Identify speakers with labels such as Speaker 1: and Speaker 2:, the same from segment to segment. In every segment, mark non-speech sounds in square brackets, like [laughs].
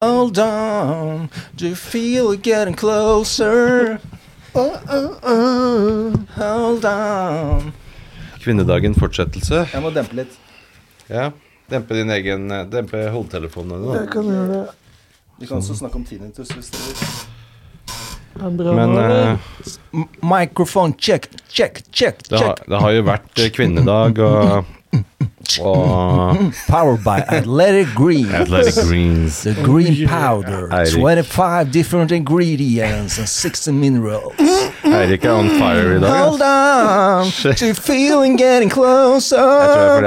Speaker 1: hold on. Do you feel it getting closer? Oh, oh, oh. Hold on.
Speaker 2: Kvinnedagen fortsettelse.
Speaker 1: Jeg må dempe litt.
Speaker 2: Ja. Dempe din egen eh, Dempe hodetelefonen din. da.
Speaker 1: Vi kan også snakke om tinnitus. hvis dere vil.
Speaker 2: Men eh,
Speaker 1: Mikrofon check, check, check,
Speaker 2: det, har,
Speaker 1: check.
Speaker 2: det har jo vært eh, kvinnedag og og
Speaker 1: Powered by Athletic Greens.
Speaker 2: Athletic Greens.
Speaker 1: The green powder,
Speaker 2: Eirik.
Speaker 1: 25 different ingredients and 60 minerals.
Speaker 2: Eirik er on fire i dag. ass.
Speaker 1: Hold on to feeling getting
Speaker 2: Jeg tror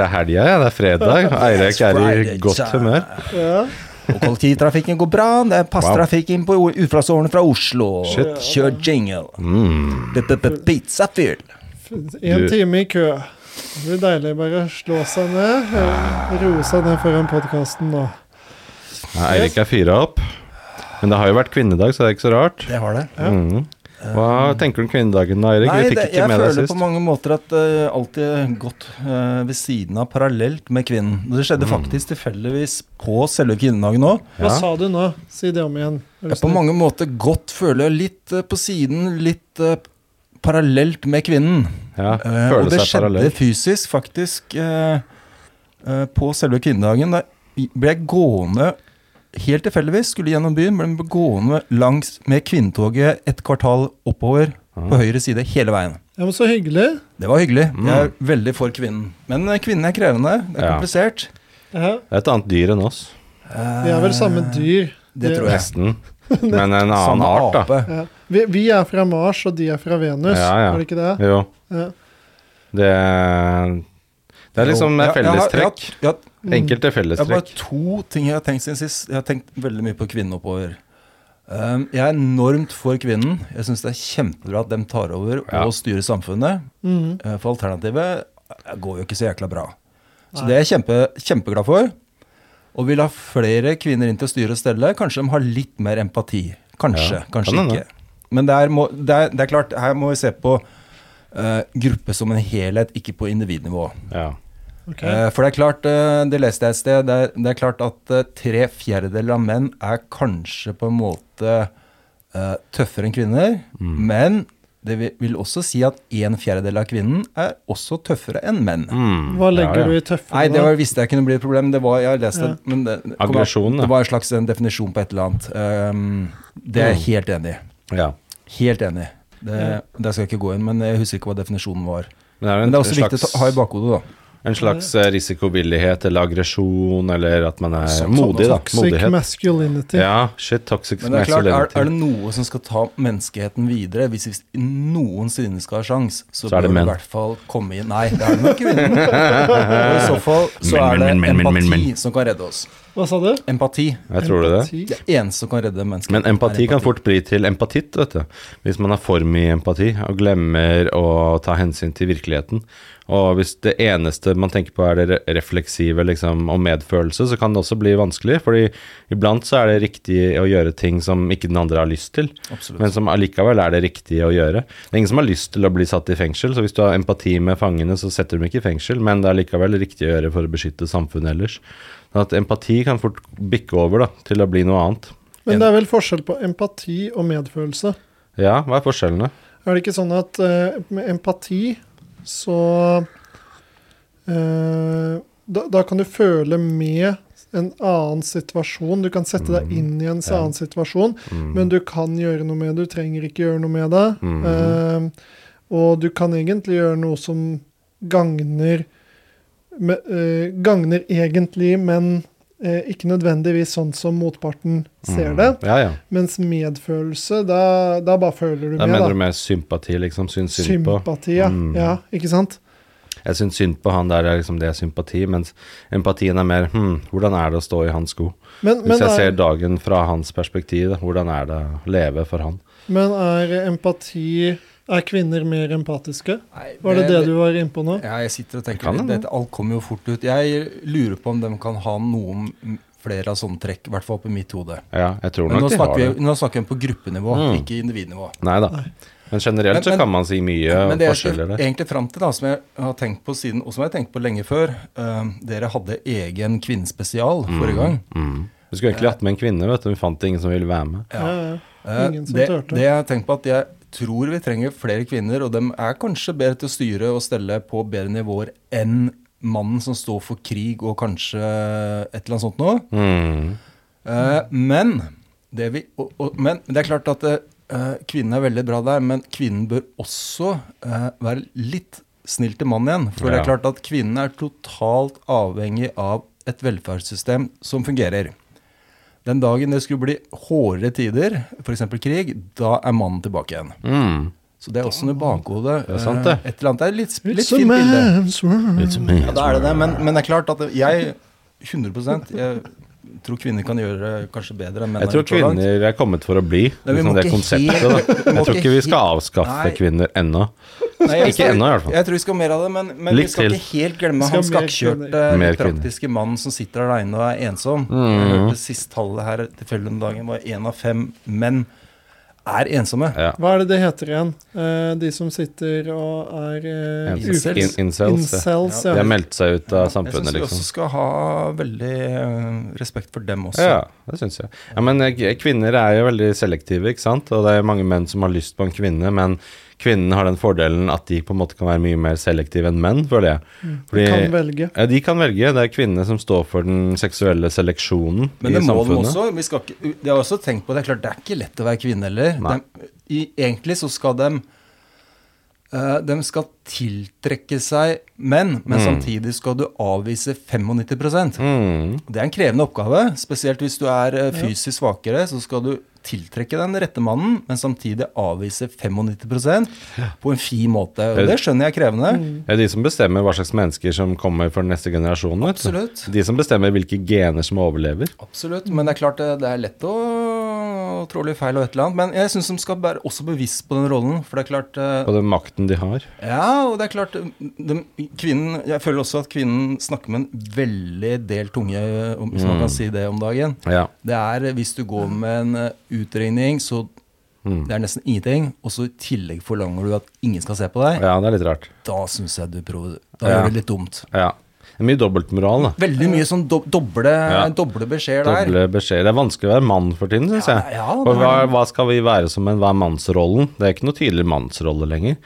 Speaker 1: closer.
Speaker 2: det er fordi det er helga, ja. det er fredag. Eirik er i
Speaker 1: Friday,
Speaker 2: godt
Speaker 1: ja.
Speaker 2: humør.
Speaker 1: Og kollektivtrafikken går bra. Det er passtrafikken på utflatsårene fra Oslo.
Speaker 2: Shit.
Speaker 1: Kjør jingle. Mm. Pizza fyll.
Speaker 2: Du-
Speaker 3: Én time i kø. Det blir deilig. Bare slå seg ned. eh, Roe seg ned foran podkasten nå.
Speaker 2: Nei, Eirik er fyra opp. Men det har jo vært kvinnedag, så det er ikke så rart.
Speaker 1: Det var det.
Speaker 2: Mhm. Hva tenker du om kvinnedagen, da,
Speaker 1: Um,
Speaker 2: Eirik?
Speaker 1: Nei,
Speaker 2: Vi fikk
Speaker 1: det,
Speaker 2: ikke
Speaker 1: jeg
Speaker 2: med deg
Speaker 1: føler på
Speaker 2: sist.
Speaker 1: mange måter at eh, alt er gått eh, ved siden av parallelt med kvinnen. Det skjedde
Speaker 2: Mm.
Speaker 1: faktisk tilfeldigvis på selve kvinnedagen òg.
Speaker 3: Hva
Speaker 2: Ja.
Speaker 3: sa du nå? Si det om igjen. Er du
Speaker 1: Jeg er på
Speaker 3: snill?
Speaker 1: mange måter godt føler jeg litt eh, på siden, litt eh, parallelt med kvinnen.
Speaker 2: Ja,
Speaker 1: Eh, og
Speaker 2: føler
Speaker 1: det
Speaker 2: seg
Speaker 1: skjedde
Speaker 2: parallell.
Speaker 1: fysisk, faktisk, eh, eh, på selve kvinnedagen. Da ble jeg gående helt tilfeldigvis, skulle gjennom byen, men ble gående langs med kvinnetoget et kvartal oppover på høyre side hele veien.
Speaker 3: Ja, men Så hyggelig.
Speaker 1: Det var hyggelig. Jeg er veldig for kvinnen. Men eh, kvinnen er krevende. Det er
Speaker 2: Mm. Ja.
Speaker 1: komplisert.
Speaker 3: Ja,
Speaker 2: Det er et annet dyr enn oss.
Speaker 3: vi er vel samme dyr.
Speaker 1: Eh, Det
Speaker 3: Vi-
Speaker 1: tror jeg. [laughs]
Speaker 2: Nesten. Men en annen
Speaker 1: Samme
Speaker 2: art, da.
Speaker 1: Sånn ape.
Speaker 3: Ja. Vi, vi er fra Mars, og de er fra Venus.
Speaker 2: Ja, ja.
Speaker 3: Er det ikke det?
Speaker 2: Jo.
Speaker 3: Ja.
Speaker 2: Det Det er liksom
Speaker 1: Jo,
Speaker 2: eh,
Speaker 1: ja, jeg har- mm. jeg har-
Speaker 2: fellestrekk.
Speaker 1: jeg har-
Speaker 2: Enkelte
Speaker 1: Det er bare
Speaker 2: fellestrekk.
Speaker 1: to ting jeg har tenkt siden sist. Jeg har tenkt veldig mye på kvinnen oppover. Um, jeg er enormt for kvinnen. Jeg syns det er kjempebra at dem tar over
Speaker 2: Ja.
Speaker 1: og styrer samfunnet.
Speaker 3: Mhm.
Speaker 1: Eh, For alternativet eh, går jo ikke så jækla bra. Så det er jeg kjempe, kjempeglad for. Og vil ha flere kvinner inn til styre og stelle. Kanskje de har litt mer empati. Kanskje,
Speaker 2: Ja,
Speaker 1: kanskje
Speaker 2: kan hende.
Speaker 1: ikke. Men det er, må, det, er, det er klart, her må vi se på eh, gruppe som en helhet, ikke på individnivå.
Speaker 2: Ja.
Speaker 3: Ok.
Speaker 1: Eh, For det er klart, eh, det leste jeg et sted, det er, det er klart at eh, tre fjerdedeler av menn er kanskje på en måte eh, tøffere enn kvinner,
Speaker 2: Mm.
Speaker 1: men det vil- vil også si at en fjerdedel av kvinnen er også tøffere enn menn.
Speaker 2: Mm.
Speaker 3: Hva legger
Speaker 2: ja,
Speaker 3: du
Speaker 2: ja.
Speaker 3: i tøffere?
Speaker 1: Nei, det var, visste jeg kunne bli et problem. Det var, jeg har lest det, men det, det kom-
Speaker 2: Aggresjon, ja.
Speaker 1: det var en slags en definisjon på et eller annet. Ehm, det
Speaker 2: Mm.
Speaker 1: er jeg helt enig i.
Speaker 2: Ja.
Speaker 1: Helt enig. Det, det skal jeg ikke gå inn, men jeg husker ikke hva definisjonen var.
Speaker 2: Men det er jo
Speaker 1: Men
Speaker 2: en,
Speaker 1: det er også viktig å ta- ha i
Speaker 2: slags,
Speaker 1: bakhodet, da.
Speaker 2: en slags eh, risikovillighet eller aggresjon, eller at man er
Speaker 1: Sånn, sånn,
Speaker 2: modig, da.
Speaker 3: Toxic
Speaker 2: Modighet.
Speaker 3: masculinity.
Speaker 2: Ja, shit, toxic
Speaker 1: Men det er klart, er, er
Speaker 2: masculinity.
Speaker 1: det noe som skal ta menneskeheten videre, hvis vi noensinne skal ha sjans, så,
Speaker 2: Så er det
Speaker 1: bør
Speaker 2: menn.
Speaker 1: i hvert fall komme inn Nei, det er det nok kvinnen. Og I
Speaker 2: [laughs]
Speaker 1: så fall så
Speaker 2: Men,
Speaker 1: er det
Speaker 2: men, men, men,
Speaker 1: empati
Speaker 2: men, men.
Speaker 1: som kan redde oss.
Speaker 3: Hva sa du?
Speaker 1: Empati.
Speaker 2: Jeg tror det.
Speaker 3: Empati.
Speaker 1: Det eneste som kan redde mennesket.
Speaker 2: Men empati kan fort bli til empatitt, vet du. Hvis man er for mye empati og glemmer å ta hensyn til virkeligheten. Og hvis det eneste man tenker på er det re- refleksive liksom, og medfølelse, så kan det også bli vanskelig. Fordi iblant så er det riktig å gjøre ting som ikke den andre har lyst til.
Speaker 1: Absolutt.
Speaker 2: Men som allikevel er det riktige å gjøre. Det er ingen som har lyst til å bli satt i fengsel, så hvis du har empati med fangene, så setter de ikke i fengsel, men det er likevel riktig å gjøre for å beskytte samfunnet ellers. Sånn at empati kan fort bikke over da, til å bli noe annet.
Speaker 3: Men det er vel forskjell på empati og medfølelse.
Speaker 2: Ja, hva er forskjellene?
Speaker 3: Er det ikke sånn at eh, med empati så eh, da, da kan du føle med en annen situasjon. Du kan sette deg inn i en
Speaker 2: Mm. ja. Mm.
Speaker 3: annen situasjon, men du kan gjøre noe med det. Du trenger ikke gjøre noe med det.
Speaker 2: Mhm.
Speaker 3: Eh, og du kan egentlig gjøre noe som gagner me- eh, Gagner egentlig, men eh, ikke nødvendigvis sånn som motparten ser det.
Speaker 2: Mm. Ja, ja.
Speaker 3: Mens medfølelse, da, da bare føler du
Speaker 2: Da
Speaker 3: med, da.
Speaker 2: mener du med sympati, liksom. Syns synd på.
Speaker 3: Sympati, ja.
Speaker 2: Mm.
Speaker 3: ja. Ikke sant?
Speaker 2: Jeg syns synd på han der, er liksom det er sympati, mens empatien er mer hm, hvordan er det å stå i hans sko?
Speaker 3: Men,
Speaker 2: Hvis
Speaker 3: men,
Speaker 2: jeg ser
Speaker 3: er,
Speaker 2: dagen fra hans perspektiv, hvordan er det å leve for han?
Speaker 3: men er empati Er kvinner mer empatiske?
Speaker 1: Nei,
Speaker 3: Var det det du var inne på nå?
Speaker 1: Ja, jeg sitter og tenker
Speaker 2: Kan
Speaker 1: litt.
Speaker 2: det,
Speaker 1: Dette, alt kommer jo fort ut. Jeg lurer på om de kan ha noen flere av sånne trekk, i hvert fall på mitt hode.
Speaker 2: Ja, jeg tror
Speaker 1: Men
Speaker 2: nok
Speaker 1: nå
Speaker 2: de har
Speaker 1: snakker,
Speaker 2: det.
Speaker 1: vi, nå snakker vi på gruppenivå,
Speaker 2: Mm.
Speaker 1: ikke individnivå.
Speaker 2: Nei da. Men generelt
Speaker 1: Men-
Speaker 2: så
Speaker 1: men-
Speaker 2: kan man si mye
Speaker 1: Men
Speaker 2: om
Speaker 1: det jeg
Speaker 2: forskjeller
Speaker 1: skulle
Speaker 2: der.
Speaker 1: egentlig fram til, da, som jeg har tenkt på siden, og som jeg har tenkt på lenge før eh, Dere hadde egen kvinnespesial forrige gang.
Speaker 2: Mm. Vi skulle egentlig hatt med en kvinne, vet du. Vi fant ingen som ville være med.
Speaker 1: Ja.
Speaker 3: Ja, ja.
Speaker 1: Eh,
Speaker 3: Ingen som
Speaker 1: det,
Speaker 3: turte.
Speaker 1: det jeg har tenkt på at jeg tror vi trenger flere kvinner, og de er kanskje bedre til å styre og stelle på bedre nivåer enn mannen som står for krig og kanskje et eller annet sånt noe.
Speaker 2: Mm.
Speaker 1: Eh, men, det vi, og, og, men det er klart at eh, kvinnen er veldig bra der, men kvinnen bør også eh, være litt snill til mannen igjen. For det er
Speaker 2: Ja.
Speaker 1: klart at kvinnen er totalt avhengig av et velferdssystem som fungerer. Den dagen det skulle bli hårdere tider, f.eks. krig, da er mannen tilbake igjen.
Speaker 2: Mm.
Speaker 1: Så det er også noe i bakhodet.
Speaker 2: Det er sant,
Speaker 1: eh,
Speaker 2: det. eh,
Speaker 1: Et eller annet. Det er litt, litt
Speaker 3: It's a
Speaker 1: fint bilde.
Speaker 3: man's world.
Speaker 2: It's me.
Speaker 1: Ja, da er det det, men, men det er klart at jeg 100 jeg tror kvinner kan gjøre det kanskje bedre enn menn.
Speaker 2: Jeg
Speaker 1: har
Speaker 2: tror
Speaker 1: gjort så langt.
Speaker 2: kvinner er kommet for å bli.
Speaker 1: Nei, vi
Speaker 2: liksom
Speaker 1: må
Speaker 2: det
Speaker 1: ikke
Speaker 2: konseptet.
Speaker 1: helt-
Speaker 2: Da.
Speaker 1: vi må
Speaker 2: Jeg tror
Speaker 1: ikke
Speaker 2: ikke vi skal
Speaker 1: helt-
Speaker 2: avskaffe
Speaker 1: Nei.
Speaker 2: kvinner ennå.
Speaker 1: Nei, jeg-
Speaker 2: Ikke ennå, i hvert fall.
Speaker 1: Jeg tror vi skal ha mer av det, men, men vi
Speaker 2: Litt
Speaker 1: skal
Speaker 2: til.
Speaker 1: ikke helt glemme
Speaker 3: Vi skal
Speaker 1: han
Speaker 3: ha mer kvinner.
Speaker 1: skakkjørte,
Speaker 2: Mer
Speaker 1: litt
Speaker 2: kvinner.
Speaker 1: praktiske mannen som sitter aleine og er ensom. Jeg
Speaker 2: Mhm.
Speaker 1: hørte sist tallet her tilfeldig om dagen var én av fem menn er ensomme.
Speaker 2: Ja.
Speaker 3: Hva er det det heter igjen? Eh, de som sitter og er eh,
Speaker 2: Incels.
Speaker 3: ufri-
Speaker 2: In- incels, ja.
Speaker 3: incels,
Speaker 2: De
Speaker 3: ja.
Speaker 2: har meldt seg ut av
Speaker 1: jeg
Speaker 2: samfunnet,
Speaker 1: syns vi også
Speaker 2: liksom.
Speaker 1: skal ha veldig eh, respekt for dem også.
Speaker 2: Ja, det syns jeg. Ja, men eh, k- kvinner er jo veldig selektive, ikke sant. Og det er mange menn som har lyst på en kvinne, men kvinnen har den fordelen at de på en måte kan være mye mer selektive enn menn, føler jeg.
Speaker 3: Mm. De kan
Speaker 2: Fordi
Speaker 3: velge.
Speaker 2: ja, de kan velge. Det er kvinnene som står for den seksuelle seleksjonen
Speaker 1: Men
Speaker 2: i
Speaker 1: det må de
Speaker 2: samfunnet.
Speaker 1: også. Vi skal ikke, de har også tenkt på det. Det er klart, det er ikke lett å være kvinne heller.
Speaker 2: Nei.
Speaker 1: Dem- i, egentlig så skal de de skal tiltrekke seg menn, men
Speaker 2: Mm.
Speaker 1: samtidig skal du avvise 95
Speaker 2: Mm.
Speaker 1: Det er en krevende oppgave, spesielt hvis du er eh, fysisk svakere. Så skal du tiltrekke den rette mannen, men samtidig avvise 95 på en fin måte. Og det skjønner jeg er krevende.
Speaker 2: Det er de som bestemmer hva slags mennesker som kommer for den neste generasjonen. vet du.
Speaker 1: Absolutt.
Speaker 2: De som bestemmer hvilke gener som overlever.
Speaker 1: Absolutt, men det er klart eh, det, det er lett å trå litt feil og et eller annet. Men jeg syns de skal være også bevisst på den rollen, for det er klart eh,
Speaker 2: På den makten de har.
Speaker 1: Ja, og det er klart eh, de, kvinnen, Jeg føler også at kvinnen snakker med en veldig del tunge, om- hvis
Speaker 2: Mm.
Speaker 1: man kan si det om dagen.
Speaker 2: Ja.
Speaker 1: Det er eh, hvis du går med en eh, utregning, så
Speaker 2: Mm.
Speaker 1: det er nesten ingenting, og så i tillegg forlanger du at ingen skal se på deg.
Speaker 2: ja, det er litt rart.
Speaker 1: Da syns jeg du prøver Da
Speaker 2: Ja.
Speaker 1: gjør du litt dumt.
Speaker 2: Ja. Det er mye dobbeltmoral, da.
Speaker 1: Veldig mye sånn do, doble, doble beskjeder der.
Speaker 2: Doble beskjeder. Det er vanskelig å være mann for tiden, syns
Speaker 1: Ja,
Speaker 2: jeg.
Speaker 1: ja, det
Speaker 2: og hva,
Speaker 1: er-
Speaker 2: hva skal vi være som en Hva er mannsrollen? Det er ikke noe tydelig mannsrolle lenger.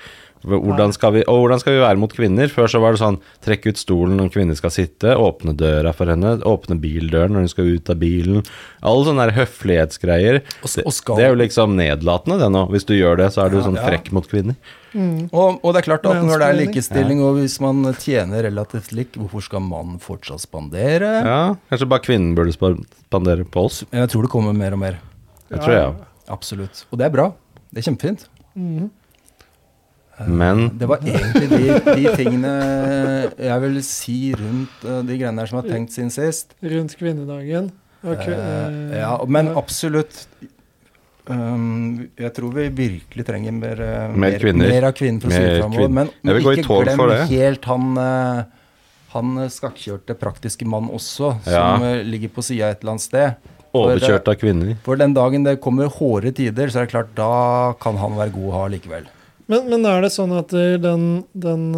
Speaker 2: Hvordan skal vi, og hvordan skal vi være mot kvinner? Før så var det sånn trekk ut stolen når kvinner skal sitte, åpne døra for henne, åpne bildøren når hun skal ut av bilen. Alle sånne der høflighetsgreier.
Speaker 1: Og s-
Speaker 2: Det,
Speaker 1: og skal-
Speaker 2: det er jo liksom nedlatende, det nå. Hvis du gjør det, så er du sånn
Speaker 1: ja.
Speaker 2: frekk mot kvinner.
Speaker 3: Mm.
Speaker 1: Og, og det er klart at når det er
Speaker 3: Mansplaining.
Speaker 1: likestilling, og hvis man tjener relativt lik, hvorfor skal mannen fortsatt spandere?
Speaker 2: Ja, kanskje bare kvinnen burde spa- spandere på oss.
Speaker 1: Jeg tror det kommer mer og mer.
Speaker 2: Det tror jeg.
Speaker 1: Absolutt. Og det er bra. Det er kjempefint.
Speaker 3: Mm.
Speaker 2: Men
Speaker 1: Det var egentlig de, de tingene jeg vil si rundt eh, de greiene her som jeg har tenkt siden sist.
Speaker 3: Rundt kvinnedagen. Ok,
Speaker 1: Eh,
Speaker 3: eh,
Speaker 1: ja, men absolutt. Um, jeg tror vi virkelig trenger mer, eh,
Speaker 2: Mer kvinner.
Speaker 1: mer av kvinner for å
Speaker 2: Mer
Speaker 1: styre framover.
Speaker 2: kvinner.
Speaker 1: Men,
Speaker 2: Jeg
Speaker 1: men
Speaker 2: vil gå i
Speaker 1: ikke
Speaker 2: tog
Speaker 1: glem
Speaker 2: for det.
Speaker 1: helt han, eh, han eh, skakkjørte praktiske mann også,
Speaker 2: Ja.
Speaker 1: som eh, ligger på sida et eller annet sted.
Speaker 2: overkjørt av kvinner.
Speaker 1: For den dagen det kommer hårde tider, så er det klart da kan han være god å ha likevel.
Speaker 3: Men, men er det sånn at eh, den, den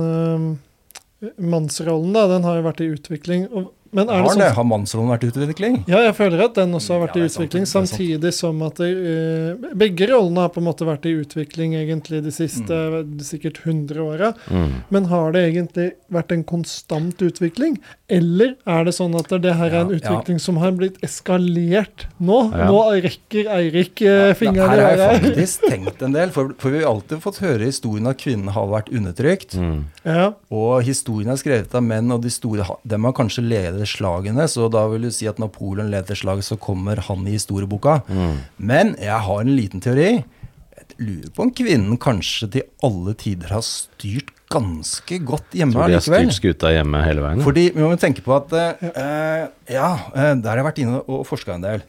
Speaker 3: eh, mannsrollen, da, den har jo vært i utvikling. Og, men er
Speaker 1: Har,
Speaker 3: det
Speaker 1: det,
Speaker 3: sånn
Speaker 1: har mannsrollen vært i utvikling?
Speaker 3: Ja, jeg føler at den også har vært
Speaker 1: Ja,
Speaker 3: i
Speaker 1: det er sant,
Speaker 3: utvikling,
Speaker 1: det er sant.
Speaker 3: samtidig som at eh, begge rollene har på en måte vært i utvikling egentlig de siste
Speaker 1: Mm.
Speaker 3: eh, sikkert 100 åra.
Speaker 2: Mm.
Speaker 3: Men har det egentlig vært en konstant utvikling? Eller er det sånn at det her er en
Speaker 1: Ja, ja.
Speaker 3: utvikling som har blitt eskalert nå?
Speaker 2: Ja.
Speaker 3: Nå rekker Eirik eh, fingeren
Speaker 1: her
Speaker 3: i
Speaker 1: har jeg
Speaker 3: været.
Speaker 1: faktisk tenkt en del, for, for vi har alltid fått høre historien at kvinnen har vært undertrykt.
Speaker 2: Mm.
Speaker 3: Ja,
Speaker 1: Og historien er skrevet av menn, og de store, ha- dem har kanskje ledet slagene, så da vil du si at Napoleon leder slaget, så kommer han i historieboka.
Speaker 2: mm.
Speaker 1: Men jeg har en liten teori. Jeg lurer på om kvinnen kanskje til alle tider har styrt ganske godt hjemme
Speaker 2: Tror de har
Speaker 1: allikevel.
Speaker 2: styrt skuta hjemme hele veien.
Speaker 1: Fordi vi må jo tenke på at eh, eh, Ja, eh, der har jeg vært inne og forska en del.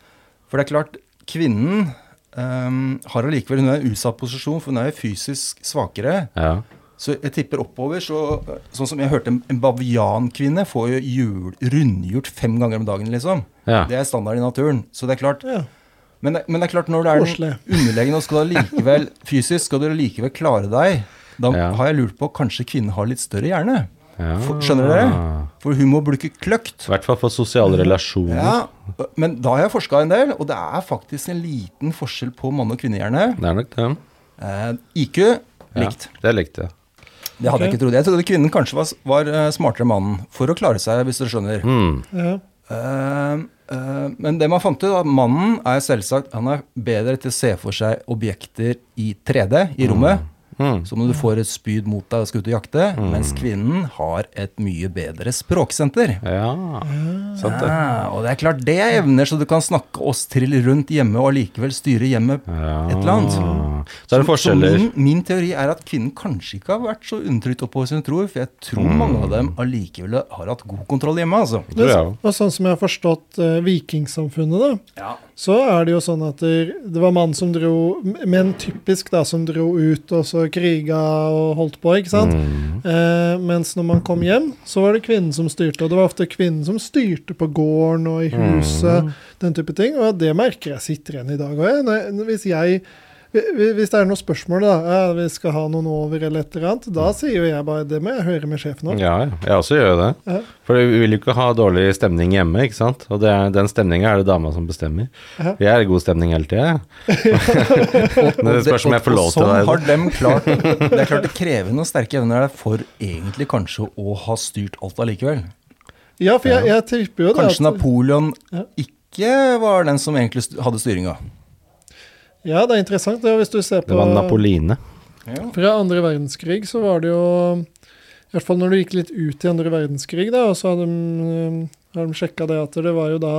Speaker 1: For det er klart, kvinnen eh, har allikevel Hun er i en utsatt posisjon, for hun er jo fysisk svakere.
Speaker 2: Ja.
Speaker 1: Så jeg tipper oppover, så, sånn som jeg hørte en, en baviankvinne får jo hjul, rundhjult fem ganger om dagen, liksom.
Speaker 2: Ja.
Speaker 1: Det er standard i naturen. Så det er klart.
Speaker 3: ja.
Speaker 1: Men, det- men det er klart, når du er den
Speaker 3: Koselig.
Speaker 1: underlegne og skal da
Speaker 3: [laughs]
Speaker 1: likevel fysisk, skal du likevel klare deg, da
Speaker 2: Ja.
Speaker 1: har jeg lurt på kanskje kvinnen har litt større hjerne.
Speaker 2: ja.
Speaker 1: For, skjønner dere? For hun må bruke kløkt.
Speaker 2: I hvert fall for sosiale relasjoner.
Speaker 1: Ja, Men da har jeg forska en del, og det er faktisk en liten forskjell på mann- og kvinnehjerne.
Speaker 2: Det er nok det.
Speaker 1: Eh, IQ
Speaker 2: Ja,
Speaker 1: likt.
Speaker 2: Det er likt, ja.
Speaker 1: Det hadde jeg
Speaker 3: Ok.
Speaker 1: ikke trodd. Jeg trodde kvinnen kanskje var, var eh, smartere enn mannen, for å klare seg, hvis du skjønner.
Speaker 2: Mm.
Speaker 3: Ja.
Speaker 1: Eh, eh, men det man fant ut, at mannen er selvsagt han er bedre til å se for seg objekter i 3D i rommet.
Speaker 2: Mm.
Speaker 1: Som om du får et spyd mot deg og skal ut og jakte. Mens kvinnen har et mye bedre språksenter.
Speaker 2: Ja, sant det.
Speaker 1: Ah, og det er klart det er evner, så du kan snakke oss trill rundt hjemme og allikevel styre hjemmet.
Speaker 2: Ja.
Speaker 1: Et eller annet.
Speaker 2: Så er det
Speaker 1: Så
Speaker 2: forskjeller.
Speaker 1: min, min teori er at kvinnen kanskje ikke har vært så undertrykt oppover sin tro, for jeg tror
Speaker 2: Mm.
Speaker 1: mange av dem allikevel har hatt god kontroll hjemme, altså.
Speaker 2: Det tror jeg òg.
Speaker 3: Og sånn som jeg har forstått eh, vikingsamfunnet, da,
Speaker 1: Ja.
Speaker 3: så er det jo sånn at det, det var mann som dro Menn typisk da, som dro ut og så kriga og holdt på, ikke sant?
Speaker 2: Mm.
Speaker 3: Eh, mens når man kom hjem, så var det kvinnen som styrte. Og det var ofte kvinnen som styrte på gården og i huset,
Speaker 2: Mm.
Speaker 3: den type ting. Og det merker jeg sitter igjen i dag òg. Hvis jeg hvi- hvis det er noen spørsmål, da, ja, vi skal ha noen over eller et eller annet, da sier jo jeg bare det må jeg høre med sjefen om.
Speaker 2: Ja, ja. jeg også gjør jo det.
Speaker 3: Ja.
Speaker 2: For vi vil jo ikke ha dårlig stemning hjemme, ikke sant? Og det er, den stemninga er det dama som bestemmer.
Speaker 3: Ja.
Speaker 2: Jeg er i god stemning hele tida, jeg. Men det spørs om jeg får lov til
Speaker 1: sånn
Speaker 2: det.
Speaker 1: har dem klart Det er klart det krever noen sterke evner der for egentlig kanskje å ha styrt alt allikevel.
Speaker 3: Ja, for jeg, jeg tipper jo det.
Speaker 1: Kanskje
Speaker 3: at-
Speaker 1: Napoleon
Speaker 3: Ja.
Speaker 1: ikke var den som egentlig st- hadde styringa.
Speaker 3: Ja, det er interessant. Det, hvis du ser på
Speaker 2: Det var Napoline.
Speaker 1: Ja.
Speaker 3: Fra andre verdenskrig så var det jo I hvert fall når du gikk litt ut i andre verdenskrig, da, og så hadde de, eh, har de sjekka det at det var jo da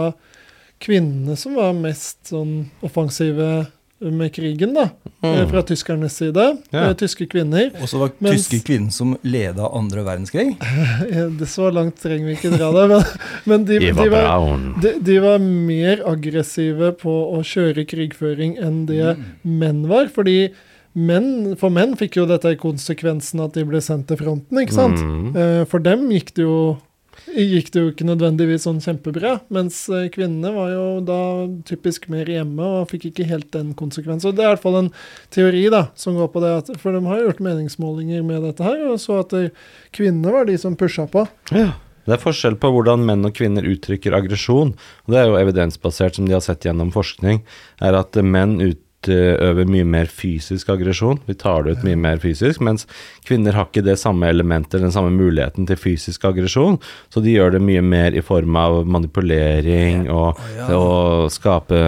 Speaker 3: kvinnene som var mest sånn offensive med krigen, da. eh, Fra tyskernes side.
Speaker 2: Ja.
Speaker 3: Eh, Tyske kvinner. [laughs]
Speaker 1: Og så var
Speaker 3: Mens-
Speaker 1: tyske kvinnen som leda andre verdenskrig.
Speaker 3: Eh, Det så langt trenger vi ikke dra det, men, men de,
Speaker 2: Eva
Speaker 3: de, var,
Speaker 2: Braun.
Speaker 3: de, de var mer aggressive på å kjøre krigføring enn det menn var. Fordi menn, for menn fikk jo dette i konsekvensen at de ble sendt til fronten, ikke sant?
Speaker 2: Mm.
Speaker 3: Eh, For dem gikk det jo gikk det jo ikke nødvendigvis sånn kjempebra, mens eh, kvinnene var jo da typisk mer hjemme og fikk ikke helt den konsekvensen. Og Det er i hvert fall en teori da, som går på det, at, for de har jo gjort meningsmålinger med dette her, og så at eh, kvinnene var de som pusha på.
Speaker 2: Ja. Det er forskjell på hvordan menn og kvinner uttrykker aggresjon. og Det er jo evidensbasert, som de har sett gjennom forskning, er at eh, menn utøver mye mer fysisk aggresjon. Vi tar det ut mye mer fysisk, mens kvinner har ikke det samme elementet, den samme muligheten til fysisk aggresjon. Så de gjør det mye mer i form av manipulering og,
Speaker 1: Å, ja.
Speaker 2: og skape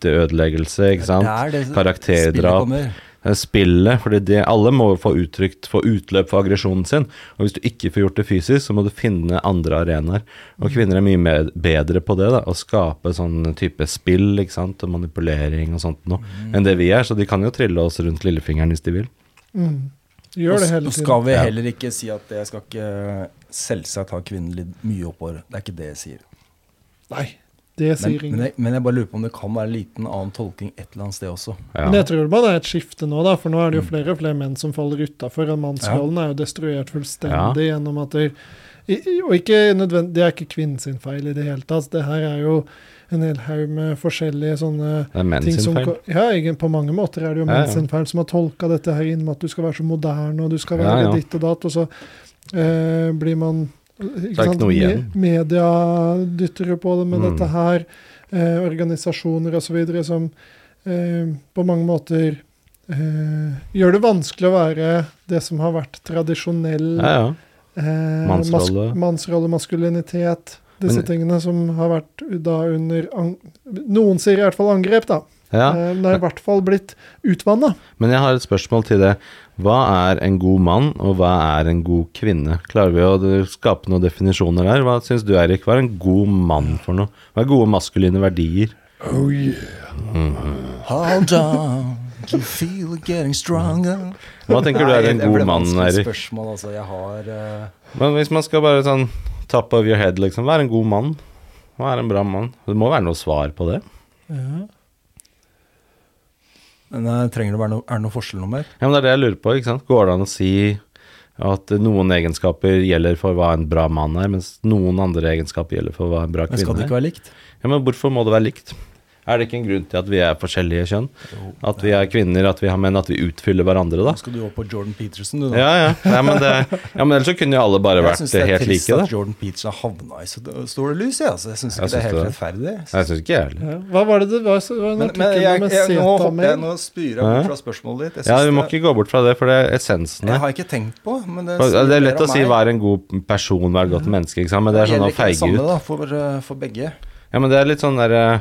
Speaker 2: rykteødeleggelse, ikke sant.
Speaker 1: Det er det spillet
Speaker 2: Karakterdrap
Speaker 1: kommer.
Speaker 2: eh, spillet, fordi det, alle må få uttrykt, få utløp for aggresjonen sin. Og hvis du ikke får gjort det fysisk, så må du finne andre arenaer.
Speaker 1: Mm.
Speaker 2: Og kvinner er mye mer, bedre på det, da, å skape sånn type spill ikke sant, og manipulering og sånt noe,
Speaker 1: Mm.
Speaker 2: enn det vi er. Så de kan jo trille oss rundt lillefingeren hvis de vil.
Speaker 3: De gjør det hele
Speaker 1: Nå
Speaker 3: tiden.
Speaker 1: skal vi
Speaker 2: Ja.
Speaker 1: heller ikke si at jeg skal ikke eh, selvsagt ha kvinnen litt mye oppover. Det er ikke det jeg sier.
Speaker 3: Nei, det
Speaker 1: Men,
Speaker 3: sier
Speaker 1: men,
Speaker 3: ingen.
Speaker 1: jeg, men jeg bare lurer på om det kan være en liten annen tolking et eller annet sted også.
Speaker 2: Ja.
Speaker 3: Men jeg tror bare det er et skifte nå, da, for nå er det jo flere og flere menn som faller utafor. Mannsrollen er jo destruert fullstendig gjennom at det, i- i- Og ikke nødvendig, det er ikke kvinnen sin feil i det hele tatt. Det her er jo en hel haug med forskjellige sånne
Speaker 2: Det er menn
Speaker 3: ting
Speaker 2: sin
Speaker 3: som
Speaker 2: feil.
Speaker 3: ko- Ja, egen- på mange måter er det jo
Speaker 2: Ja, ja.
Speaker 3: menn sin feil som har tolka dette her inn med at du skal være så moderne, og du skal
Speaker 2: Ja,
Speaker 3: være
Speaker 2: ja.
Speaker 3: ditt og datt, og så eh, blir man ikke
Speaker 2: ikke noe igjen.
Speaker 3: Me- Media dytter jo på det med
Speaker 2: Mm.
Speaker 3: dette her. Eh, organisasjoner osv. som eh, på mange måter eh, gjør det vanskelig å være det som har vært tradisjonell
Speaker 2: Ja, ja.
Speaker 3: eh,
Speaker 2: Mannsrolle.
Speaker 3: Mas mannsrolle, maskulinitet. Disse
Speaker 2: Men-
Speaker 3: tingene som har vært da under ang Noen sier i hvert fall angrep, da.
Speaker 2: ja.
Speaker 3: Eh, men det er i hvert fall blitt utvanna.
Speaker 2: Men jeg har et spørsmål til det. Hva er en god mann, og hva er en god kvinne? Klarer vi å skape noen definisjoner her? Hva syns du, Eirik? Hva er en god mann for noe? Hva er gode maskuline verdier?
Speaker 1: Oh yeah. Hold on, you feel it getting stronger.
Speaker 2: Hva tenker du er en
Speaker 1: Nei,
Speaker 2: god
Speaker 1: det ble
Speaker 2: mann,
Speaker 1: vanskelig
Speaker 2: Eirik?
Speaker 1: spørsmål, altså. Jeg har eh,
Speaker 2: Men hvis man skal bare sånn top of your head, liksom. Hva er en god mann? Hva er en bra mann? Det må være noe svar på det.
Speaker 1: Men eh, trenger det være noe, er det noe forskjellnummer?
Speaker 2: Ja, men det er det jeg lurer på, ikke sant. Går det an å si at noen egenskaper gjelder for hva en bra mann er, mens noen andre egenskaper gjelder for hva en bra
Speaker 1: Men skal
Speaker 2: kvinne
Speaker 1: det
Speaker 2: er?
Speaker 1: ikke være likt?
Speaker 2: Ja, men hvorfor må det være likt? Er det ikke en grunn til at vi er forskjellige kjønn? At vi er kvinner, at vi har menn, at vi utfyller hverandre, da?
Speaker 1: Nå skal du over på Jordan Peterson, du, da.
Speaker 2: Ja, ja. Nei, men det, ja, men ellers så kunne jo alle bare
Speaker 1: Jeg
Speaker 2: vært
Speaker 1: syns det er
Speaker 2: helt
Speaker 1: trist
Speaker 2: like,
Speaker 1: at
Speaker 2: da.
Speaker 1: Jordan Peterson havna i så store lys. Jeg, altså. jeg syns ikke
Speaker 2: Jeg
Speaker 1: det er
Speaker 2: syns
Speaker 1: helt
Speaker 2: det.
Speaker 1: rettferdig. Jeg
Speaker 2: Jeg
Speaker 1: synes-
Speaker 2: syns ikke jeg heller.
Speaker 3: Ja. Hva var det det var? Det var en
Speaker 1: Men, men
Speaker 3: artikkel
Speaker 1: jeg,
Speaker 3: med
Speaker 1: jeg, nå hopper jeg
Speaker 3: Z-damer.
Speaker 1: nå spyr jeg bort
Speaker 2: Ja.
Speaker 1: fra spørsmålet ditt. Jeg
Speaker 2: Ja,
Speaker 1: syns
Speaker 2: vi må
Speaker 1: det,
Speaker 2: ikke gå bort fra det, for det er essensen
Speaker 1: jeg
Speaker 2: her.
Speaker 1: har ikke tenkt på men det,
Speaker 2: Og Det er lett
Speaker 1: sier
Speaker 2: å si
Speaker 1: mer om meg.
Speaker 2: 'vær en god person, vær et godt menneske', ikke sant? men det er sånn å
Speaker 1: Gjelder ikke det
Speaker 2: feige
Speaker 1: samme,
Speaker 2: ut.
Speaker 1: Da, for, eh, for begge.
Speaker 2: Ja, men det er litt sånn der eh,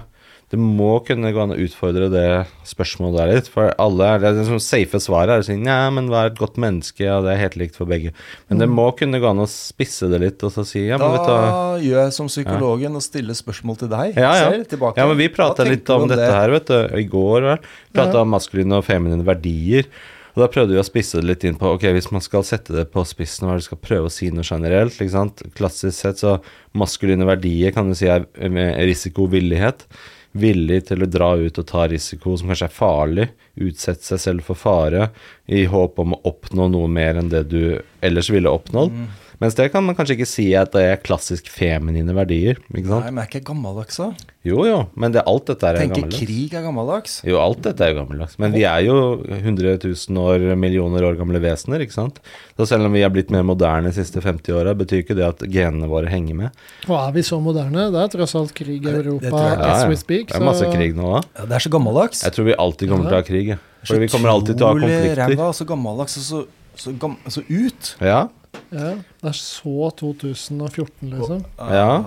Speaker 2: Det må kunne gå an å utfordre det spørsmålet der litt. For alle er det er liksom safe svaret er å si nei, men vær et godt menneske, og det er helt likt for begge. Men det må kunne gå an å spisse det litt og så si ja, men vet du hva
Speaker 1: Da gjør jeg som psykologen og stiller spørsmål til deg.
Speaker 2: ja, ja.
Speaker 1: selv, tilbake.
Speaker 2: ja, men vi
Speaker 1: Hva
Speaker 2: prata
Speaker 1: tenker
Speaker 2: litt
Speaker 1: du
Speaker 2: om dette
Speaker 1: det?
Speaker 2: her, vet du. I går, vel. Prata om maskuline og feminine verdier. Og da prøvde vi å spisse det litt inn på ok, hvis man skal sette det på spissen, hva er det du skal prøve å si noe generelt? ikke sant? Klassisk sett så maskuline verdier kan du si er med risikovillighet. Villig til å dra ut og ta risiko som kanskje er farlig. Utsette seg selv for fare i håp om å oppnå noe mer enn det du ellers ville oppnådd.
Speaker 1: Mm.
Speaker 2: Mens det kan man kanskje ikke si at det er klassisk feminine verdier. ikke sant?
Speaker 1: Nei, men jeg er ikke altså. gammeldags, da.
Speaker 2: Jo, jo, men det, alt dette er
Speaker 1: Tenker
Speaker 2: gammeldags.
Speaker 1: krig er gammeldags.
Speaker 2: Jo, alt dette er jo gammeldags. Men vi er jo 100 000 år, millioner år gamle vesener, ikke sant? Så selv om vi er blitt mer moderne de siste 50 åra, betyr ikke det at genene våre henger med.
Speaker 3: Og er vi så moderne? Det er tross alt krig i
Speaker 1: det- det
Speaker 3: Europa
Speaker 1: tror jeg.
Speaker 2: Ja,
Speaker 3: as
Speaker 2: ja.
Speaker 3: we speak.
Speaker 2: det er masse krig nå òg.
Speaker 1: Ja, det er så gammeldags.
Speaker 2: Jeg tror vi alltid kommer til å ha krig. jeg. For vi kommer alltid til å ha
Speaker 1: Utrolig
Speaker 2: konflikter.
Speaker 1: ræva, så gammeldags og så, så, gam, så ut.
Speaker 2: Ja,
Speaker 3: Ja, det er så 2014, liksom.
Speaker 2: ja.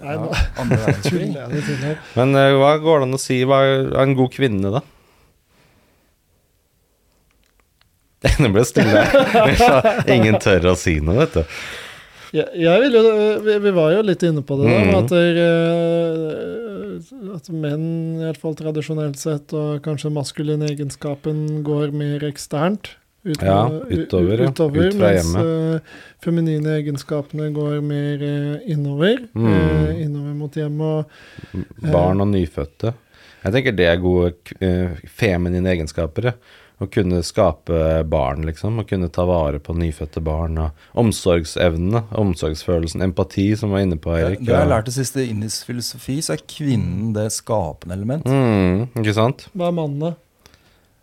Speaker 3: Nei, nå
Speaker 1: Andre verdenskrig.
Speaker 3: tuller jeg det til her.
Speaker 2: Men eh, hva går det an å si? Hva er en god kvinne, da? [laughs] Det ble stille. [laughs] Ingen tør å si noe, vet du.
Speaker 3: Jeg, jeg vil jo, eh, vi, vi var jo litt inne på det, da, med
Speaker 2: Mhm.
Speaker 3: at, der, eh, at menn, i hvert fall tradisjonelt sett, og kanskje maskuline egenskapen går mer eksternt. ut- eh,
Speaker 2: Ja,
Speaker 3: u-
Speaker 2: utover, ja.
Speaker 3: utover
Speaker 2: Ut fra
Speaker 3: mens
Speaker 2: hjemmet.
Speaker 3: eh, feminine egenskapene går mer eh, innover.
Speaker 2: Mhm.
Speaker 3: eh, innover mot hjemmet. og-
Speaker 1: Eh.
Speaker 2: Barn og nyfødte. Jeg tenker det er gode k- eh, feminine egenskaper. ja. Å kunne skape barn, liksom. Å kunne ta vare på nyfødte barn. Og omsorgsevnene, omsorgsfølelsen, empati, som vi var inne på, Erik.
Speaker 1: Det har jeg lært
Speaker 2: og-
Speaker 1: det siste i indisk filosofi, så er kvinnen det skapende element.
Speaker 2: Mm, ikke sant?
Speaker 3: Hva er mannen, da?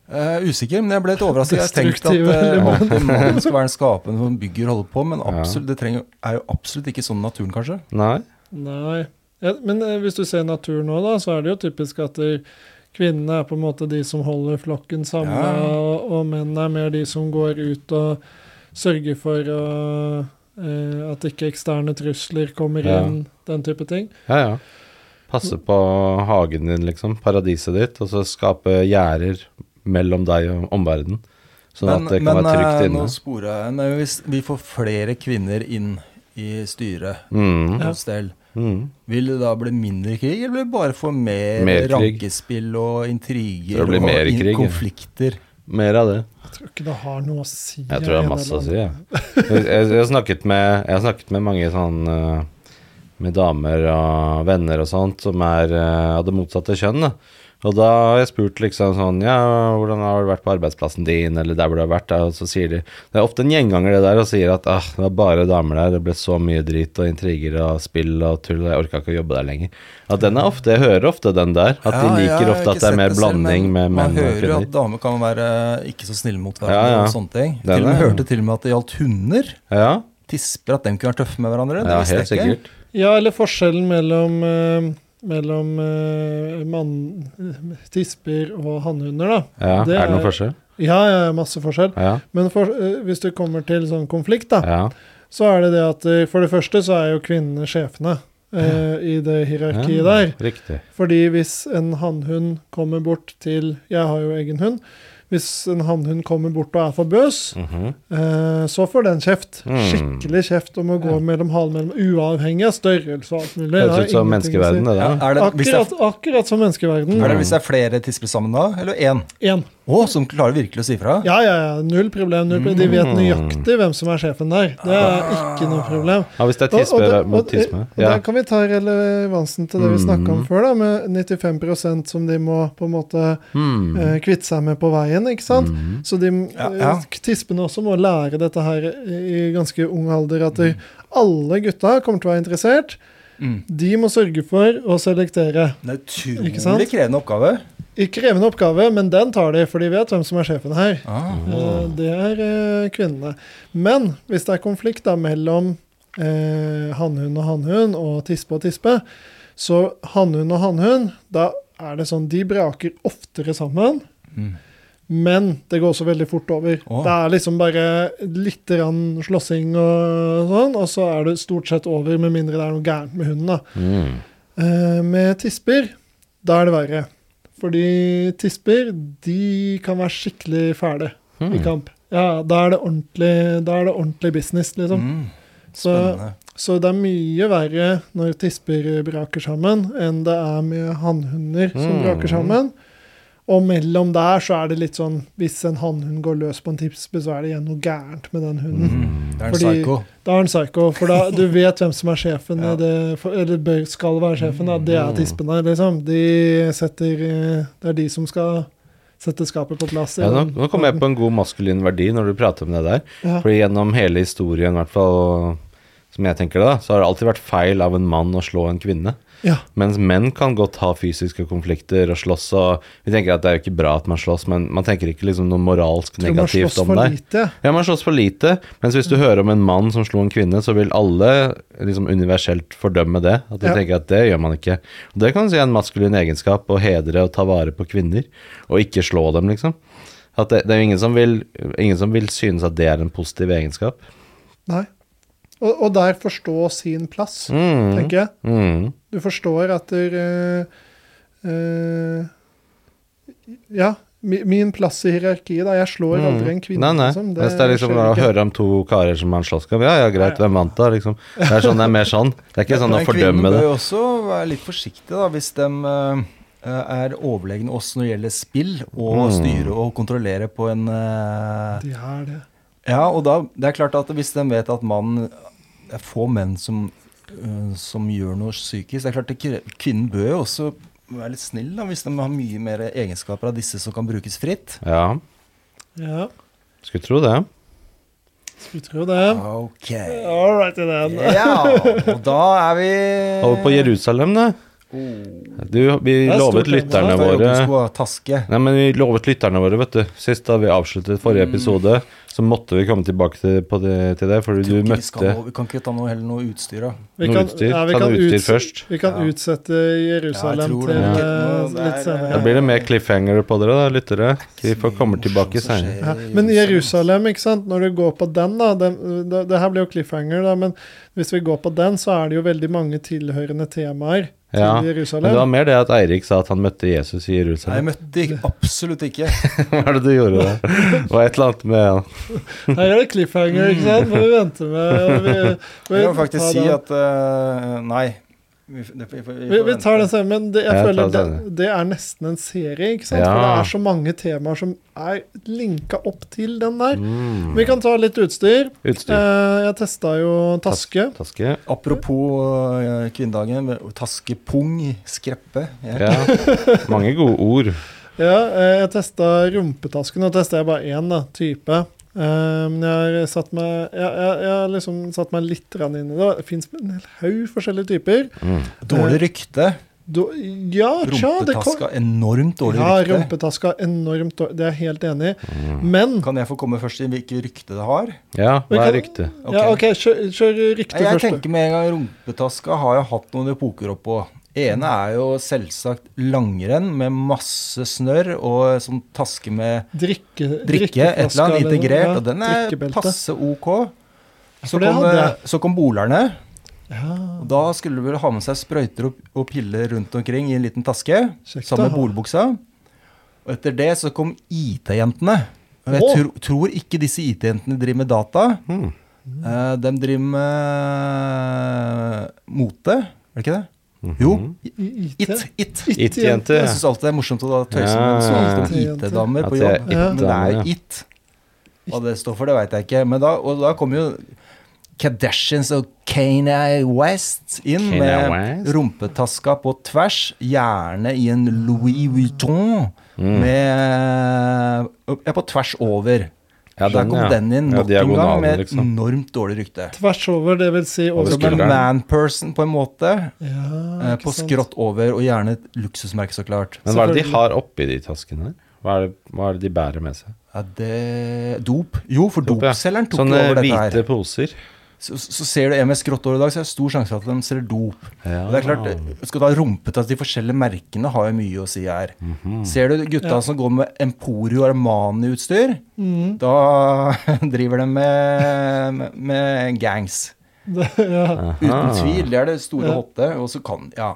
Speaker 1: Jeg er Eh, usikker, men jeg ble litt overrasket. Jeg tenkte at
Speaker 3: Destruktive
Speaker 1: eh,
Speaker 3: element.
Speaker 1: alltid mannen skal være en skapende som bygger og holder på, men
Speaker 2: Ja.
Speaker 1: absolutt, det trenger, er jo absolutt ikke sånn naturen, kanskje.
Speaker 2: Nei?
Speaker 3: Nei. Ja, men eh, hvis du ser natur nå, da, så er det jo typisk at eh, kvinnene er på en måte de som holder flokken samla,
Speaker 1: Ja.
Speaker 3: og, og mennene er mer de som går ut og sørger for å, eh, at ikke eksterne trusler kommer
Speaker 2: Ja.
Speaker 3: inn, den type ting.
Speaker 2: Ja, ja. Passe på hagen din, liksom. Paradiset ditt. Og så skape gjerder mellom deg og omverdenen. Sånn at det kan
Speaker 1: men,
Speaker 2: være trygt
Speaker 1: eh, nå
Speaker 2: inne.
Speaker 1: sporer jeg men Hvis vi får flere kvinner inn i styret
Speaker 2: Mm,
Speaker 1: og stell,
Speaker 2: mm.
Speaker 1: vil det da bli mindre krig, eller vil det bare få mer,
Speaker 2: Mer krig.
Speaker 1: rankespill og intriger
Speaker 2: Så det blir
Speaker 1: og
Speaker 2: mer
Speaker 1: in-
Speaker 2: krig, ja.
Speaker 1: konflikter?
Speaker 2: Mer av det.
Speaker 3: Jeg tror ikke det har noe å si.
Speaker 2: Jeg tror det er
Speaker 3: en
Speaker 2: masse å
Speaker 3: eller
Speaker 2: si, jeg. Jeg, jeg, har snakket med, jeg har snakket med mange sånn eh, Med damer og venner og sånt som er eh, av det motsatte kjønn. Da. Og da har jeg spurt liksom sånn Ja, hvordan har det vært på arbeidsplassen din, eller der hvor du har vært? da?» Og så sier de Det er ofte en gjenganger det der og sier at ah, det var bare damer der, det ble så mye drit og intriger og spill og tull, jeg orka ikke å jobbe der lenger. At den er ofte Jeg hører ofte den der.
Speaker 1: Ja,
Speaker 2: At de
Speaker 1: ja, jeg
Speaker 2: liker
Speaker 1: har
Speaker 2: ofte
Speaker 1: ikke
Speaker 2: at det
Speaker 1: sett
Speaker 2: er mer
Speaker 1: det selv,
Speaker 2: blanding
Speaker 1: men
Speaker 2: med
Speaker 1: Man
Speaker 2: menn og
Speaker 1: hører jo at
Speaker 2: kvinner.
Speaker 1: damer kan være eh, ikke så snille mot hverandre
Speaker 2: Ja, ja.
Speaker 1: og sånne ting.
Speaker 2: Den
Speaker 1: til og med
Speaker 2: er-
Speaker 1: hørte til og med at det gjaldt hunder.
Speaker 2: Ja,
Speaker 1: Tisper at de kunne være tøffe med hverandre. det
Speaker 2: ja,
Speaker 1: visste jeg
Speaker 2: helt
Speaker 1: ikke.
Speaker 2: sikkert.
Speaker 3: annen. Ja, eller forskjellen mellom, eh, mellom eh, mann, tisper og hannhunder, da.
Speaker 2: Ja,
Speaker 3: Det
Speaker 2: er det
Speaker 3: er-
Speaker 2: noen forskjell?
Speaker 3: Ja, ja, masse forskjell.
Speaker 2: Ja.
Speaker 3: Men for, eh, hvis du kommer til sånn konflikt, da.
Speaker 2: ja.
Speaker 3: så er det det at eh, for det første så er jo kvinnene sjefene eh, i det
Speaker 2: Ja,
Speaker 3: hierarkiet der.
Speaker 2: Riktig.
Speaker 3: Fordi hvis en hannhund kommer bort til Jeg har jo egen hund. Hvis en hannhund kommer bort og er for bøs,
Speaker 2: Mhm.
Speaker 3: eh, så får den kjeft.
Speaker 2: Mm.
Speaker 3: Skikkelig kjeft om å gå
Speaker 2: Ja.
Speaker 3: mellom halen mellom, uavhengig av størrelse og alt mulig. Det har
Speaker 2: Høres ut som
Speaker 3: ingenting å si.
Speaker 2: menneskeverdenen, det
Speaker 1: Ja,
Speaker 2: der.
Speaker 1: er, det, hvis det
Speaker 3: Akkurat, akkurat som
Speaker 1: er,
Speaker 3: menneskeverden.
Speaker 1: er det hvis det er flere tisper sammen da, eller én?
Speaker 3: Én.
Speaker 1: Å, som klarer virkelig å si fra?
Speaker 3: Ja, ja, ja. Null problem. Null problem. De
Speaker 1: Mm.
Speaker 3: vet nøyaktig hvem som er sjefen der. Det er ikke noe problem.
Speaker 2: Ja, hvis det er
Speaker 3: Og- og det-
Speaker 2: tispe
Speaker 3: og
Speaker 2: mot
Speaker 3: det-
Speaker 2: tisme.
Speaker 3: Og
Speaker 2: Ja.
Speaker 3: Der kan vi ta relevansen til det vi snakka om
Speaker 2: Mm.
Speaker 3: før, da, med 95 som de må på en måte
Speaker 2: Mm.
Speaker 3: eh, kvitte seg med på veien. ikke sant?
Speaker 2: Mm.
Speaker 3: Så de
Speaker 1: Ja, ja.
Speaker 3: eh, tispene også må lære dette her i ganske ung alder, at de, alle gutta kommer til å være interessert.
Speaker 1: Mm.
Speaker 3: De må sørge for å selektere.
Speaker 1: Det er
Speaker 3: Ikke sant?
Speaker 1: utrolig krevende oppgave.
Speaker 3: Ikke krevende oppgave, men den tar de, for de vet hvem som er sjefen her.
Speaker 1: Ah.
Speaker 3: Eh, Det er eh, kvinnene. Men hvis det er konflikt da mellom eh, hannhund og hannhund og tispe og tispe, så hannhund og hannhund, da er det sånn De braker oftere sammen,
Speaker 1: Mm.
Speaker 3: men det går også veldig fort
Speaker 1: Å.
Speaker 3: over. Det er liksom bare litt grann slåssing og sånn, og så er det stort sett over, med mindre det er noe gærent med hunden, da.
Speaker 2: Mm.
Speaker 3: Eh, med tisper, da er det verre. Fordi tisper, de kan være skikkelig fæle
Speaker 1: Mm.
Speaker 3: i
Speaker 2: Mm.
Speaker 3: kamp. Ja, da er det ordentlig, da er det ordentlig business, liksom.
Speaker 1: Mm.
Speaker 3: Så,
Speaker 1: Spennende.
Speaker 3: så det er mye verre når tisper braker sammen, enn det er med hannhunder som
Speaker 2: Mm.
Speaker 3: braker sammen. Og mellom der så er det litt sånn Hvis en hannhund går løs på en tispe, så er det igjen noe gærent med den hunden.
Speaker 1: Mm. Det er en
Speaker 3: Fordi-
Speaker 1: psycho.
Speaker 3: Da er han psycho, for da, du vet hvem som er sjefen,
Speaker 1: Ja. Mm.
Speaker 3: i det, for, eller bør, skal være sjefen. Da. Det er tispene, liksom. De setter eh, Det er de som skal sette skapet på plass. i
Speaker 2: Ja, nå,
Speaker 3: den-
Speaker 2: nå kom jeg på en god maskulin verdi når du prater om det der.
Speaker 3: Ja.
Speaker 2: Fordi gjennom hele historien, i hvert fall som jeg tenker det, da, så har det alltid vært feil av en mann å slå en kvinne.
Speaker 3: ja.
Speaker 2: Mens menn kan godt ha fysiske konflikter og slåss, og vi tenker at det er jo ikke bra at man slåss, men man tenker ikke liksom noe moralsk
Speaker 3: Tror man
Speaker 2: negativt
Speaker 3: slåss
Speaker 2: om
Speaker 3: for
Speaker 2: det.
Speaker 3: lite.
Speaker 2: Ja, man slåss for lite, mens hvis du
Speaker 3: Mm.
Speaker 2: hører om en mann som slo en kvinne, så vil alle liksom universelt fordømme det. At de
Speaker 3: Ja.
Speaker 2: tenker at det gjør man ikke. Og det kan si er en maskulin egenskap å hedre og ta vare på kvinner, og ikke slå dem, liksom. At det, det er jo ingen som, vil, ingen som vil synes at det er en positiv egenskap.
Speaker 3: Nei. Og, og der forstå sin plass,
Speaker 2: Mm.
Speaker 3: tenker jeg.
Speaker 2: Mm.
Speaker 3: Du forstår at der, eh, eh, Ja. mi- Min plass i hierarkiet, da. Jeg slår aldri en kvinne.
Speaker 2: Mm. Nei, nei.
Speaker 3: liksom.
Speaker 2: Hvis det er liksom
Speaker 3: skjer
Speaker 2: å
Speaker 3: ikke.
Speaker 2: høre om to karer som har en slåsskamp, ja ja, greit,
Speaker 3: Ja, ja.
Speaker 2: hvem vant da, liksom. Det er sånn det er mer sånn. Det er ikke sånn å
Speaker 1: Men
Speaker 2: fordømme
Speaker 1: Kvinner
Speaker 2: det.
Speaker 1: bør jo også være litt forsiktige da, hvis de eh, er overlegne oss når det gjelder spill, og
Speaker 2: Mm.
Speaker 1: styre og kontrollere på en eh,
Speaker 3: De er det.
Speaker 1: Ja, og da, det er klart at hvis de vet at mannen Det er få menn som, øh, som gjør noe psykisk. Det er klart at kre- Kvinnen bør jo også være litt snill, da, hvis de har mye mer egenskaper av disse som kan brukes fritt.
Speaker 2: Ja,
Speaker 3: Ja,
Speaker 2: skulle tro det.
Speaker 3: skulle tro det.
Speaker 1: Ok.
Speaker 3: All righty then.
Speaker 1: Ja, og da er vi
Speaker 2: Over på Jerusalem, da. Du, vi
Speaker 3: Det er
Speaker 2: lovet
Speaker 3: stort, det.
Speaker 1: Da
Speaker 2: lytterne
Speaker 1: er jobben
Speaker 2: våre
Speaker 1: skulle ha taske.
Speaker 2: Nei, men vi lovet lytterne våre, vet du. Sist da vi avsluttet forrige
Speaker 1: Mm.
Speaker 2: episode, så måtte vi komme tilbake til, på det, til det,
Speaker 1: Tror
Speaker 2: fordi du
Speaker 1: ikke vi, skal,
Speaker 2: møtte
Speaker 1: nå- vi kan ikke ta noe heller noe utstyr, da.
Speaker 3: Vi
Speaker 2: Noe utstyr?
Speaker 3: vi
Speaker 2: Ta
Speaker 3: kan
Speaker 2: noe utstyr
Speaker 3: uts-
Speaker 2: først.
Speaker 3: Vi kan
Speaker 1: Ja.
Speaker 3: utsette
Speaker 1: Ja,
Speaker 3: Jerusalem
Speaker 1: jeg tror
Speaker 3: til
Speaker 1: det.
Speaker 3: eh,
Speaker 1: Ja. Nå,
Speaker 3: litt
Speaker 1: det er-
Speaker 2: Da
Speaker 3: senere.
Speaker 2: blir det mer cliffhanger på dere, da, lyttere. Vi får komme tilbake
Speaker 1: Morsomt som
Speaker 2: senere.
Speaker 3: Ja.
Speaker 1: skjer i
Speaker 3: Men Jerusalem, ikke sant, når du går på den, da den, det, det her blir jo cliffhanger, da, men hvis vi går på den, så er det jo veldig mange tilhørende temaer til
Speaker 2: Ja, Men det var
Speaker 3: Jerusalem.
Speaker 2: mer det at Eirik sa at han møtte Jesus i
Speaker 1: Nei, jeg
Speaker 2: Jerusalem.
Speaker 1: møtte ikke, absolutt ikke.
Speaker 2: [laughs]
Speaker 3: [laughs]
Speaker 2: Hva er det du gjorde
Speaker 1: [laughs]
Speaker 2: der? Det var et eller annet med han.
Speaker 3: Her er det cliffhanger, ikke sant? Må vi vente med og vi, vi,
Speaker 1: Jeg må faktisk
Speaker 3: tar
Speaker 1: si
Speaker 3: den.
Speaker 1: at eh, Nei. Vi, f- det, vi, får- vi
Speaker 3: vi,
Speaker 1: får
Speaker 3: vi tar den
Speaker 1: vente.
Speaker 3: senere, men det, jeg
Speaker 2: Ja, ta
Speaker 3: føler det,
Speaker 2: den senere.
Speaker 3: det er nesten en serie, ikke sant?
Speaker 2: Ja.
Speaker 3: For det er så mange temaer som er linka opp til den der.
Speaker 2: Mm.
Speaker 3: Vi kan ta litt utstyr.
Speaker 2: Utstyr.
Speaker 3: Eh, jeg testa jo taske.
Speaker 2: Taske.
Speaker 1: Apropos eh, kvinnedagen. Taske, pung, skreppe. Ja.
Speaker 2: Ja. Mange gode ord.
Speaker 3: Ja, eh, jeg testa rumpetasken. Nå testa jeg bare én da, type. Eh, Men jeg har satt meg Jeg, jeg, jeg har liksom satt meg litt grann inn i det. Det fins en hel haug forskjellige typer.
Speaker 2: Mm.
Speaker 1: Dårlig rykte.
Speaker 3: Da, ja, tja, det kom
Speaker 1: Rumpetaska. Enormt dårlig
Speaker 3: Ja,
Speaker 1: rykte.
Speaker 3: rumpetaska er enormt dårlig. Det er jeg helt enig i. Men
Speaker 1: Kan jeg få komme først i hvilket rykte det har?
Speaker 2: Ja,
Speaker 3: Vi
Speaker 2: hva er
Speaker 3: kan-
Speaker 2: ryktet?
Speaker 3: Ja, OK, kjør, kjør ryktet
Speaker 1: Nei, Jeg
Speaker 3: først. du.
Speaker 1: tenker med en gang rumpetaska har jeg hatt noen epoker oppå. Ene er jo selvsagt langrenn med masse snørr og sånn taske med
Speaker 3: Drikke,
Speaker 1: drikke, et eller annet integrert, og den er
Speaker 3: drikkebeltet.
Speaker 1: passe ok. Så
Speaker 3: for det
Speaker 1: kom,
Speaker 3: hadde
Speaker 1: eh, så kom bolerne,
Speaker 3: Ja,
Speaker 1: og da skulle du vel ha med seg sprøyter og, og piller rundt omkring i en liten taske,
Speaker 3: Kjekt
Speaker 1: sammen
Speaker 3: å ha.
Speaker 1: med bolbuksa. Og etter det så kom IT-jentene. Og jeg
Speaker 3: Å!
Speaker 1: tro, tror ikke disse IT-jentene driver med data.
Speaker 2: Mm.
Speaker 1: Eh, de driver med mote, er det ikke det? Jo.
Speaker 3: i IT.
Speaker 1: It. it.
Speaker 2: It-jente.
Speaker 1: Jeg syns alltid det er morsomt å da tøyse med
Speaker 2: Ja.
Speaker 1: sånne IT-damer
Speaker 2: At
Speaker 1: på
Speaker 2: det er
Speaker 1: jobb. Men det
Speaker 2: it-damer, ja.
Speaker 1: er it. Hva det står for, det veit jeg ikke. Men da, og da kommer jo Kardashians og Kanye West inn
Speaker 2: Kanye
Speaker 1: med
Speaker 2: West?
Speaker 1: rumpetaska på tvers, gjerne i en
Speaker 2: Mm.
Speaker 1: Louis Vuitton med ja, på tvers over.
Speaker 2: Ja,
Speaker 1: Der
Speaker 2: den,
Speaker 1: kom
Speaker 2: ja.
Speaker 1: den inn
Speaker 2: Ja,
Speaker 1: nok en gang
Speaker 2: diagonalen,
Speaker 1: med
Speaker 2: liksom.
Speaker 1: enormt dårlig rykte.
Speaker 3: Tvers over, det vil si over
Speaker 1: Som en
Speaker 2: skulderen.
Speaker 1: manperson, på en måte.
Speaker 3: Ja,
Speaker 1: eh,
Speaker 3: ikke
Speaker 1: På
Speaker 3: sant.
Speaker 1: skrått over, og gjerne et luksusmerke, så klart.
Speaker 2: Men hva er det de
Speaker 3: Selvfølgelig.
Speaker 2: har oppi de taskene her? Hva er, det, hva er det de bærer med seg?
Speaker 1: Ja, det Dop? Jo, for
Speaker 2: Dop, ja.
Speaker 1: dopselgeren tok jo
Speaker 2: Sånne
Speaker 1: over dette
Speaker 2: hvite
Speaker 1: her.
Speaker 2: poser.
Speaker 1: Så, så ser du en med skrått over i dag, så er det stor sjanse for at de selger dop. Og det er klart, Skal du ha rumpete, altså de forskjellige merkene har jo mye å si her.
Speaker 2: Mhm. Mm.
Speaker 1: Ser du gutta
Speaker 3: Ja.
Speaker 1: som går med Emporio Armani-utstyr,
Speaker 3: Mhm.
Speaker 1: da [laughs] driver de med, med, med gangs.
Speaker 3: Det, [laughs] ja.
Speaker 2: Aha.
Speaker 1: Uten tvil. Det er det store
Speaker 3: Ja.
Speaker 1: hotte. Og så kan Ja.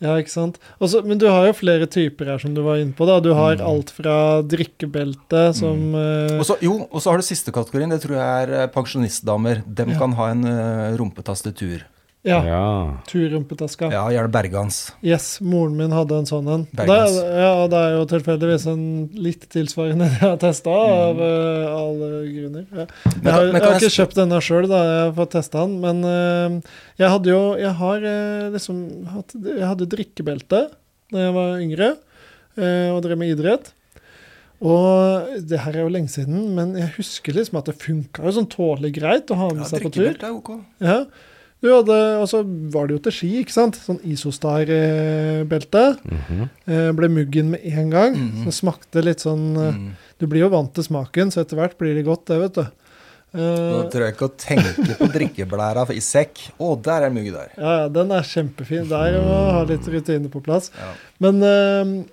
Speaker 3: ja, ikke sant. Også, men du har jo flere typer her, som du var inne på. da. Du har alt fra drikkebelte som eh,
Speaker 1: Mm. Og så, jo, og så har du siste kategorien. Det tror jeg er eh, pensjonistdamer. Dem
Speaker 3: Ja.
Speaker 1: kan ha en eh, rumpetastetur.
Speaker 3: Ja.
Speaker 2: Ja.
Speaker 3: Turrumpetaska.
Speaker 1: Ja, gjerne bergans.
Speaker 3: Yes, moren min hadde en sånn en. Det,
Speaker 1: Bergans.
Speaker 3: ja, og det er jo tilfeldigvis en litt tilsvarende [laughs] jeg har testa,
Speaker 1: Mm.
Speaker 3: av eh, alle grunner. Ja. Jeg
Speaker 1: Men
Speaker 3: har,
Speaker 1: kan- men
Speaker 3: jeg
Speaker 1: kan
Speaker 3: har
Speaker 1: jeg
Speaker 3: ikke kjøpt denne sjøl, da. Jeg har fått testa den. Men eh, jeg hadde jo Jeg har eh, liksom hatt Jeg hadde drikkebelte da jeg var yngre eh, og drev med idrett. Og det her er jo lenge siden, men jeg husker liksom at det funka jo sånn tålelig greit å ha med
Speaker 1: Ja,
Speaker 3: seg på tur.
Speaker 1: drikkebelte er ok.
Speaker 3: Ja. Du hadde, og så var det jo til ski, ikke sant? Sånn Isostar-belte.
Speaker 2: Mhm.
Speaker 3: Eh, ble muggen med en gang.
Speaker 1: Mhm.
Speaker 3: Så det smakte litt sånn eh,
Speaker 1: Mm.
Speaker 3: Du blir jo vant til smaken, så etter hvert blir det godt, det, vet du.
Speaker 1: Nå
Speaker 3: Eh,
Speaker 1: tør jeg ikke å tenke på drikkeblæra i sekk. Å, der er mugg der.
Speaker 3: ja, ja, den er kjempefin. Der må du ha litt rutine på plass.
Speaker 1: Ja.
Speaker 3: Men eh,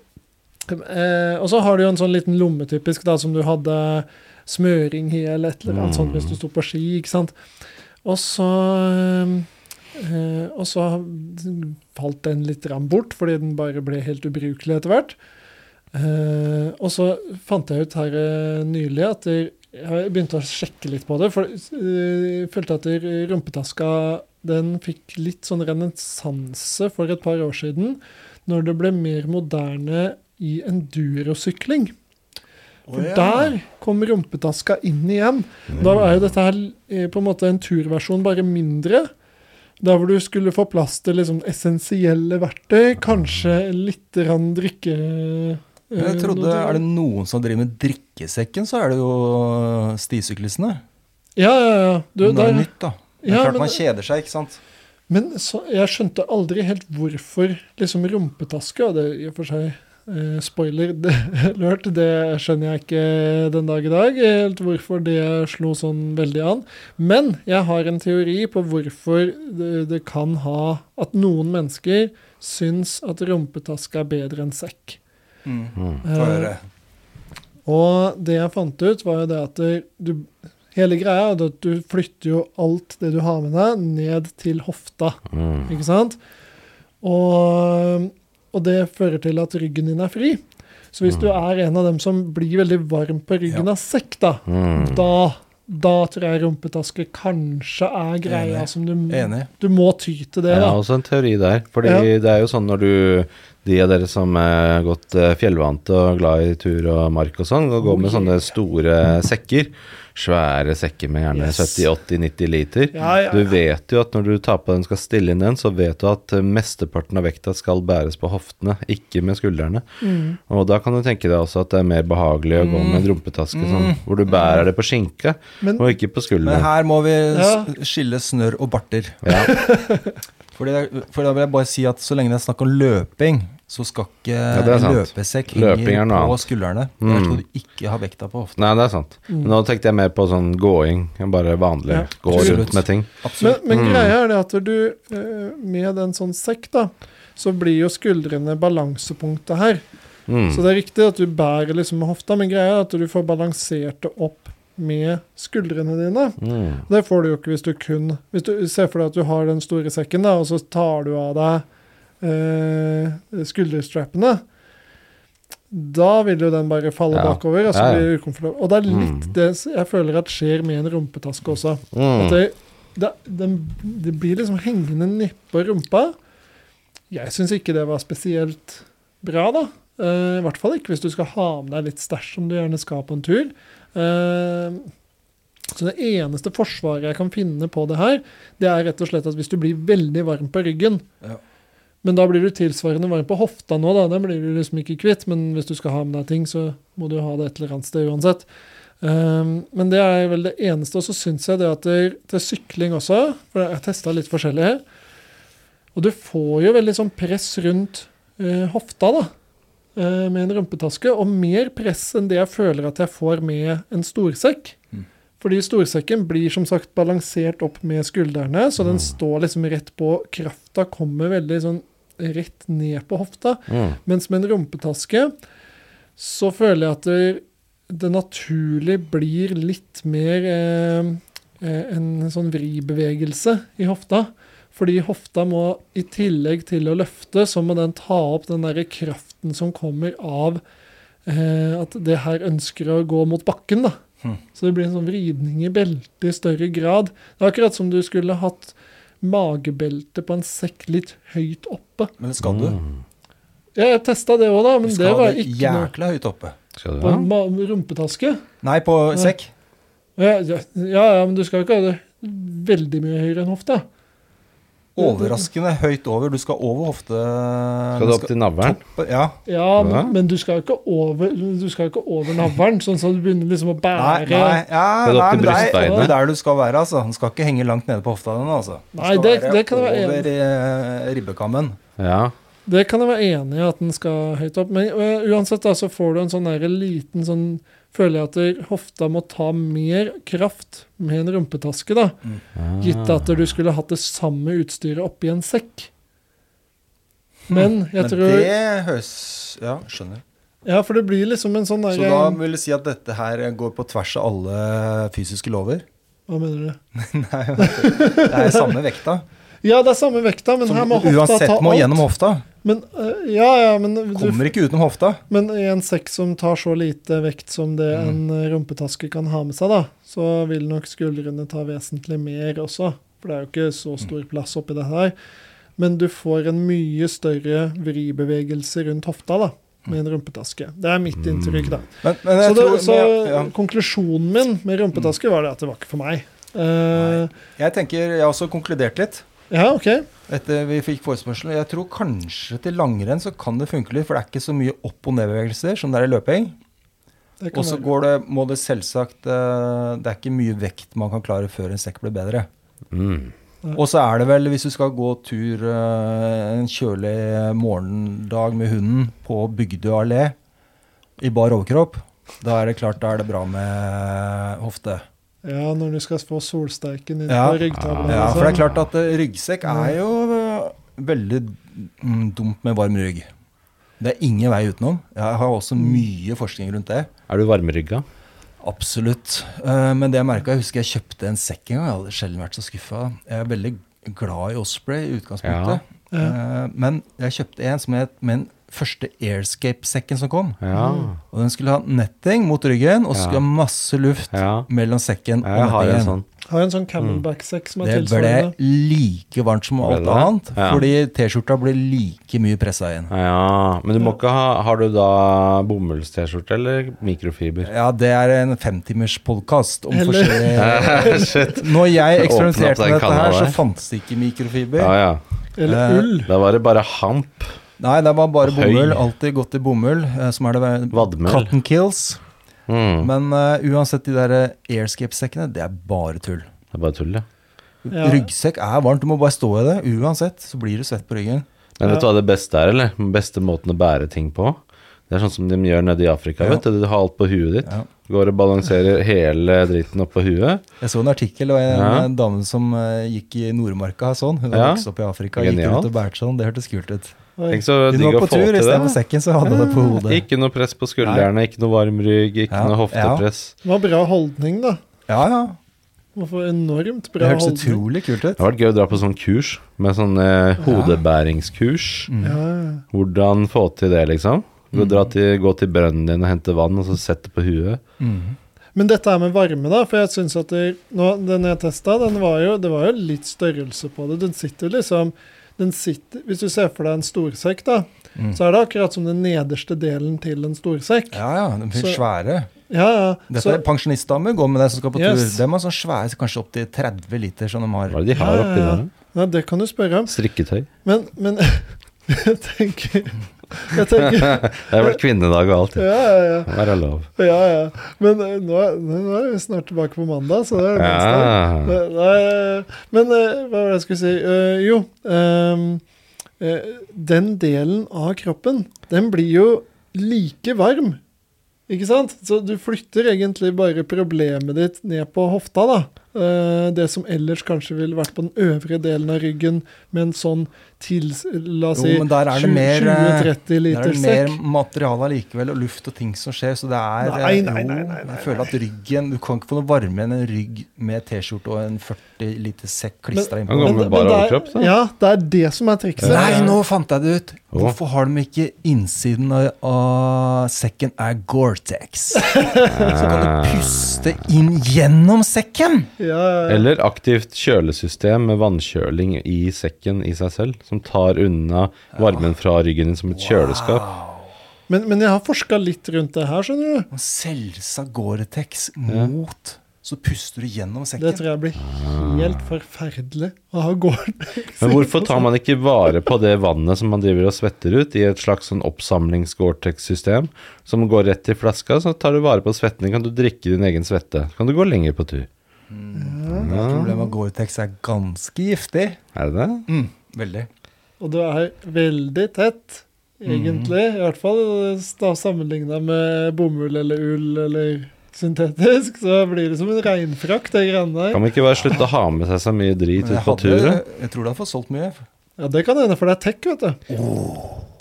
Speaker 3: eh, Og så har du jo en sånn liten lomme, typisk, da, som du hadde smøring i, eller et eller annet sånt
Speaker 1: Mm.
Speaker 3: hvis du sto på ski, ikke sant. Og så eh, Og så falt den litt rann bort, fordi den bare ble helt ubrukelig etter hvert. Eh, og så fant jeg ut her eh, nylig at der, jeg begynte å sjekke litt på det, for eh, jeg følte at der, rumpetaska den fikk litt sånn renessanse for et par år siden når det ble mer moderne i endurosykling. For der kom rumpetaska inn igjen. Da er jo dette her eh, på en måte en turversjon, bare mindre. Der hvor du skulle få plass til liksom essensielle verktøy, kanskje litt rann drikke... eh,
Speaker 1: Men jeg trodde,
Speaker 3: noe-
Speaker 1: Er det noen som driver med drikkesekken, så er det jo stisyklistene.
Speaker 3: Ja, ja, ja. Du,
Speaker 1: Men det er
Speaker 3: der-
Speaker 1: jo nytt, da. Det er
Speaker 3: Ja,
Speaker 1: klart
Speaker 3: men-
Speaker 1: man kjeder seg, ikke sant.
Speaker 3: Men så, jeg skjønte aldri helt hvorfor liksom rumpetaske, og det er i og for seg eh, spoiler [laughs] det, alert, det skjønner jeg ikke den dag i dag, helt hvorfor det slo sånn veldig an. Men jeg har en teori på hvorfor det, det kan ha at noen mennesker syns at rumpetaske er bedre enn sekk. Eh,
Speaker 1: Få høre.
Speaker 3: Og det jeg fant ut, var jo det at du Hele greia er at du flytter jo alt det du har med deg, ned til hofta.
Speaker 2: Mm.
Speaker 3: Ikke sant? Og, og det fører til at ryggen din er fri. Så hvis du er en av dem som blir veldig varm på ryggen
Speaker 1: Ja.
Speaker 3: av sekk, da,
Speaker 2: Mm.
Speaker 3: da da tror jeg rumpetaske kanskje er greia
Speaker 1: Enig.
Speaker 3: som du,
Speaker 1: Enig.
Speaker 2: Mm.
Speaker 3: du må ty til det,
Speaker 2: Jeg
Speaker 3: da.
Speaker 2: har også en teori der. Fordi
Speaker 3: Ja.
Speaker 2: det er jo sånn når du De av dere som er godt eh, fjellvante og glad i tur og mark og sånn, og går
Speaker 3: Oh,
Speaker 2: med sånne store sekker. Svære sekker med gjerne
Speaker 3: Yes.
Speaker 2: 70-80-90 liter.
Speaker 3: Ja, ja, ja.
Speaker 2: Du vet jo at når du tar på den skal stille inn den, så vet du at eh, mesteparten av vekta skal bæres på hoftene, ikke med skuldrene.
Speaker 3: Mm.
Speaker 2: Og da kan du tenke deg også at det er mer behagelig å gå med en rumpetaske sånn, hvor du bærer det på skinka,
Speaker 3: Mm. Men-
Speaker 2: og ikke på
Speaker 1: Men
Speaker 2: skulderen.
Speaker 1: her må vi
Speaker 3: Ja.
Speaker 1: s- skille snørr og barter.
Speaker 2: Ja.
Speaker 1: [laughs] Fordi det, for da vil jeg bare si at så lenge det er snakk om løping, så skal ikke
Speaker 2: det er sant.
Speaker 1: løpesekk
Speaker 2: Løping er
Speaker 1: henge
Speaker 2: noe
Speaker 1: på
Speaker 2: annet.
Speaker 1: skuldrene.
Speaker 2: Mm.
Speaker 1: Der skal du ikke ha vekta på hoften.
Speaker 2: Nei, det er sant.
Speaker 3: Mm.
Speaker 2: Men Mm. Nå tenkte jeg mer på sånn gåing. Bare vanlig
Speaker 3: Ja.
Speaker 2: gå
Speaker 1: Absolutt.
Speaker 2: rundt med ting.
Speaker 1: Absolutt.
Speaker 3: Men, men greia er det at du eh, med en sånn sekk, da, så blir jo skuldrene balansepunktet her.
Speaker 2: Mm.
Speaker 3: Så det er riktig at du bærer liksom med hofta, men greia er at du får balansert det opp med skuldrene dine.
Speaker 2: Mm.
Speaker 3: Det får du jo ikke hvis du kun Hvis du ser for deg at du har den store sekken, da, og så tar du av deg eh, skulderstrappene. Da vil jo den bare falle
Speaker 2: Ja.
Speaker 3: bakover, og så
Speaker 2: Ja, ja.
Speaker 3: blir det ukomfortabelt. Og det er litt
Speaker 2: Mm.
Speaker 3: det s- jeg føler at skjer med en rumpetaske også. At
Speaker 2: Mm.
Speaker 3: det, det, den, det blir liksom hengende nedpå rumpa. Jeg syns ikke det var spesielt bra, da. Eh, I hvert fall ikke hvis du skal ha med deg litt stæsj, som du gjerne skal på en tur. Eh, så det eneste forsvaret jeg kan finne på det her, det er rett og slett at hvis du blir veldig varm på ryggen
Speaker 1: Ja.
Speaker 3: Men da blir du tilsvarende varm på hofta nå, da. Den blir du liksom ikke kvitt. Men hvis du skal ha med deg ting, så må du ha det et eller annet sted uansett. Ehm, men det er vel det eneste. Og så syns jeg det at det, til sykling også, for jeg har testa litt forskjellig her Og du får jo veldig sånn press rundt eh, hofta, da. eh, med en rumpetaske. Og mer press enn det jeg føler at jeg får med en storsekk.
Speaker 1: Mm.
Speaker 3: Fordi storsekken blir som sagt balansert opp med skuldrene, så den står liksom rett på. Krafta kommer veldig sånn rett ned på hofta.
Speaker 2: Mm.
Speaker 3: Mens med en rumpetaske så føler jeg at det, det naturlig blir litt mer eh, eh, en sånn vribevegelse i hofta. Fordi hofta må, i tillegg til å løfte, så må den ta opp den derre kraften som kommer av eh, at det her ønsker å gå mot bakken, da.
Speaker 1: Hm.
Speaker 3: Så det blir en sånn vridning i beltet i større grad. Det er akkurat som du skulle hatt magebeltet på en sekk litt høyt oppe.
Speaker 1: Men det skal du.
Speaker 2: Mm.
Speaker 3: Jeg testa det òg, da,
Speaker 1: Du
Speaker 3: men det
Speaker 1: skal
Speaker 3: var
Speaker 1: det
Speaker 3: ikke noe
Speaker 1: jækla høyt oppe.
Speaker 2: Skal du
Speaker 3: på
Speaker 2: ha?
Speaker 3: en ma- rumpetaske.
Speaker 1: Nei, på sekk.
Speaker 3: Ja, ja, ja, ja, men du skal jo ikke ha det veldig mye høyere enn hofta.
Speaker 1: Overraskende høyt over. Du skal over hofte...
Speaker 2: Skal du opp til navlen?
Speaker 1: til Ja.
Speaker 3: Ja, men,
Speaker 2: Ja.
Speaker 3: men du skal jo ikke over Du skal jo ikke over navlen, sånn at du begynner liksom å
Speaker 1: Nei,
Speaker 3: bære
Speaker 1: nei, ja,
Speaker 2: Skal du
Speaker 1: nei
Speaker 2: opp til
Speaker 1: men det er-
Speaker 2: brystbeinet?
Speaker 1: det er der du skal være, altså. Den skal ikke henge langt nede på hofta denne, altså. Den
Speaker 3: Nei,
Speaker 1: skal
Speaker 3: det-
Speaker 1: være
Speaker 3: det kan jeg være
Speaker 1: Over eh, ribbekammen.
Speaker 2: Ja.
Speaker 3: Det kan jeg være enig i at den skal høyt opp, men øh, uansett da, så får du en sånn der liten sånn Føler jeg at der hofta må ta mer kraft med en rumpetaske, da.
Speaker 1: Mm.
Speaker 3: Gitt at
Speaker 1: Ah.
Speaker 3: du skulle hatt det samme utstyret oppi en sekk. Men
Speaker 1: Hm. Men
Speaker 3: jeg tror
Speaker 1: det høres Ja, skjønner.
Speaker 3: Ja, for det blir liksom en sånn
Speaker 1: Så
Speaker 3: derre
Speaker 1: da vil du si at dette her går på tvers av alle fysiske lover?
Speaker 3: Hva mener du?
Speaker 1: Nei, det er samme vekta.
Speaker 3: [laughs] Ja, det er samme vekta, men
Speaker 1: Som
Speaker 3: her må hofta ta
Speaker 1: uansett må
Speaker 3: alt.
Speaker 1: gjennom hofta.
Speaker 3: Men, øh, ja, ja, men du
Speaker 1: Kommer ikke utenom hofta.
Speaker 3: Men i en sekk som tar så lite vekt som det
Speaker 1: Mm.
Speaker 3: en eh, rumpetaske kan ha med seg, da, så vil nok skuldrene ta vesentlig mer også. For det er jo ikke
Speaker 1: Mm.
Speaker 3: så stor plass oppi det her. Men du får en mye større vribevegelse rundt hofta
Speaker 1: Mm.
Speaker 3: da, med en rumpetaske. Det er mitt inntrykk, da.
Speaker 1: Men, Mm. men
Speaker 3: Så,
Speaker 1: jeg
Speaker 3: det,
Speaker 1: tror
Speaker 3: så
Speaker 1: ja. Mm.
Speaker 3: konklusjonen min med rumpetaske var det at det var ikke for meg. Eh,
Speaker 1: Jeg tenker, jeg har også konkludert litt
Speaker 3: ja, OK.
Speaker 1: etter vi fikk forespørselen. Jeg tror kanskje til langrenn så kan det funke litt, for det er ikke så mye opp- og nedbevegelser som det er i løping.
Speaker 3: Det kan
Speaker 1: Og så
Speaker 3: være.
Speaker 1: går det, må det selvsagt eh, Det er ikke mye vekt man kan klare før en sekk blir bedre.
Speaker 2: Mm.
Speaker 1: Og så er det vel, hvis du skal gå tur eh, en kjølig morgendag med hunden på Bygdø allé i bar overkropp, da er det klart da er det bra med hofte.
Speaker 3: Ja, når du skal få solsteiken inn
Speaker 1: Ja.
Speaker 3: på ryggtavla.
Speaker 1: Ja,
Speaker 3: liksom.
Speaker 2: altså.
Speaker 1: for det er klart at eh, ryggsekk er jo eh, veldig mm, dumt med varm rygg. Det er ingen vei utenom. Jeg har også
Speaker 2: Mm.
Speaker 1: mye forskning rundt det.
Speaker 2: Er du varmerygga?
Speaker 1: Absolutt. Eh, Men det jeg merket, jeg husker jeg kjøpte en sekk en gang. Jeg hadde sjelden vært så skuffa. Jeg er veldig glad i Osprey i utgangspunktet. Eh, Men jeg kjøpte en som het med den første Airscape-sekken som kom.
Speaker 2: Ja.
Speaker 1: Og den skulle ha netting mot ryggen, og så
Speaker 2: Ja.
Speaker 1: skulle ha masse luft
Speaker 2: ja.
Speaker 1: mellom
Speaker 3: Mm.
Speaker 1: sekken og
Speaker 2: Jeg har en
Speaker 1: nettingen.
Speaker 2: sånn.
Speaker 3: Har en sånn camelback-sekk som er
Speaker 1: Mm. Det ble
Speaker 3: tilsvarende.
Speaker 1: like varmt som
Speaker 2: Ble
Speaker 1: alt
Speaker 2: det?
Speaker 1: annet,
Speaker 2: Ja.
Speaker 1: fordi T-skjorta ble like mye pressa inn.
Speaker 2: Ja, men du må ikke ha Har du da bomulls-T-skjorte eller mikrofiber?
Speaker 1: Ja, det er en femtimers podkast om
Speaker 3: Eller-
Speaker 1: forskjellige
Speaker 2: [laughs] Shit.
Speaker 1: Når jeg
Speaker 2: Åpne opp
Speaker 1: eksperimenterte
Speaker 2: den
Speaker 1: med dette her,
Speaker 2: kanalen
Speaker 1: så
Speaker 2: der.
Speaker 1: fantes det ikke mikrofiber.
Speaker 2: Ja, ja.
Speaker 1: Eh,
Speaker 3: Eller ull.
Speaker 2: Da var det bare hamp.
Speaker 1: Nei, det var bare
Speaker 2: Høy.
Speaker 1: bomull. Alltid gått i bomull, eh, som er det
Speaker 2: Vadmel.
Speaker 1: Cotton Kills.
Speaker 2: Mm.
Speaker 1: Men eh, uansett, de der eh, airscape-sekkene, det er bare tull.
Speaker 2: Det er bare tull, ja.
Speaker 3: Ja.
Speaker 1: Ryggsekk er varmt, du må bare stå i det. Uansett, så blir du svett på ryggen.
Speaker 2: Men vet du hva det beste er, eller? Den beste måten å bære ting på? Det er sånn som de gjør nede i Afrika,
Speaker 1: Ja.
Speaker 2: vet du. Du har alt på huet ditt.
Speaker 1: Ja.
Speaker 2: Går og balanserer hele dritten opp på huet.
Speaker 1: Jeg så en artikkel og en
Speaker 2: Ja.
Speaker 1: eh, dame som eh, gikk i Nordmarka sånn. Hun hadde
Speaker 2: Ja.
Speaker 1: vokst opp i Afrika gikk
Speaker 2: Genialt.
Speaker 1: rundt og bært sånn. Det hørtes kult ut.
Speaker 3: Oi.
Speaker 2: Tenk så
Speaker 1: Hun
Speaker 2: digg
Speaker 1: var
Speaker 2: å
Speaker 1: på
Speaker 2: få
Speaker 1: tur
Speaker 2: til det. Mm.
Speaker 1: istedenfor sekken, så hadde hun det
Speaker 3: Mm.
Speaker 1: på hodet.
Speaker 2: Ikke noe press på skuldrene, ikke noe varm rygg, ikke
Speaker 1: Ja,
Speaker 2: noe
Speaker 1: ja.
Speaker 2: hoftepress.
Speaker 3: Det var bra holdning, da.
Speaker 1: Ja, ja.
Speaker 3: Man får enormt
Speaker 1: Det
Speaker 3: bra
Speaker 1: hørtes
Speaker 3: holdning.
Speaker 1: utrolig kult
Speaker 2: Det
Speaker 1: ut.
Speaker 2: har vært gøy å dra på sånn kurs, med sånn eh, hodebæringskurs.
Speaker 3: Ja,
Speaker 2: Hvordan få til det, liksom? Gå, dra til, gå til brønnen din og hente vann, og så sette på huet.
Speaker 1: Mm.
Speaker 3: Men dette er med varme, da. For jeg syns at det, nå, den jeg testa, den var jo, det var jo litt størrelse på det. Den sitter liksom den sitter, Hvis du ser for deg en storsekk, da,
Speaker 1: Mm.
Speaker 3: så er det akkurat som den nederste delen til en storsekk.
Speaker 1: Ja, ja. De blir
Speaker 3: Så-
Speaker 1: svære.
Speaker 3: Ja, ja.
Speaker 1: Dette
Speaker 3: Så,
Speaker 1: er pensjonistdamer går med deg som skal på
Speaker 3: Yes.
Speaker 1: tur. De har sånn svære, så kanskje opptil 30 liter som de har.
Speaker 2: Hva er det de har
Speaker 3: Ja, ja,
Speaker 2: oppi
Speaker 3: ja.
Speaker 2: der? da?
Speaker 3: ja, det kan du spørre om. [laughs]
Speaker 2: Strikketøy.
Speaker 3: Men, men jeg tenker Jeg
Speaker 2: [laughs]
Speaker 3: tenker,
Speaker 2: [laughs] Det har vært kvinnedag og alt. det.
Speaker 3: ja, ja, ja.
Speaker 2: Være lov.
Speaker 3: Ja, ja. Men eh, nå, er- nå er vi snart tilbake på mandag, så det er ja.
Speaker 2: Ja.
Speaker 3: Men eh, hva var det jeg skulle si? Eh, jo, ehm, eh, den delen av kroppen, den blir jo like varm. Ikke sant? Så du flytter egentlig bare problemet ditt ned på hofta, da. Eh, det som ellers kanskje ville vært på den øvrige delen av ryggen med en sånn til, la oss
Speaker 1: Jo,
Speaker 3: si,
Speaker 1: men der er det mer, eh,
Speaker 3: 20-30
Speaker 1: Det er
Speaker 3: liter
Speaker 1: vel mer
Speaker 3: sekk.
Speaker 1: materiale allikevel, og luft og ting som skjer, så det er eh,
Speaker 3: Nei, nei,
Speaker 1: jo,
Speaker 3: nei, nei, nei,
Speaker 1: Jeg føler at ryggen Du kan ikke få noe varme enn en rygg med T-skjorte og en 40 liter sekk klistra
Speaker 2: Men-
Speaker 1: innpå.
Speaker 2: Gå med bare
Speaker 3: det er-
Speaker 2: overkropp, da.
Speaker 3: Ja, det er det som er trikset.
Speaker 1: Nei, nå fant jeg det ut!
Speaker 2: Å.
Speaker 1: Hvorfor har de ikke innsiden av, av sekken er Gore-Tex?
Speaker 3: [laughs]
Speaker 1: Så kan du puste inn gjennom sekken!
Speaker 3: Ja, ja, ja.
Speaker 2: Eller aktivt kjølesystem med vannkjøling i sekken i seg selv, som tar unna varmen fra ryggen din som et kjøleskap.
Speaker 3: Men, men jeg har forska litt rundt det her, skjønner du.
Speaker 1: Og selsa Gore-Tex mot Så puster du gjennom
Speaker 3: Det
Speaker 1: sekken.
Speaker 3: tror jeg blir helt forferdelig å ha gården. [laughs]
Speaker 2: Men hvorfor tar man ikke vare på det vannet som man driver og svetter ut, i et slags sånn oppsamlings-Gore-Tex-system som går rett i flaska, så tar du vare på svetten din, kan du drikke din egen svette, kan du gå lenger på tur.
Speaker 1: Problemet med Gore-Tex er ganske giftig.
Speaker 2: Er det det?
Speaker 1: Mm, veldig.
Speaker 3: Og det er veldig tett, egentlig.
Speaker 1: Mhm.
Speaker 3: I hvert fall sammenligna med bomull eller ull eller syntetisk. Så blir det som en regnfrakk, det
Speaker 2: Kan
Speaker 3: greiene der.
Speaker 2: man ikke bare slutte å ha med seg så mye drit
Speaker 1: Men
Speaker 2: ut
Speaker 1: jeg,
Speaker 2: på
Speaker 1: hadde,
Speaker 2: turen?
Speaker 1: jeg tror du hadde fått solgt mye.
Speaker 3: Ja, det kan hende, for det er tech, vet du.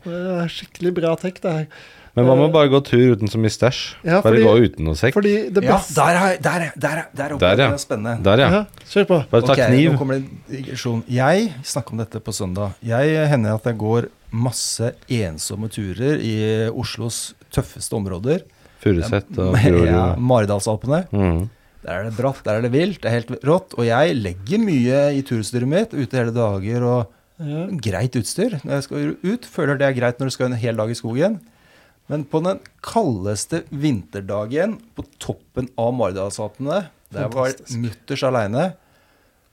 Speaker 3: Det er skikkelig bra tech, det her.
Speaker 2: Men hva med å bare gå tur uten så mye stæsj?
Speaker 3: Ja,
Speaker 2: Bare
Speaker 3: fordi-
Speaker 2: gå uten noe sekk?
Speaker 3: Fordi det
Speaker 1: Ja,
Speaker 3: beste
Speaker 1: der, er- der, er- der, er- der oppe
Speaker 2: Der, ja.
Speaker 1: det er spennende.
Speaker 2: Der, ja.
Speaker 3: Ja, kjør på.
Speaker 2: Bare ta
Speaker 1: Ok, Nå
Speaker 2: kniv.
Speaker 1: kommer det en digresjon. Jeg snakket om dette på søndag. Jeg hender at jeg går masse ensomme turer i Oslos tøffeste områder.
Speaker 2: Furuset og
Speaker 1: Ja,
Speaker 2: Grorud.
Speaker 1: Maridalsalpene.
Speaker 2: Mm.
Speaker 1: Der er det bratt, der er det vilt, det er helt rått. Og jeg legger mye i turutstyret mitt, ute hele dager og
Speaker 3: Ja.
Speaker 1: greit utstyr når jeg skal ut. Føler det er greit når du skal en hel dag i skogen. Men på den kaldeste vinterdagen på toppen av Maridalsalpene, der jeg var
Speaker 3: Fantastisk.
Speaker 1: mutters aleine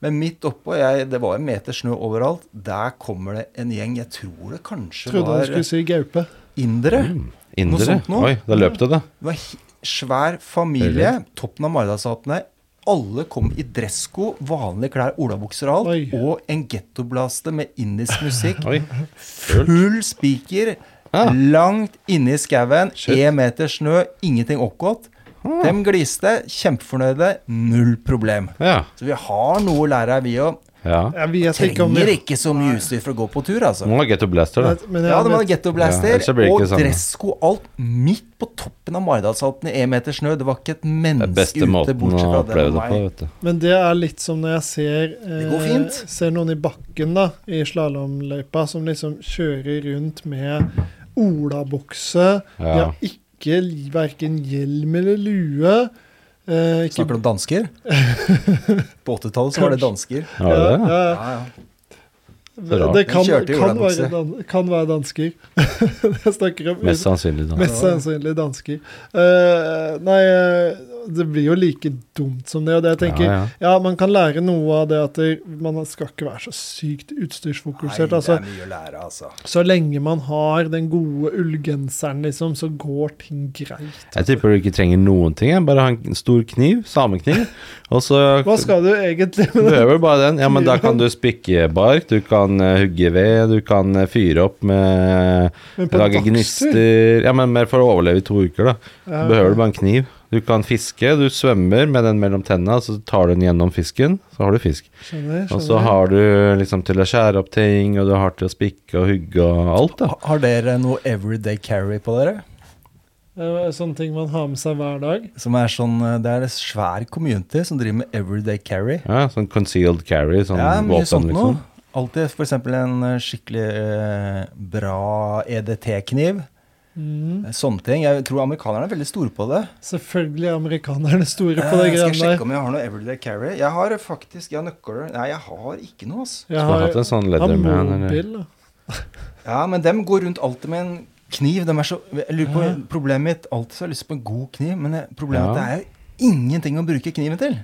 Speaker 1: Men midt oppå, jeg, det var en meter snø overalt, der kommer det en gjeng Jeg tror det kanskje
Speaker 3: Trodde han
Speaker 1: var
Speaker 3: skulle Mm. si gaupe.
Speaker 1: indere.
Speaker 2: Indere?
Speaker 1: sånt noe.
Speaker 2: Oi, da løp det, da.
Speaker 1: Det var he- svær familie. Toppen av Maridalsalpene. Alle kom i dressko, vanlige klær, olabukser og alt.
Speaker 3: Oi.
Speaker 1: Og en gettoblaste med indisk musikk.
Speaker 2: Oi.
Speaker 1: Full spiker
Speaker 2: Ah.
Speaker 1: langt inne i skauen.
Speaker 2: Shit. Ah.
Speaker 1: Én meter snø, ingenting oppgått. Dem gliste, kjempefornøyde, null problem.
Speaker 2: Ja.
Speaker 1: Så vi har noe å lære her, vi òg.
Speaker 2: ja.
Speaker 3: Jeg vet ikke om
Speaker 1: Trenger
Speaker 3: vi
Speaker 1: ikke så mye utstyr for å gå på tur, altså.
Speaker 2: Nå er Getto Blaster, da.
Speaker 3: Men jeg
Speaker 1: Ja, det var
Speaker 3: vet-
Speaker 2: Ja,
Speaker 1: gettoblaster
Speaker 2: ellers så blir det
Speaker 1: og
Speaker 2: ikke det samme.
Speaker 1: dressko og alt midt på toppen av Maridalsalpene i én meter snø. Det var ikke et
Speaker 2: Det er
Speaker 1: menneske
Speaker 2: beste
Speaker 1: ute,
Speaker 2: måten å
Speaker 1: bortsett fra
Speaker 2: oppleve
Speaker 1: den
Speaker 2: det
Speaker 1: og
Speaker 2: på,
Speaker 1: meg.
Speaker 2: vet du.
Speaker 3: Men det er litt som når jeg ser, eh,
Speaker 1: Det går fint.
Speaker 3: ser noen i bakken da, i slalåmløypa som liksom kjører rundt med olabukse. De
Speaker 2: Ja.
Speaker 3: har ikke verken hjelm eller lue. Eh, ikke,
Speaker 1: Snakker du om dansker?
Speaker 3: [laughs]
Speaker 1: På 80-tallet så var det dansker.
Speaker 2: Var det det?
Speaker 3: Ja,
Speaker 1: Ja, ja.
Speaker 3: ja.
Speaker 2: rart.
Speaker 3: Det kan,
Speaker 1: De kjørte i
Speaker 3: kan,
Speaker 1: olabukse.
Speaker 3: være, dan kan være dansker. [laughs] jeg snakker om
Speaker 2: Mest sannsynlig, da.
Speaker 3: Mest sannsynlig dansker. Eh, nei, eh, det blir jo like dumt som det. Og det jeg tenker, ja,
Speaker 2: Ja,
Speaker 3: man kan lære noe av det at det, man skal ikke være så sykt
Speaker 1: Nei, det
Speaker 3: utstyrsfokusert. altså.
Speaker 1: er mye å lære, altså.
Speaker 3: Så lenge man har den gode ullgenseren, liksom, så går ting greit.
Speaker 2: Jeg tipper du ikke trenger noen ting. jeg. Bare ha en stor kniv, samekniv, og så
Speaker 3: Hva skal du egentlig
Speaker 2: Du
Speaker 3: med det?
Speaker 2: er vel bare den. Ja, men da kan du spikke bark, du kan eh, hugge ved, du kan eh, fyre opp med
Speaker 3: Men på
Speaker 2: Lage
Speaker 3: dagstur?
Speaker 2: gnister Ja, men mer for å overleve i to uker, da.
Speaker 3: Ja,
Speaker 2: Du behøver
Speaker 3: ok.
Speaker 2: du bare en kniv. Du kan fiske, du svømmer med den mellom tenna, så tar du den gjennom fisken, så har du fisk.
Speaker 3: Skjønner,
Speaker 2: Og så
Speaker 3: skjønner.
Speaker 2: har du liksom til å skjære opp ting, og du har til å spikke og hugge og alt, da.
Speaker 1: Ha- Har dere noe everyday carry på dere?
Speaker 3: Det er Sånne ting man har med seg hver dag.
Speaker 1: Som er sånn, eh, Det er en svær community som driver med everyday carry.
Speaker 2: Ja, sånn concealed carry, sånn
Speaker 1: ja, mye
Speaker 2: våpen,
Speaker 1: sånt noe.
Speaker 2: liksom.
Speaker 1: Alltid f.eks. en eh, skikkelig eh, bra EDT-kniv.
Speaker 3: Mm.
Speaker 1: Sånne ting. Jeg tror amerikanerne er veldig store på det.
Speaker 3: Selvfølgelig er amerikanerne store på
Speaker 1: Eh, skal
Speaker 3: det
Speaker 1: jeg
Speaker 3: greiene
Speaker 1: sjekke
Speaker 3: der.
Speaker 1: om jeg har noe everyday carry? Jeg har faktisk jeg har nøkler Nei, jeg har ikke noe, ass.
Speaker 3: Jeg
Speaker 2: Skulle hatt
Speaker 3: har,
Speaker 2: en sånn
Speaker 3: har
Speaker 2: leatherman eller
Speaker 3: mobil. da.
Speaker 1: Ja, men dem går rundt alltid med en kniv. Dem er så, jeg lurer på, Problemet mitt alltid så har jeg lyst på en god kniv, men jeg, problemet er
Speaker 2: Ja.
Speaker 1: at det er jo ingenting å bruke kniven til.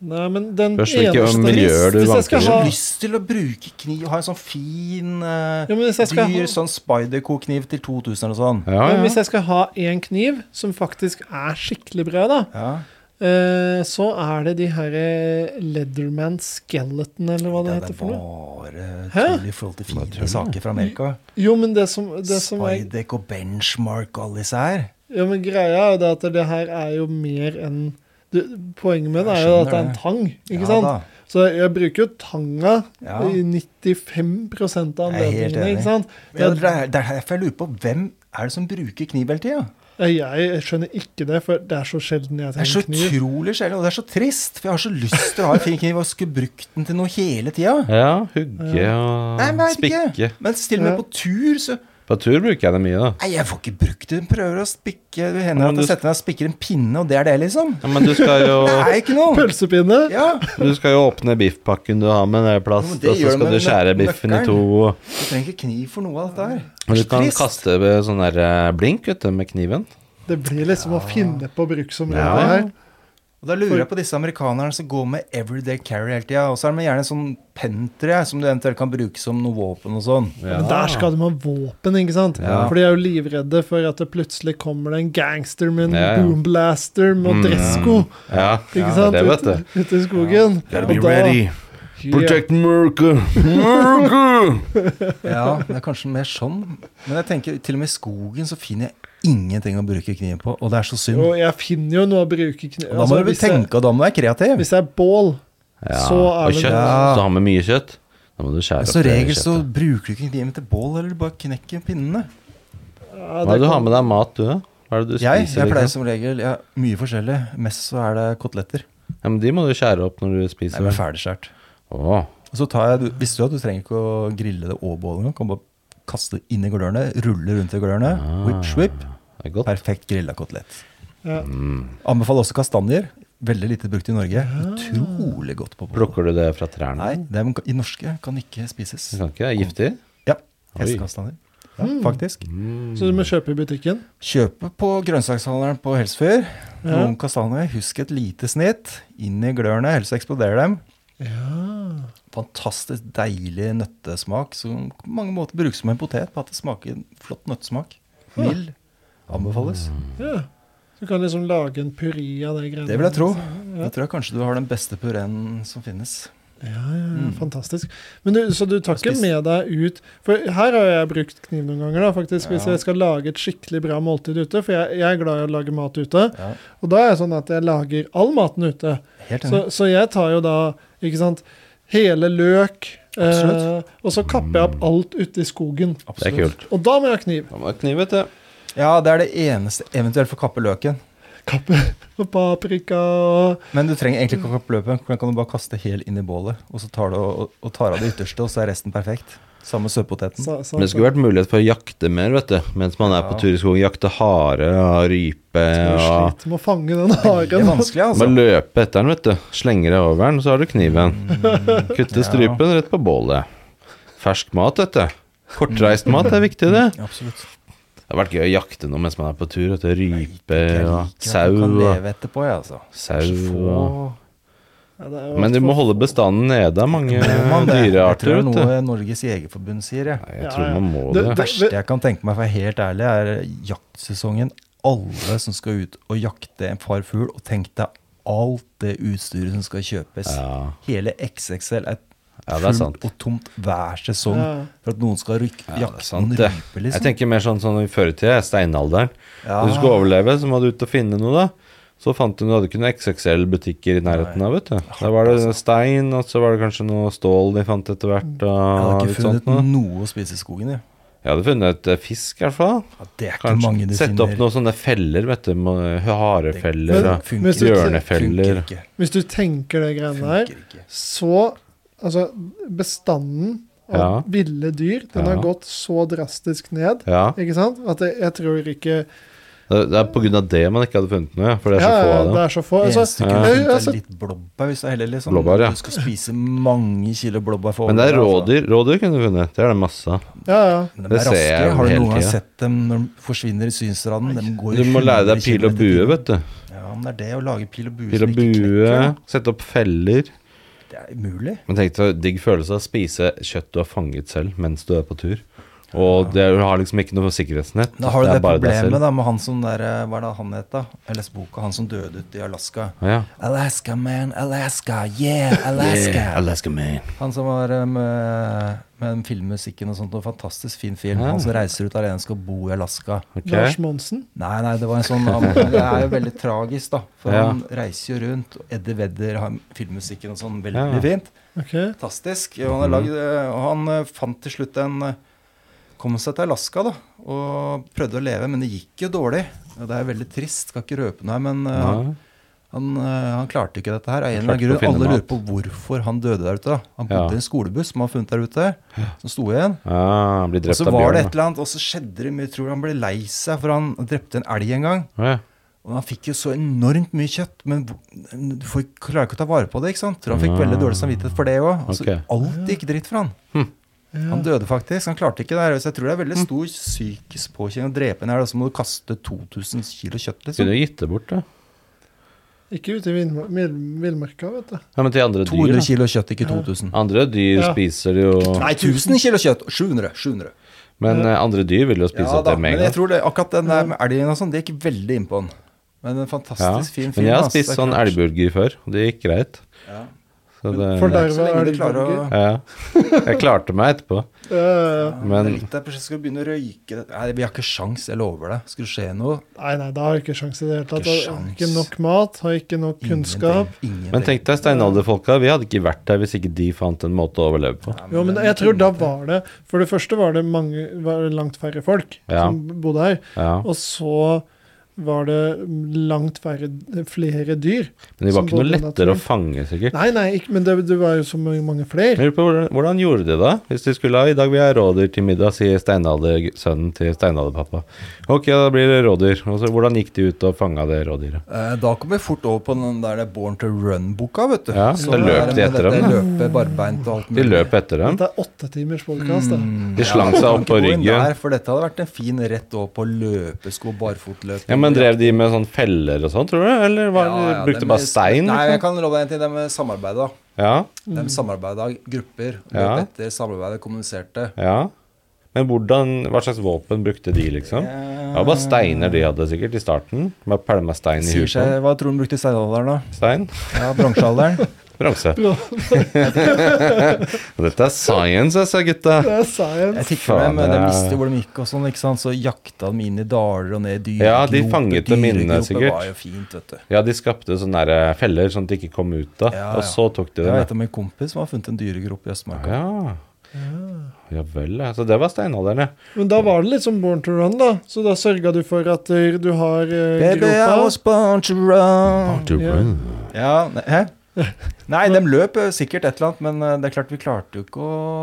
Speaker 3: Nei, men den
Speaker 2: Spørs hvilke
Speaker 3: eneste-
Speaker 2: miljøer du
Speaker 3: hvis jeg skal
Speaker 2: vanker i.
Speaker 1: Jeg har
Speaker 3: ha-
Speaker 1: så lyst til å bruke kniv, ha en sånn fin, eh,
Speaker 3: Ja, men hvis jeg skal ha-
Speaker 1: dyr sånn Spiderco-kniv til 2000 eller sånn.
Speaker 2: Ja,
Speaker 3: Men
Speaker 2: ja.
Speaker 3: hvis jeg skal ha én kniv som faktisk er skikkelig bra, da,
Speaker 1: Ja.
Speaker 3: eh, så er det de her eh, Leatherman Skeleton, eller hva det,
Speaker 1: det
Speaker 3: heter
Speaker 1: er
Speaker 3: for noe.
Speaker 1: bare
Speaker 3: Hæ?
Speaker 1: tull i forhold til
Speaker 2: Bare tull,
Speaker 1: fine saker fra Amerika.
Speaker 3: Jo, men det som, det som er
Speaker 1: Spydeck og benchmark og alle disse her.
Speaker 3: Ja, men greia er jo det at det her er jo mer enn du, Poenget med det
Speaker 1: Jeg
Speaker 3: er jo at det
Speaker 1: skjønner
Speaker 3: er en
Speaker 1: det.
Speaker 3: tang, ikke
Speaker 1: Ja
Speaker 3: sant?
Speaker 1: da.
Speaker 3: Så jeg bruker jo tanga
Speaker 1: Ja.
Speaker 3: i 95 av
Speaker 1: Jeg er helt
Speaker 3: anledningene,
Speaker 1: enig.
Speaker 3: ikke sant?
Speaker 1: Ja,
Speaker 3: Jeg,
Speaker 1: det er det er derfor jeg lurer på hvem er det som bruker kniv hele tida?
Speaker 3: jeg, jeg skjønner ikke det, for det er så sjelden jeg
Speaker 1: Det er så
Speaker 3: trenger kniv.
Speaker 1: utrolig sjelden, og det er så trist. For jeg har så lyst til å ha en fin kniv og skulle brukt den til noe hele tida.
Speaker 2: ja hugge og
Speaker 1: Nei, men jeg vet
Speaker 2: spikke.
Speaker 1: ikke. Men til og med på tur, så
Speaker 2: På tur bruker jeg det mye, da.
Speaker 1: Nei, jeg får ikke brukt den. Prøver å spikke Det
Speaker 2: Ja,
Speaker 1: hender
Speaker 2: men
Speaker 1: at jeg
Speaker 2: du-
Speaker 1: setter meg og spikker en pinne, og det er det, liksom.
Speaker 2: Ja, men du skal
Speaker 1: [laughs]
Speaker 2: jo,
Speaker 1: Det er ikke noe.
Speaker 3: Pølsepinne?
Speaker 1: Ja.
Speaker 2: du skal jo åpne biffpakken du har med nede i
Speaker 1: Ja,
Speaker 2: plast,
Speaker 1: men
Speaker 2: og
Speaker 1: det
Speaker 2: så
Speaker 1: gjør du
Speaker 2: skal
Speaker 1: med
Speaker 2: du
Speaker 1: nø-
Speaker 2: skjære biffen i
Speaker 1: nøkkelen.
Speaker 2: to. og-
Speaker 1: Du trenger ikke kniv for noe av dette her.
Speaker 2: Og du
Speaker 1: Så
Speaker 2: kan
Speaker 1: trist.
Speaker 2: kaste med sånn der eh, blink vet du, med kniven.
Speaker 3: Det blir liksom å finne på bruksområdet
Speaker 2: Ja.
Speaker 3: her.
Speaker 1: Og da lurer jeg på disse amerikanerne som går med everyday carry hele tida. Og så er de gjerne en sånn pentre som du eventuelt kan bruke som noe våpen og sånn.
Speaker 3: Men der skal de ha våpen, ikke sant?
Speaker 2: Ja.
Speaker 3: For de er jo livredde for at det plutselig kommer det en gangster med en
Speaker 2: Ja, ja.
Speaker 3: boomblaster med
Speaker 2: Mm.
Speaker 3: dressko
Speaker 2: Ja,
Speaker 3: ikke
Speaker 2: ja,
Speaker 3: sant?
Speaker 2: det vet
Speaker 3: Ute-
Speaker 2: du.
Speaker 3: Ute i skogen.
Speaker 2: Gotta
Speaker 3: Og
Speaker 2: be
Speaker 3: da-
Speaker 2: ready.
Speaker 3: Yeah.
Speaker 2: Protect America. America!
Speaker 1: Ja, det er kanskje mer sånn. Men jeg tenker, til og med i skogen så finner jeg ingenting å bruke kniven på, og det er så synd.
Speaker 3: Jo, jeg finner jo noe å bruke kniv
Speaker 1: Og da må
Speaker 3: altså,
Speaker 1: du
Speaker 3: hvis jeg-
Speaker 1: tenke, og da må du være kreativ.
Speaker 3: Hvis det er bål,
Speaker 2: [laughs] Ja.
Speaker 3: så er
Speaker 2: Og
Speaker 3: det
Speaker 2: kjøtt.
Speaker 1: Ja.
Speaker 2: Hvis du har med mye kjøtt, da må du skjære opp
Speaker 1: Som
Speaker 2: det
Speaker 1: regel så
Speaker 2: kjøttet.
Speaker 1: bruker du ikke kniven til bål, eller du bare knekker pinnene.
Speaker 3: ja,
Speaker 2: Hva er det du har
Speaker 3: kan-
Speaker 2: med deg mat, du, da? Hva er det du
Speaker 1: Jeg,
Speaker 2: spiser?
Speaker 1: jeg pleier
Speaker 2: liksom?
Speaker 1: som regel ja, mye forskjellig. Mest så er det koteletter.
Speaker 2: Ja, men de må du skjære opp når du
Speaker 1: Det er
Speaker 2: spiser.
Speaker 1: ferdigskjært.
Speaker 2: Åh,
Speaker 1: Og så tar jeg, du, Visste du at du trenger ikke å grille det og bålet engang? Kan bare kaste det inn i glørne, rulle rundt i glørne.
Speaker 2: Ah.
Speaker 1: Whip, swip.
Speaker 2: det er godt.
Speaker 1: Perfekt grilla kotelett.
Speaker 3: Ja.
Speaker 1: Anbefaler også kastanjer. Veldig lite brukt i Norge.
Speaker 2: Ah.
Speaker 1: Utrolig godt på bål.
Speaker 2: Plukker du det fra trærne?
Speaker 1: Nei, dem kan- i norske kan ikke spises.
Speaker 2: Du kan ikke, det er giftig.
Speaker 1: Ja,
Speaker 2: Oi.
Speaker 1: hestekastanjer. Ja, faktisk.
Speaker 2: Mm.
Speaker 3: Så du må kjøpe i butikken.
Speaker 1: Kjøpe på grønnsakshandleren på Helsfyr.
Speaker 3: Ja.
Speaker 1: Noen kastanjer. Husk et lite snitt inn i glørne, ellers eksploderer dem. Fantastisk deilig nøttesmak som på mange måter brukes som en potet. På at det smaker en flott nøttesmak. Mild. Anbefales.
Speaker 2: Mm.
Speaker 3: Ja. Så du kan liksom lage en puré av det greiene.
Speaker 1: Det vil jeg tro.
Speaker 3: Ja.
Speaker 1: Jeg tror jeg kanskje du har den beste pureen som finnes.
Speaker 3: Ja, ja, ja,
Speaker 1: Mm.
Speaker 3: Fantastisk. Men du, så du tar ikke
Speaker 1: Spist.
Speaker 3: med deg ut For her har jeg brukt kniv noen ganger, da, faktisk, hvis
Speaker 1: Ja.
Speaker 3: jeg skal lage et skikkelig bra måltid ute. For jeg, jeg er glad i å lage mat ute.
Speaker 1: Ja,
Speaker 3: Og da er jeg sånn at jeg lager all maten ute.
Speaker 1: helt
Speaker 3: Så,
Speaker 1: enig.
Speaker 3: så jeg tar jo da, ikke sant, hele løk. Eh,
Speaker 1: Absolutt.
Speaker 3: og så kapper jeg opp alt ute i skogen.
Speaker 2: Det er kult.
Speaker 3: Og da må jeg ha kniv.
Speaker 2: Da må du ha kniv, vet du.
Speaker 1: Ja, det er det eneste eventuelt for kappe løken.
Speaker 3: Kappe [laughs] og paprika og
Speaker 1: Men du trenger egentlig ikke å kappe løken. Den kan du bare kaste hel inn i bålet, og så tar du og, og tar av det ytterste, og så er resten perfekt. Samme med søtpoteten.
Speaker 3: så, så,
Speaker 2: Men det skulle vært mulighet for å jakte mer, vet du. Mens man er på
Speaker 1: Ja.
Speaker 2: tur i skogen. Jakte hare og rype
Speaker 3: Jeg
Speaker 2: og
Speaker 3: sliter med å fange den
Speaker 1: Det er
Speaker 3: haren.
Speaker 1: vanskelig, altså.
Speaker 2: Bare løpe etter den, vet du. Slenger deg over den, så har du kniven.
Speaker 1: Mm.
Speaker 2: Kutte strupen rett på bålet. Fersk mat, vet du. Kortreist mat er viktig, det.
Speaker 1: Absolutt.
Speaker 2: Det har vært gøy å jakte noe mens man er på tur. Vet du. Rype
Speaker 1: Jeg liker
Speaker 2: og
Speaker 1: at du
Speaker 2: Eh, sau
Speaker 1: Kan
Speaker 2: og
Speaker 1: leve etterpå, jeg, altså.
Speaker 2: Sau
Speaker 1: Så få-
Speaker 2: og
Speaker 3: Ja, det er jo
Speaker 2: Men du
Speaker 3: altfor-
Speaker 2: må holde bestanden nede av mange
Speaker 1: Må man det? Eh, Jeg
Speaker 2: dyrearter,
Speaker 1: tror
Speaker 2: vet
Speaker 1: det er
Speaker 2: du.
Speaker 1: noe Norges Jegerforbund sier, jeg.
Speaker 2: Nei, Jeg
Speaker 3: Ja,
Speaker 2: tror
Speaker 3: ja.
Speaker 2: man må
Speaker 3: Du-
Speaker 2: det.
Speaker 3: du-
Speaker 1: verste jeg kan tenke meg, for å være helt ærlig, er jaktsesongen. Alle som skal ut og jakte en far fugl, og tenk deg alt det utstyret som skal kjøpes.
Speaker 2: Ja.
Speaker 1: Hele XXL er
Speaker 2: Ja, det er
Speaker 1: fullt
Speaker 2: sant.
Speaker 1: og tomt hver sesong
Speaker 3: Ja.
Speaker 1: for at noen skal ryk,
Speaker 2: Ja, det er
Speaker 1: jakte
Speaker 2: sant,
Speaker 1: en
Speaker 2: det.
Speaker 1: rype,
Speaker 2: Jeg
Speaker 1: liksom.
Speaker 2: tenker mer sånn, sånn i før i tida, steinalderen.
Speaker 1: Ja.
Speaker 2: Hvis du skulle overleve, så må du ut og finne noe, da. Så fant du, du hadde ikke noen XXL-butikker i nærheten av, vet du.
Speaker 1: Ah,
Speaker 2: Der var
Speaker 1: altså.
Speaker 2: det stein, og så var det kanskje noe stål de fant etter
Speaker 1: Mm.
Speaker 2: hvert,
Speaker 1: jeg
Speaker 2: og
Speaker 1: hadde
Speaker 2: litt
Speaker 1: ikke
Speaker 2: sånt
Speaker 1: funnet
Speaker 2: noe.
Speaker 1: noe å spise i skogen, jeg.
Speaker 2: Jeg hadde funnet eh, fisk, i hvert fall.
Speaker 1: Ja, det er ikke mange
Speaker 2: Kanskje
Speaker 1: du
Speaker 2: sette opp
Speaker 1: finner.
Speaker 2: noen sånne feller, vet du. med
Speaker 1: Det
Speaker 2: Harefeller og
Speaker 1: funker
Speaker 3: Men-
Speaker 1: ikke.
Speaker 2: bjørnefeller.
Speaker 1: Funker ikke.
Speaker 3: Hvis du tenker det greiene her,
Speaker 1: Funker ikke.
Speaker 3: så Altså, bestanden av
Speaker 2: Ja.
Speaker 3: ville dyr, den
Speaker 2: Ja.
Speaker 3: har gått så drastisk ned,
Speaker 2: Ja.
Speaker 3: ikke sant? At jeg, jeg tror ikke
Speaker 2: Det det er på grunn av det man ikke hadde funnet noe, ja, for det er så
Speaker 3: Ja,
Speaker 2: få
Speaker 3: ja,
Speaker 2: av
Speaker 3: det
Speaker 2: dem.
Speaker 3: er så få.
Speaker 1: Det
Speaker 3: Altså,
Speaker 1: eneste
Speaker 2: Ja.
Speaker 1: kunne
Speaker 3: jeg,
Speaker 1: funnet er
Speaker 3: altså,
Speaker 1: litt blåbær, hvis det er heller liksom
Speaker 2: Blåbær, ja.
Speaker 1: Du skal spise mange kilo blåbær for å
Speaker 2: Men det er
Speaker 1: overleve, altså.
Speaker 2: rådyr. Rådyr kunne du funnet. Det er det masse av.
Speaker 3: ja, ja.
Speaker 1: Men de
Speaker 2: Det
Speaker 1: er
Speaker 2: ser jeg
Speaker 1: raske.
Speaker 2: jo
Speaker 1: Har du
Speaker 2: hele
Speaker 1: noen gang
Speaker 2: tida.
Speaker 1: sett dem når de forsvinner i synsranden? De går
Speaker 2: Du må lære deg pil og bue, vet du.
Speaker 1: Ja. Ja, men det er det å lage pil og bue
Speaker 2: Pil
Speaker 1: som ikke
Speaker 2: og bue,
Speaker 1: knekker.
Speaker 2: sette opp feller.
Speaker 1: Det er umulig.
Speaker 2: Men tenk deg digg følelse av å spise kjøtt du har fanget selv mens du er på tur. Og det, du har liksom ikke noe sikkerhetsnett.
Speaker 1: Da har du
Speaker 2: er
Speaker 1: det,
Speaker 2: bare deg selv.
Speaker 1: problemet da med han som der eh, Hva er det han het, da? Jeg leste boka, han som døde ute i Alaska.
Speaker 2: Ja.
Speaker 1: Alaska, man. Alaska. Yeah,
Speaker 2: [laughs]
Speaker 1: Alaska.
Speaker 2: Yeah, Alaska man.
Speaker 1: Han som var eh, med, med filmmusikken og sånt, og fantastisk fin film.
Speaker 2: Ja.
Speaker 1: Han som reiser ut alene og skal bo i Alaska.
Speaker 2: Ok.
Speaker 3: Lars Monsen.
Speaker 1: Nei, nei, det var en sånn
Speaker 2: [laughs]
Speaker 1: Det er jo veldig tragisk, da. For
Speaker 2: Ja.
Speaker 1: han reiser jo rundt. og Eddie Vedder har filmmusikken og sånn. Veldig
Speaker 2: Ja. Mhm.
Speaker 1: fint.
Speaker 3: Ok.
Speaker 1: Fantastisk. Og han, har lagd, eh, og han eh, fant til slutt en eh, Kom seg til Alaska, da. Og prøvde å leve, men det gikk jo dårlig. Og Det er veldig trist. Skal ikke røpe noe her, men eh,
Speaker 2: Ja.
Speaker 1: han, eh, han klarte ikke dette her. Av en
Speaker 2: Han
Speaker 1: eller annen
Speaker 2: klarte ikke å
Speaker 1: grunn,
Speaker 2: finne
Speaker 1: Alle lurer
Speaker 2: mat.
Speaker 1: på hvorfor han døde der ute. da. Han bodde
Speaker 2: Ja.
Speaker 1: i en skolebuss som han har funnet der ute, som sto igjen.
Speaker 2: Ah, blir
Speaker 1: Og
Speaker 2: drept
Speaker 1: så
Speaker 2: av
Speaker 1: var det
Speaker 2: bjørn.
Speaker 1: et eller annet, og så skjedde det mye. Jeg tror han ble lei seg, for han drepte en elg en gang.
Speaker 2: da. Ja.
Speaker 1: Og han fikk jo så enormt mye kjøtt, men hvor- du får, ikke- klarer ikke å ta vare på det. ikke sant? Tror han fikk
Speaker 2: Ah.
Speaker 1: veldig dårlig samvittighet for det òg. Altså,
Speaker 2: Ok. Hm.
Speaker 1: Alt gikk dritt for han. Han døde faktisk. Han klarte ikke det her. Så jeg tror det er veldig stor psykisk påkjenning å drepe en elg. og Så må du kaste 2000 kilo kjøtt, liksom.
Speaker 2: Kunne jo gitt det bort, da.
Speaker 3: Ikke ute i villmar- vill- villmarka, vet du.
Speaker 2: Ja, men til andre dyr,
Speaker 1: 200
Speaker 2: da.
Speaker 1: kilo kjøtt, ikke 2000.
Speaker 2: Andre dyr
Speaker 3: Ja.
Speaker 2: spiser jo
Speaker 1: Nei, 1000 kilo kjøtt! 700. 700.
Speaker 2: Men eh, andre dyr vil jo spise
Speaker 1: Ja
Speaker 2: opp
Speaker 1: da,
Speaker 2: det med
Speaker 1: men
Speaker 2: en
Speaker 1: jeg
Speaker 2: gang.
Speaker 1: tror det, akkurat den der med elgen og sånn, det gikk veldig inn på han. Men en
Speaker 2: Ja.
Speaker 1: fantastisk fin film.
Speaker 2: Men jeg har
Speaker 1: ass. Det
Speaker 2: spist
Speaker 1: er
Speaker 2: sånn
Speaker 1: klart.
Speaker 2: elgburger før, og det gikk greit.
Speaker 1: Ja.
Speaker 2: Så det,
Speaker 3: For
Speaker 1: Men
Speaker 3: deg-
Speaker 1: Så lenge du klarer å
Speaker 2: ja. Jeg klarte meg etterpå.
Speaker 3: Eh,
Speaker 1: Men, det
Speaker 2: Men
Speaker 1: er litt der, plutselig skal vi begynne å røyke Nei, Vi har ikke sjans, jeg lover det. Skulle skje noe
Speaker 3: nei, nei, da har jeg ikke sjanse i det hele tatt.
Speaker 1: Ikke
Speaker 3: Har
Speaker 1: sjans.
Speaker 3: Ikke nok mat, har ikke nok kunnskap.
Speaker 1: Ingenting. Ingenting.
Speaker 2: Men tenk deg steinalderfolka, vi hadde ikke vært der hvis ikke de fant en måte å overleve på.
Speaker 1: Ja,
Speaker 3: Jo, men
Speaker 1: det er
Speaker 3: jeg tror da
Speaker 1: ingenting.
Speaker 3: var det For det første var det mange, var det langt færre folk
Speaker 2: Ja.
Speaker 3: som bodde her.
Speaker 2: Ja.
Speaker 3: Og så var det langt færre, flere dyr.
Speaker 2: Men de var
Speaker 3: som
Speaker 2: ikke noe
Speaker 3: bodde i
Speaker 2: lettere å
Speaker 3: naturen.
Speaker 2: fange, sikkert.
Speaker 3: Nei, nei, ikke, men det, det var jo så mange, mange flere.
Speaker 2: Jeg lurer på hvordan, hvordan gjorde de det? Hvis de skulle ha i dag vil jeg ha rådyr til middag, sier steinaldersønnen til steinalderpappa. Ok, da blir det rådyr. Og så, hvordan gikk de ut og fanga det rådyret?
Speaker 1: Eh, Da kommer vi fort over på den der Born to Run-boka, vet du.
Speaker 2: Ja,
Speaker 1: Som
Speaker 2: da løp
Speaker 1: er
Speaker 2: de
Speaker 1: med
Speaker 2: etter dem,
Speaker 1: dette
Speaker 2: da.
Speaker 1: Løpe barbeint og alt Mm.
Speaker 2: De løp etter dem.
Speaker 3: Dette er åtte timers podcast, da.
Speaker 2: De slang seg opp på ryggen.
Speaker 1: Der, for dette hadde vært en fin rett over på løpesko, barfotløp.
Speaker 2: Ja, Men drev de med sånn feller og sånn, tror du? Eller var,
Speaker 1: Ja, ja,
Speaker 2: brukte
Speaker 1: dem-
Speaker 2: bare stein?
Speaker 1: Nei, jeg
Speaker 2: Liksom?
Speaker 1: kan love deg en ting. De samarbeida.
Speaker 2: Ja,
Speaker 1: De
Speaker 3: Mm.
Speaker 1: samarbeida grupper. Løp
Speaker 2: Ja.
Speaker 1: etter, samarbeidet, kommuniserte.
Speaker 2: ja. Men hvordan, hva slags våpen brukte de, liksom? Det var bare steiner de hadde sikkert i starten. Bare pælma stein i
Speaker 1: Sier
Speaker 2: huet. på
Speaker 1: seg,
Speaker 2: dem.
Speaker 1: Hva tror du de brukte i steinalderen, da?
Speaker 2: Stein?
Speaker 1: Ja, Bronsealderen.
Speaker 2: Bronse. [laughs] Dette er science, altså, gutta.
Speaker 3: [laughs] Det er science.
Speaker 1: Jeg tipper dem,
Speaker 2: Faen,
Speaker 1: de
Speaker 2: ja.
Speaker 1: visste hvor de gikk og sånn, ikke sant? Så jakta de inn i daler og ned i dyregrop.
Speaker 2: Ja, de fanget dem inne,
Speaker 1: Dyregropet
Speaker 2: sikkert.
Speaker 1: var jo fint, vet du.
Speaker 2: Ja, de skapte sånne der feller sånn at de ikke kom ut da,
Speaker 1: Ja,
Speaker 2: og
Speaker 1: ja.
Speaker 2: så tok de
Speaker 1: Jeg vet
Speaker 2: det.
Speaker 1: om en kompis som har funnet en dyregrop i Østmarka.
Speaker 2: Ja. ja vel, ja. Så det var steinalderen, ja.
Speaker 3: Men da var det litt som Born to Run, da. Så da sørga du for at eh, du har eh,
Speaker 1: Baby, I was
Speaker 3: gropa.
Speaker 1: born to run.
Speaker 3: Ja.
Speaker 1: Ja, ne- hæ? Nei, de løp eh, sikkert et eller annet, men eh, det er klart vi klarte jo ikke å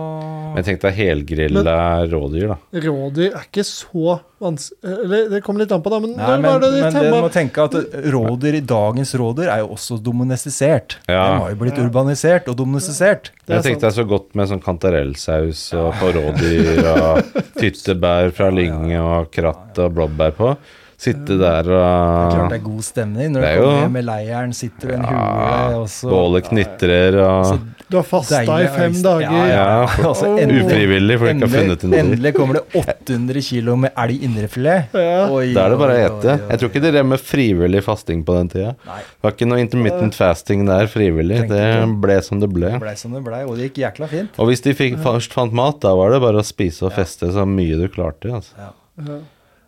Speaker 2: Men tenk deg helgrilla rådyr, da.
Speaker 3: Rådyr er ikke så vanskelig Eller det kommer litt an på, da. Men
Speaker 1: Nei,
Speaker 3: når
Speaker 1: men,
Speaker 3: var det de
Speaker 1: men du må
Speaker 3: temma
Speaker 1: tenke at eh, rådyr i dagens rådyr er jo også domestisert.
Speaker 2: Ja.
Speaker 1: De har jo blitt
Speaker 3: Ja.
Speaker 1: urbanisert og domestisert.
Speaker 3: Det er
Speaker 2: Jeg tenkte deg så godt med sånn kantarellsaus og på rådyr
Speaker 1: [laughs]
Speaker 2: og tyttebær fra Lynge og kratt og blåbær på. Sitte der
Speaker 1: Klart det
Speaker 2: og
Speaker 1: er god stemning når
Speaker 2: Det
Speaker 1: du
Speaker 2: er jo-
Speaker 1: kommer hjem med leiren, sitter du i en hule, og så
Speaker 2: Bålet knitrer og
Speaker 3: Du har fasta i
Speaker 1: Deilig
Speaker 3: fem
Speaker 1: øystein.
Speaker 3: dager.
Speaker 1: Ja, ja.
Speaker 2: Ja, for-
Speaker 1: Altså,
Speaker 3: Åh.
Speaker 1: endelig,
Speaker 2: Ufrivillig, for de ikke har funnet
Speaker 1: endelig,
Speaker 2: en rådyr.
Speaker 1: endelig kommer det 800 kilo med elg indrefilet.
Speaker 3: Ja.
Speaker 1: Oi,
Speaker 2: Da er det bare å
Speaker 1: oi,
Speaker 2: ete.
Speaker 1: oi, oi.
Speaker 2: Jeg tror ikke det drev med frivillig fasting på den tida.
Speaker 1: Nei.
Speaker 2: Det var ikke noe intermittent fasting der frivillig.
Speaker 1: Tenkte
Speaker 2: Det ble som det ble.
Speaker 1: Det blei som det blei, og det gikk jækla fint.
Speaker 2: Og hvis de fikk, først fant mat, da var det bare å spise og feste så mye du klarte. Altså.
Speaker 1: Ja.
Speaker 3: Ja.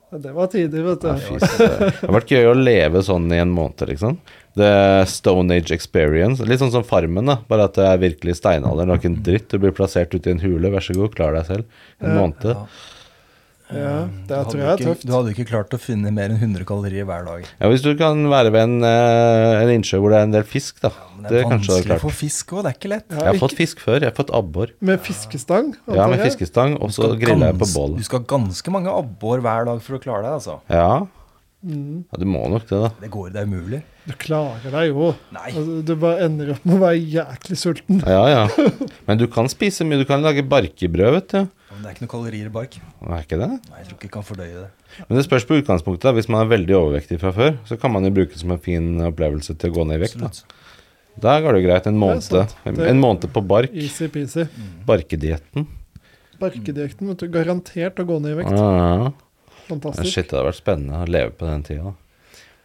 Speaker 3: Ja, Det var tider, vet du.
Speaker 2: Fy søren. Det har vært gøy å leve sånn i en måned, liksom. The Stone Age Experience. Litt sånn som Farmen, da. Bare at det er virkelig steinalder. Det er ikke en dritt. Du blir plassert ute i en hule. Vær så god, klar deg selv. En måned.
Speaker 3: Ja,
Speaker 1: Du
Speaker 3: det
Speaker 1: hadde
Speaker 3: tror jeg er
Speaker 1: ikke,
Speaker 3: tøft.
Speaker 1: Du hadde ikke klart å finne mer enn 100 kalorier hver dag.
Speaker 2: Ja, hvis du kan være ved en, eh, en innsjø hvor det er en del fisk, da.
Speaker 1: Men
Speaker 2: det
Speaker 1: det er
Speaker 2: kanskje du har
Speaker 1: vanskelig å
Speaker 2: klart.
Speaker 1: få fisk òg, det er ikke lett.
Speaker 2: Jeg har
Speaker 3: ikke-
Speaker 2: fått fisk før. Jeg har fått abbor.
Speaker 3: Med fiskestang?
Speaker 2: Ja,
Speaker 3: antar
Speaker 2: med
Speaker 3: jeg.
Speaker 2: fiskestang, og
Speaker 1: Du
Speaker 2: så
Speaker 1: skal
Speaker 2: griller jeg på
Speaker 1: gans- Du
Speaker 2: bålet.
Speaker 1: skal ha ganske mange abbor hver dag for å klare deg, altså.
Speaker 2: Ja.
Speaker 3: Mm.
Speaker 2: ja, du må nok det, da.
Speaker 1: Det går, det er umulig.
Speaker 3: Du klarer deg jo.
Speaker 1: Nei.
Speaker 3: Altså, du bare ender opp med å være jæklig sulten. [laughs]
Speaker 2: Ja, ja. Men du kan spise mye. Du kan lage barkebrød, vet du.
Speaker 1: Men det er ikke noen kalorier i bark.
Speaker 2: Er ikke det?
Speaker 1: Nei, jeg tror ikke jeg kan fordøye det.
Speaker 2: Men det spørs på utgangspunktet. da. Hvis man er veldig overvektig fra før, så kan man jo bruke det som en fin opplevelse til å gå ned i vekt. Da.
Speaker 1: Absolutt.
Speaker 2: Der går det jo greit. En
Speaker 3: Det er
Speaker 2: måned,
Speaker 3: sant. Det-
Speaker 2: en måned på bark.
Speaker 3: Easy-peasy.
Speaker 2: Mm. Barkedietten.
Speaker 3: Barkedietten, vet du. Garantert å gå ned i vekt.
Speaker 2: Ah,
Speaker 3: Fantastisk.
Speaker 2: shit, det hadde vært spennende å leve på den tida. da.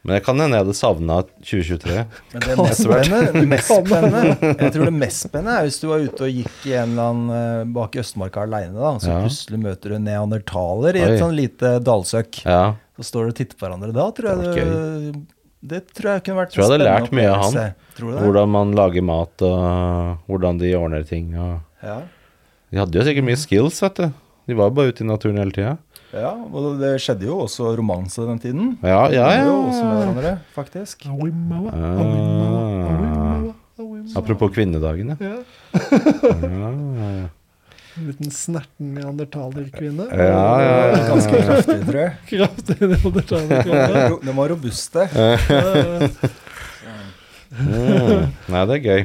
Speaker 2: Men det kan hende jeg hadde savna 2023.
Speaker 1: Men det mest spennende, det mest spennende Jeg tror det mest spennende er hvis du var ute og gikk i en eller annen eh, bak i Østmarka aleine, da, så
Speaker 2: Ja.
Speaker 1: plutselig møter du en neandertaler i
Speaker 2: Oi.
Speaker 1: et sånn lite dalsøkk.
Speaker 2: Ja,
Speaker 1: Så står du og titter på hverandre. Da tror
Speaker 2: Det
Speaker 1: jeg
Speaker 2: hadde
Speaker 1: det, det tror jeg kunne vært en
Speaker 2: Tror jeg hadde
Speaker 1: spennende
Speaker 2: lært mye av han.
Speaker 1: opplevelse. Tror du det?
Speaker 2: Hvordan man lager mat, og hvordan de ordner ting. Og
Speaker 1: Ja.
Speaker 2: de hadde jo sikkert mye
Speaker 3: Mm.
Speaker 2: skills, vet du. De var jo bare ute i naturen hele tida.
Speaker 1: ja, og det skjedde jo også romanse den tiden.
Speaker 2: Ja, ja,
Speaker 1: Det var
Speaker 2: ja.
Speaker 1: jo Også med hverandre, faktisk.
Speaker 3: Awimawa,
Speaker 2: Ah.
Speaker 3: awimawa, awimawa, awimawa.
Speaker 2: Apropos kvinnedagen, ja.
Speaker 3: Ja.
Speaker 2: Ah.
Speaker 3: [laughs] En liten snerten neandertalerkvinne.
Speaker 2: Ja, ja, ja.
Speaker 1: Ganske kraftig, tror jeg.
Speaker 2: [laughs]
Speaker 3: Kraftig neandertalerkvinne.
Speaker 1: Ro- De var robuste.
Speaker 3: Eh,
Speaker 2: Mm. Nei, det er gøy.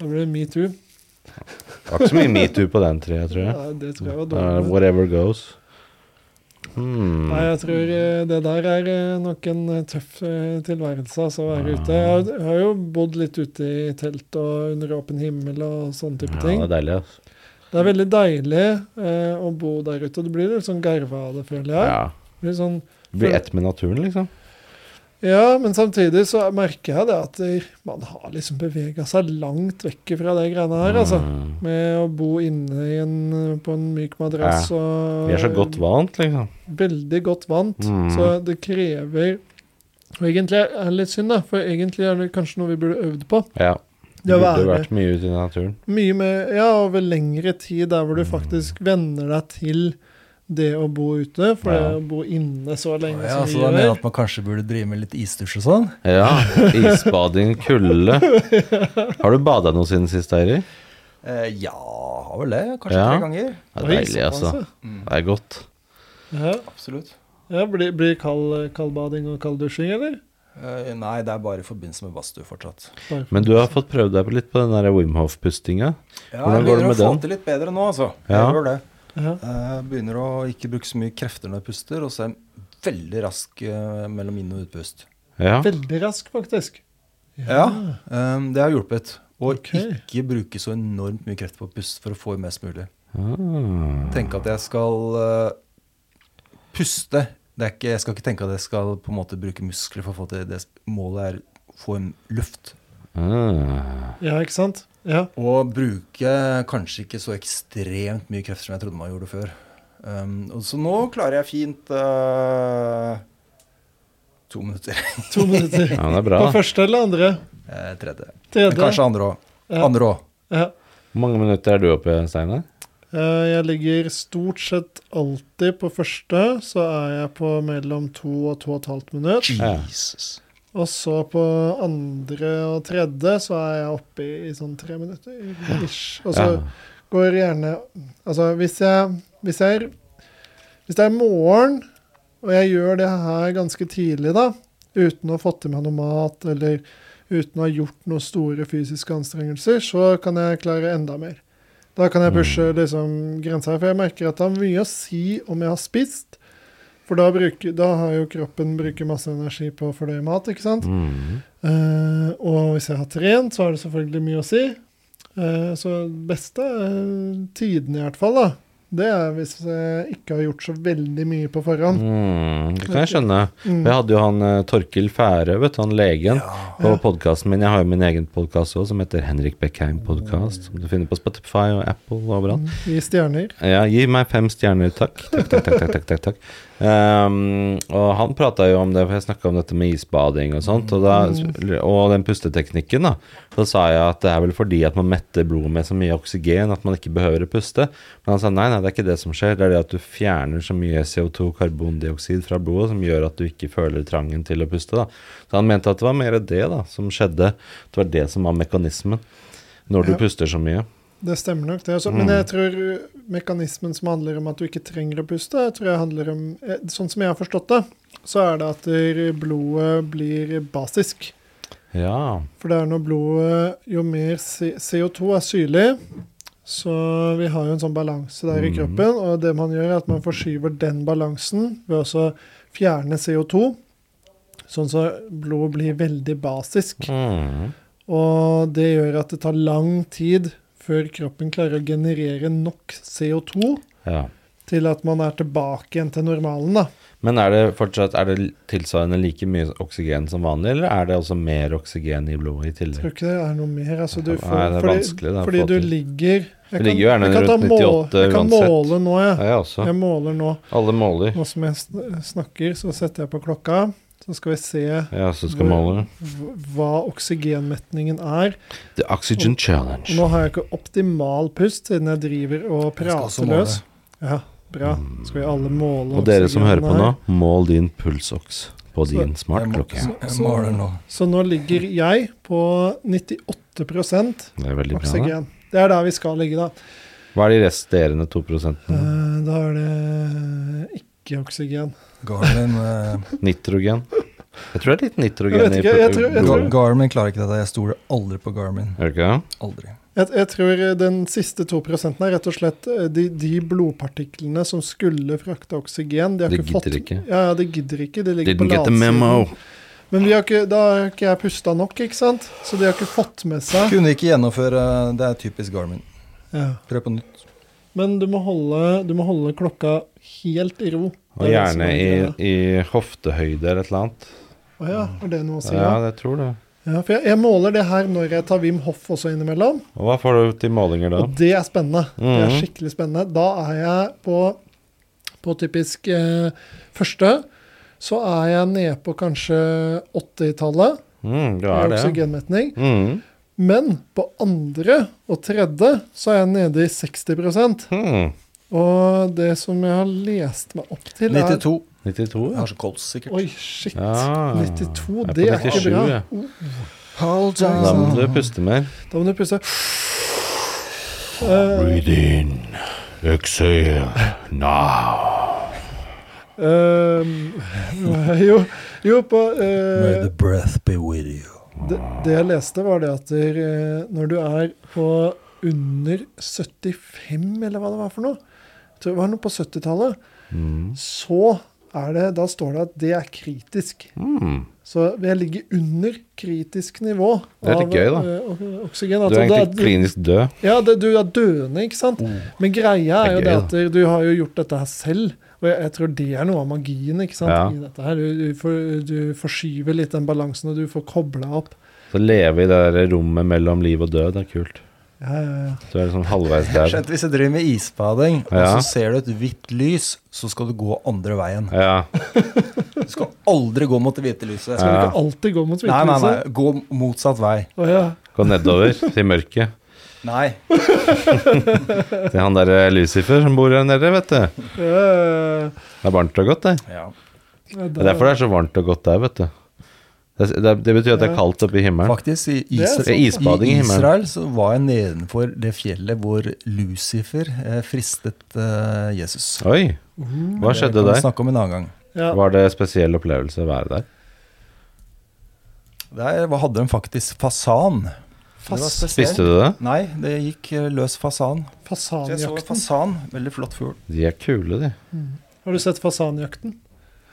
Speaker 3: Da blir det metoo.
Speaker 2: Det var ikke så mye metoo på den trea, tror jeg.
Speaker 3: Ja, det tror jeg var
Speaker 2: Uh,
Speaker 3: dårlig.
Speaker 2: whatever goes. Hmm.
Speaker 3: Nei, jeg tror eh, det der er eh, nok en eh, tøff eh, tilværelse altså, å være ute. Jeg har- Jeg har jo bodd litt ute i telt og under åpen himmel og sånne type
Speaker 2: Ja,
Speaker 3: ting.
Speaker 2: det er deilig, altså.
Speaker 3: Det er veldig deilig eh, å bo der ute. og Du blir litt sånn garva av det, føler jeg.
Speaker 2: Ja.
Speaker 3: Det Blir sånn,
Speaker 2: Du blir ett med naturen, liksom.
Speaker 3: ja, men samtidig så merker jeg det at det- man har liksom bevega seg langt vekk fra de greiene her, altså.
Speaker 2: Mm.
Speaker 3: Med å bo inne i en, eh, på en myk madrass
Speaker 2: Ja.
Speaker 3: og
Speaker 2: Vi er så godt vant, liksom.
Speaker 3: Veldig godt vant.
Speaker 2: Mm.
Speaker 3: Så det krever Og egentlig er det litt synd, da, for egentlig er det kanskje noe vi burde øvd på.
Speaker 2: Ja. Du
Speaker 3: Det å
Speaker 2: burde
Speaker 3: være
Speaker 2: vært mye ute i naturen.
Speaker 3: mye mer, ja, over lengre tid der hvor du faktisk venner deg til det å bo ute, for
Speaker 2: Ja.
Speaker 3: det å bo inne så lenge
Speaker 1: Ja, så
Speaker 3: som
Speaker 1: da
Speaker 3: vi
Speaker 1: mener jeg
Speaker 3: gjør.
Speaker 1: at man kanskje burde drive med litt isdusj og sånn?
Speaker 2: Ja. Isbading, kulde. Har du bada noe siden sist, Eirik?
Speaker 1: Eh, ja, har vel det. Kanskje
Speaker 2: Ja.
Speaker 1: tre ganger.
Speaker 2: Det er
Speaker 3: Oi,
Speaker 2: deilig, altså.
Speaker 3: såpass,
Speaker 1: Mm.
Speaker 2: Det er godt.
Speaker 3: Ja,
Speaker 1: Absolutt.
Speaker 3: ja Blir, blir kald, kaldbading og kalddusjing, eller?
Speaker 1: Eh, nei, det er bare i forbindelse med badstue fortsatt.
Speaker 3: Bare-
Speaker 2: Men du har fått prøvd deg litt på den der Wim Hof-pustinga.
Speaker 1: Ja, jeg
Speaker 2: Hvordan går det
Speaker 1: begynner
Speaker 2: med
Speaker 1: å få
Speaker 2: den?
Speaker 1: til litt bedre nå, altså.
Speaker 2: Ja.
Speaker 1: Jeg gjør det.
Speaker 3: Ja.
Speaker 1: Eh, begynner å ikke bruke så mye krefter når jeg puster, og så er jeg veldig rask eh, mellom inn- og utpust.
Speaker 2: Ja.
Speaker 3: Veldig rask, faktisk.
Speaker 1: Ja, eh, det har hjulpet. Og
Speaker 3: Ok.
Speaker 1: ikke bruke så enormt mye krefter på å puste for å få i mest mulig.
Speaker 2: Ah.
Speaker 1: Tenke at jeg skal eh, puste. Det er ikke, jeg skal ikke tenke at jeg skal på en måte bruke muskler for å få til det. Målet er å få en luft.
Speaker 2: Ah.
Speaker 3: Ja, ikke sant? Ja.
Speaker 1: Og bruke kanskje ikke så ekstremt mye krefter som jeg trodde man gjorde før. Um, og så nå klarer jeg fint eh, to minutter. [laughs]
Speaker 3: To minutter.
Speaker 2: Ja, men det er bra.
Speaker 3: På
Speaker 2: da.
Speaker 3: første eller andre?
Speaker 1: Eh, tredje. Men
Speaker 3: Tredje?
Speaker 1: kanskje andre òg.
Speaker 3: Ja.
Speaker 1: Andre òg.
Speaker 3: Ja.
Speaker 2: Hvor mange minutter er du oppe, Steinar?
Speaker 3: Eh, Jeg ligger stort sett alltid på første, så er jeg på mellom to og to og et halvt minutt.
Speaker 1: Jesus.
Speaker 3: Og så på andre og tredje så er jeg oppe i, i sånn tre minutter ish. Og så
Speaker 2: Ja.
Speaker 3: går gjerne Altså hvis jeg Hvis jeg Hvis det er morgen, og jeg gjør det her ganske tidlig, da, uten å ha fått i meg noe mat eller uten å ha gjort noen store fysiske anstrengelser, så kan jeg klare enda mer. Da kan jeg pushe liksom grensa, for jeg merker at det har mye å si om jeg har spist. For da, bruker, da har jo kroppen bruker masse energi på å fordøye mat, ikke sant.
Speaker 2: Mm.
Speaker 3: Eh, og hvis jeg har trent, så har det selvfølgelig mye å si. Eh, så beste eh, tiden, i hvert fall, da, det er hvis jeg ikke har gjort så veldig mye på forhånd.
Speaker 2: Mm. Det kan jeg skjønne.
Speaker 3: Mm.
Speaker 2: Jeg hadde jo han eh, Torkil Færø, vet du, han legen, på
Speaker 3: Ja.
Speaker 2: podkasten min. Jeg har jo min egen podkast òg, som heter Henrik Beckheim podkast. Som du finner på Spotify og Apple og overalt.
Speaker 3: Gi Mm. stjerner.
Speaker 2: Ja, gi meg fem stjerner, takk. Takk, takk, takk, takk, takk, takk, takk. Ehm, og han prata jo om det, for jeg snakka om dette med isbading og sånt, og, da, og den pusteteknikken, da. Så sa jeg at det er vel fordi at man metter blodet med så mye oksygen at man ikke behøver å puste. Men han sa nei, nei, det er ikke det som skjer, det er det at du fjerner så mye CO2, karbondioksid, fra blodet som gjør at du ikke føler trangen til å puste, da. Så han mente at det var mer det da, som skjedde, det var det som var mekanismen når du
Speaker 3: Ja.
Speaker 2: puster så mye.
Speaker 3: Det stemmer nok, det. Også. Men jeg tror uh, mekanismen som handler om at du ikke trenger å puste, jeg tror jeg handler om eh, Sånn som jeg har forstått det, så er det at eh, blodet blir basisk.
Speaker 2: Ja.
Speaker 3: For det er når blodet Jo mer C- CO2 er syrlig, Så vi har jo en sånn balanse der i
Speaker 2: Mhm.
Speaker 3: kroppen, og det man gjør er at man forskyver den balansen ved også å fjerne CO2, sånn så blod blir veldig basisk.
Speaker 2: Mm.
Speaker 3: Og det gjør at det tar lang tid før kroppen klarer å generere nok CO2
Speaker 2: Ja.
Speaker 3: til at man er tilbake igjen til normalen, da.
Speaker 2: Men er det fortsatt er det tilsvarende like mye oksygen som vanlig, eller er det også mer oksygen i blodet i
Speaker 3: Jeg tror
Speaker 2: tillegg?
Speaker 3: ikke det er noe mer. Altså, du
Speaker 2: Nei,
Speaker 3: får,
Speaker 2: det er vanskelig,
Speaker 3: fordi,
Speaker 2: det er
Speaker 3: fordi
Speaker 2: få
Speaker 3: du
Speaker 2: til.
Speaker 3: ligger
Speaker 2: Du ligger jo gjerne
Speaker 3: jeg kan ta
Speaker 2: rundt
Speaker 3: mål-
Speaker 2: 98
Speaker 3: Jeg kan
Speaker 2: uansett.
Speaker 3: måle nå,
Speaker 2: Ja,
Speaker 3: jeg.
Speaker 2: jeg også.
Speaker 3: Jeg måler nå.
Speaker 2: Alle måler.
Speaker 3: Nå som jeg sn- snakker, så setter jeg på klokka. Så skal vi se
Speaker 2: Jeg også skal måle.
Speaker 3: hv- hva oksygenmetningen er.
Speaker 2: The Oxygen
Speaker 3: Og nå
Speaker 2: Challenge.
Speaker 3: har jeg ikke optimal pust, siden jeg driver og prater løs. Ja, bra. Skal vi alle måle
Speaker 2: Og dere som hører på nå,
Speaker 3: oksygenet her?
Speaker 2: mål din pulsoks på din smartklokke.
Speaker 1: Jeg måler nå.
Speaker 3: Så nå ligger jeg på 98
Speaker 2: Det er veldig bra. da.
Speaker 3: oksygen. Det er der vi skal ligge, da.
Speaker 2: Hva er de resterende 2 -ene?
Speaker 3: Eh, Da er det ikke oksygen.
Speaker 1: Garmin, eh,
Speaker 2: Nitrogen? Jeg tror det er litt nitrogen
Speaker 3: Jeg vet
Speaker 2: i
Speaker 3: ikke, jeg tror- [laughs] jeg
Speaker 1: Ga-
Speaker 3: tror-
Speaker 2: blodet.
Speaker 1: Garmin klarer ikke dette. Jeg stoler aldri på Garmin.
Speaker 2: Er det ikke det?
Speaker 1: Aldri.
Speaker 3: Jeg, jeg tror den siste 2 er rett og slett eh, de, de blodpartiklene som skulle frakte oksygen. De, har
Speaker 2: De
Speaker 3: ikke fått,
Speaker 2: gidder ikke.
Speaker 3: Ja, ja, de gidder ikke. De ligger
Speaker 2: Didn't
Speaker 3: på
Speaker 2: get the
Speaker 3: latsiden.
Speaker 2: memo.
Speaker 3: Men vi har ikke, da har ikke jeg pusta nok, ikke sant? Så de har ikke fått med seg
Speaker 1: Kunne ikke gjennomføre Det er typisk Garmin.
Speaker 3: ja.
Speaker 1: Prøv på nytt.
Speaker 3: Men du må, holde, du må holde klokka helt i ro.
Speaker 2: Og gjerne i, i hoftehøyde eller et eller annet.
Speaker 3: Å ja, er det noe å si?
Speaker 2: Ja,
Speaker 3: Ja,
Speaker 2: jeg tror det.
Speaker 3: ja For jeg, jeg måler det her når jeg tar Wim Hoff også innimellom.
Speaker 2: Og hva får du til målinger da?
Speaker 3: Og det er spennende. Det er
Speaker 2: Mhm.
Speaker 3: skikkelig spennende. Da er jeg på, på typisk eh, første. Så er jeg nede på kanskje 80-tallet
Speaker 2: Mm, du
Speaker 3: i
Speaker 2: er det.
Speaker 3: oksygenmetning.
Speaker 2: Mm.
Speaker 3: Men på andre og tredje så er jeg nede i 60
Speaker 2: Hmm.
Speaker 3: Og det som jeg har lest meg opp til, er
Speaker 1: 92.
Speaker 2: 92,
Speaker 1: Jeg
Speaker 2: ja.
Speaker 1: har så kols, sikkert.
Speaker 3: Oi, shit.
Speaker 2: Ja.
Speaker 3: 92,
Speaker 2: Jeg er
Speaker 3: det
Speaker 2: på
Speaker 3: er ikke
Speaker 2: 97,
Speaker 3: bra.
Speaker 2: jeg.
Speaker 1: Hold
Speaker 2: Da må du puste mer.
Speaker 3: Da må du puste. Eh,
Speaker 2: in, exhale, now.
Speaker 3: eh, jo, jo, på eh,
Speaker 1: May the breath be with you.
Speaker 3: Det, det jeg leste, var det at der, eh, når du er på under 75, eller hva det var for noe jeg tror Det var noe på 70-tallet.
Speaker 2: Mm.
Speaker 3: Så er det Da står det at det er kritisk.
Speaker 2: Mm.
Speaker 3: Så jeg ligger under kritisk nivå
Speaker 2: Det er litt gøy, da.
Speaker 3: eh, ok- oksygen.
Speaker 2: Du
Speaker 3: Altså,
Speaker 2: er
Speaker 3: det
Speaker 2: egentlig klinisk død.
Speaker 3: ja, det, du er døende, ikke sant? Men greia er,
Speaker 2: Det er
Speaker 3: jo det
Speaker 2: gøy,
Speaker 3: at du har jo gjort dette her selv. Og jeg, jeg tror det er noe av magien ikke sant?
Speaker 2: Ja.
Speaker 3: i dette her. Du, du, får, du forskyver litt den balansen, og du får kobla opp.
Speaker 2: Så leve i det der rommet mellom liv og død, det er kult.
Speaker 3: Ja, ja, ja.
Speaker 2: Du er liksom halvveis der.
Speaker 1: Skjønt hvis du driver med isbading, og
Speaker 2: Ja.
Speaker 1: så ser du et hvitt lys, så skal du gå andre veien.
Speaker 2: Ja.
Speaker 1: Du skal aldri gå mot det hvite lyset.
Speaker 3: Skal
Speaker 2: Ja.
Speaker 3: du ikke alltid gå mot
Speaker 1: Nei, nei, nei.
Speaker 3: hvithuset?
Speaker 1: Gå motsatt vei.
Speaker 3: Å ja.
Speaker 2: Gå nedover til mørket.
Speaker 1: Nei.
Speaker 2: Til han derre Lucifer som bor her nede, vet du.
Speaker 3: Eh,
Speaker 2: Det er varmt og godt, det.
Speaker 1: Ja.
Speaker 2: Det er derfor det er så varmt og godt der, vet du. Det, det, det betyr at det er
Speaker 3: Ja.
Speaker 2: kaldt oppe i himmelen.
Speaker 1: Faktisk, i,
Speaker 3: er
Speaker 1: Isra
Speaker 3: sant.
Speaker 2: Det er isbading i
Speaker 1: i
Speaker 2: himmelen.
Speaker 1: Israel så var jeg nedenfor det fjellet hvor Lucifer eh, fristet eh, Jesus.
Speaker 2: Oi, hva
Speaker 1: Det
Speaker 2: skjedde
Speaker 1: kan vi
Speaker 2: der?
Speaker 1: snakke om en annen gang.
Speaker 3: ja.
Speaker 2: Var det spesiell opplevelse å være der?
Speaker 1: Der var- hadde de faktisk fasan. Det var
Speaker 3: Fas,
Speaker 1: spesielt.
Speaker 2: Spiste du det?
Speaker 1: Nei, det gikk eh, løs fasan. Så jeg så
Speaker 3: fasanjakten.
Speaker 1: fasan. Veldig flott fugl.
Speaker 2: De er kule, de.
Speaker 3: Har du sett fasanjakten?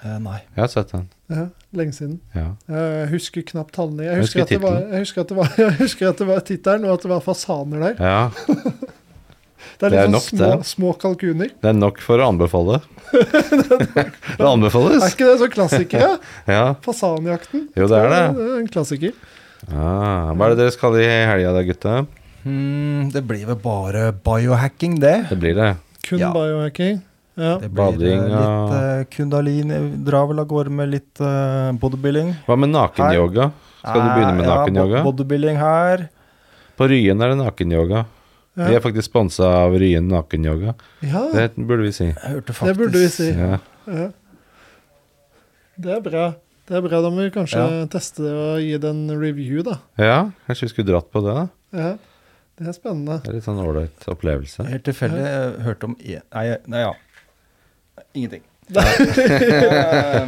Speaker 1: Eh, nei.
Speaker 2: Jeg har sett den.
Speaker 3: Ja, lenge siden.
Speaker 2: Ja.
Speaker 3: Jeg husker knapt tallene. Jeg
Speaker 2: Jeg
Speaker 3: husker,
Speaker 2: husker
Speaker 3: at det var, jeg husker at det var, [laughs] jeg husker at det var tittelen, og at det var fasaner der.
Speaker 2: ja.
Speaker 3: Det er
Speaker 2: Det er
Speaker 3: litt sånn
Speaker 2: nok
Speaker 3: små,
Speaker 2: det.
Speaker 3: små kalkuner.
Speaker 2: Det er nok for å anbefale. det
Speaker 3: Er
Speaker 2: anbefales.
Speaker 3: ikke det så
Speaker 2: [laughs]
Speaker 3: klassiker, ja?
Speaker 2: Ja.
Speaker 3: Fasanjakten.
Speaker 2: Jo, det er det.
Speaker 3: er en klassiker.
Speaker 2: Ah, hva er det dere skal i helga da, gutta?
Speaker 1: Hmm, det blir vel bare biohacking, det.
Speaker 2: Det blir det.
Speaker 3: Kun
Speaker 1: Ja.
Speaker 3: biohacking. Ja.
Speaker 1: Det blir eh,
Speaker 2: Bading,
Speaker 1: litt
Speaker 2: ja.
Speaker 1: eh, kundalini, drar vel av gårde med litt eh, bodybuilding.
Speaker 2: Hva med nakenyoga? Skal du begynne med
Speaker 1: Eh, ja,
Speaker 2: nakenyoga?
Speaker 1: bo- Bodybuilding her.
Speaker 2: På Ryen er det nakenyoga. Vi
Speaker 3: Ja.
Speaker 2: er faktisk sponsa av Ryen nakenyoga.
Speaker 3: ja,
Speaker 2: Det burde vi si.
Speaker 1: Jeg hørte faktisk
Speaker 3: det burde vi si.
Speaker 2: Ja.
Speaker 3: Ja. Det er bra. Det er bra. Da må vi kanskje teste det og gi det en review, da.
Speaker 2: ja, kanskje vi skulle dratt på det? da?
Speaker 3: Ja. Det er spennende.
Speaker 2: Det er litt sånn ålreit opplevelse.
Speaker 1: Helt tilfeldig jeg hørte om e Nei, nei, ja. Ingenting. [laughs] Eh,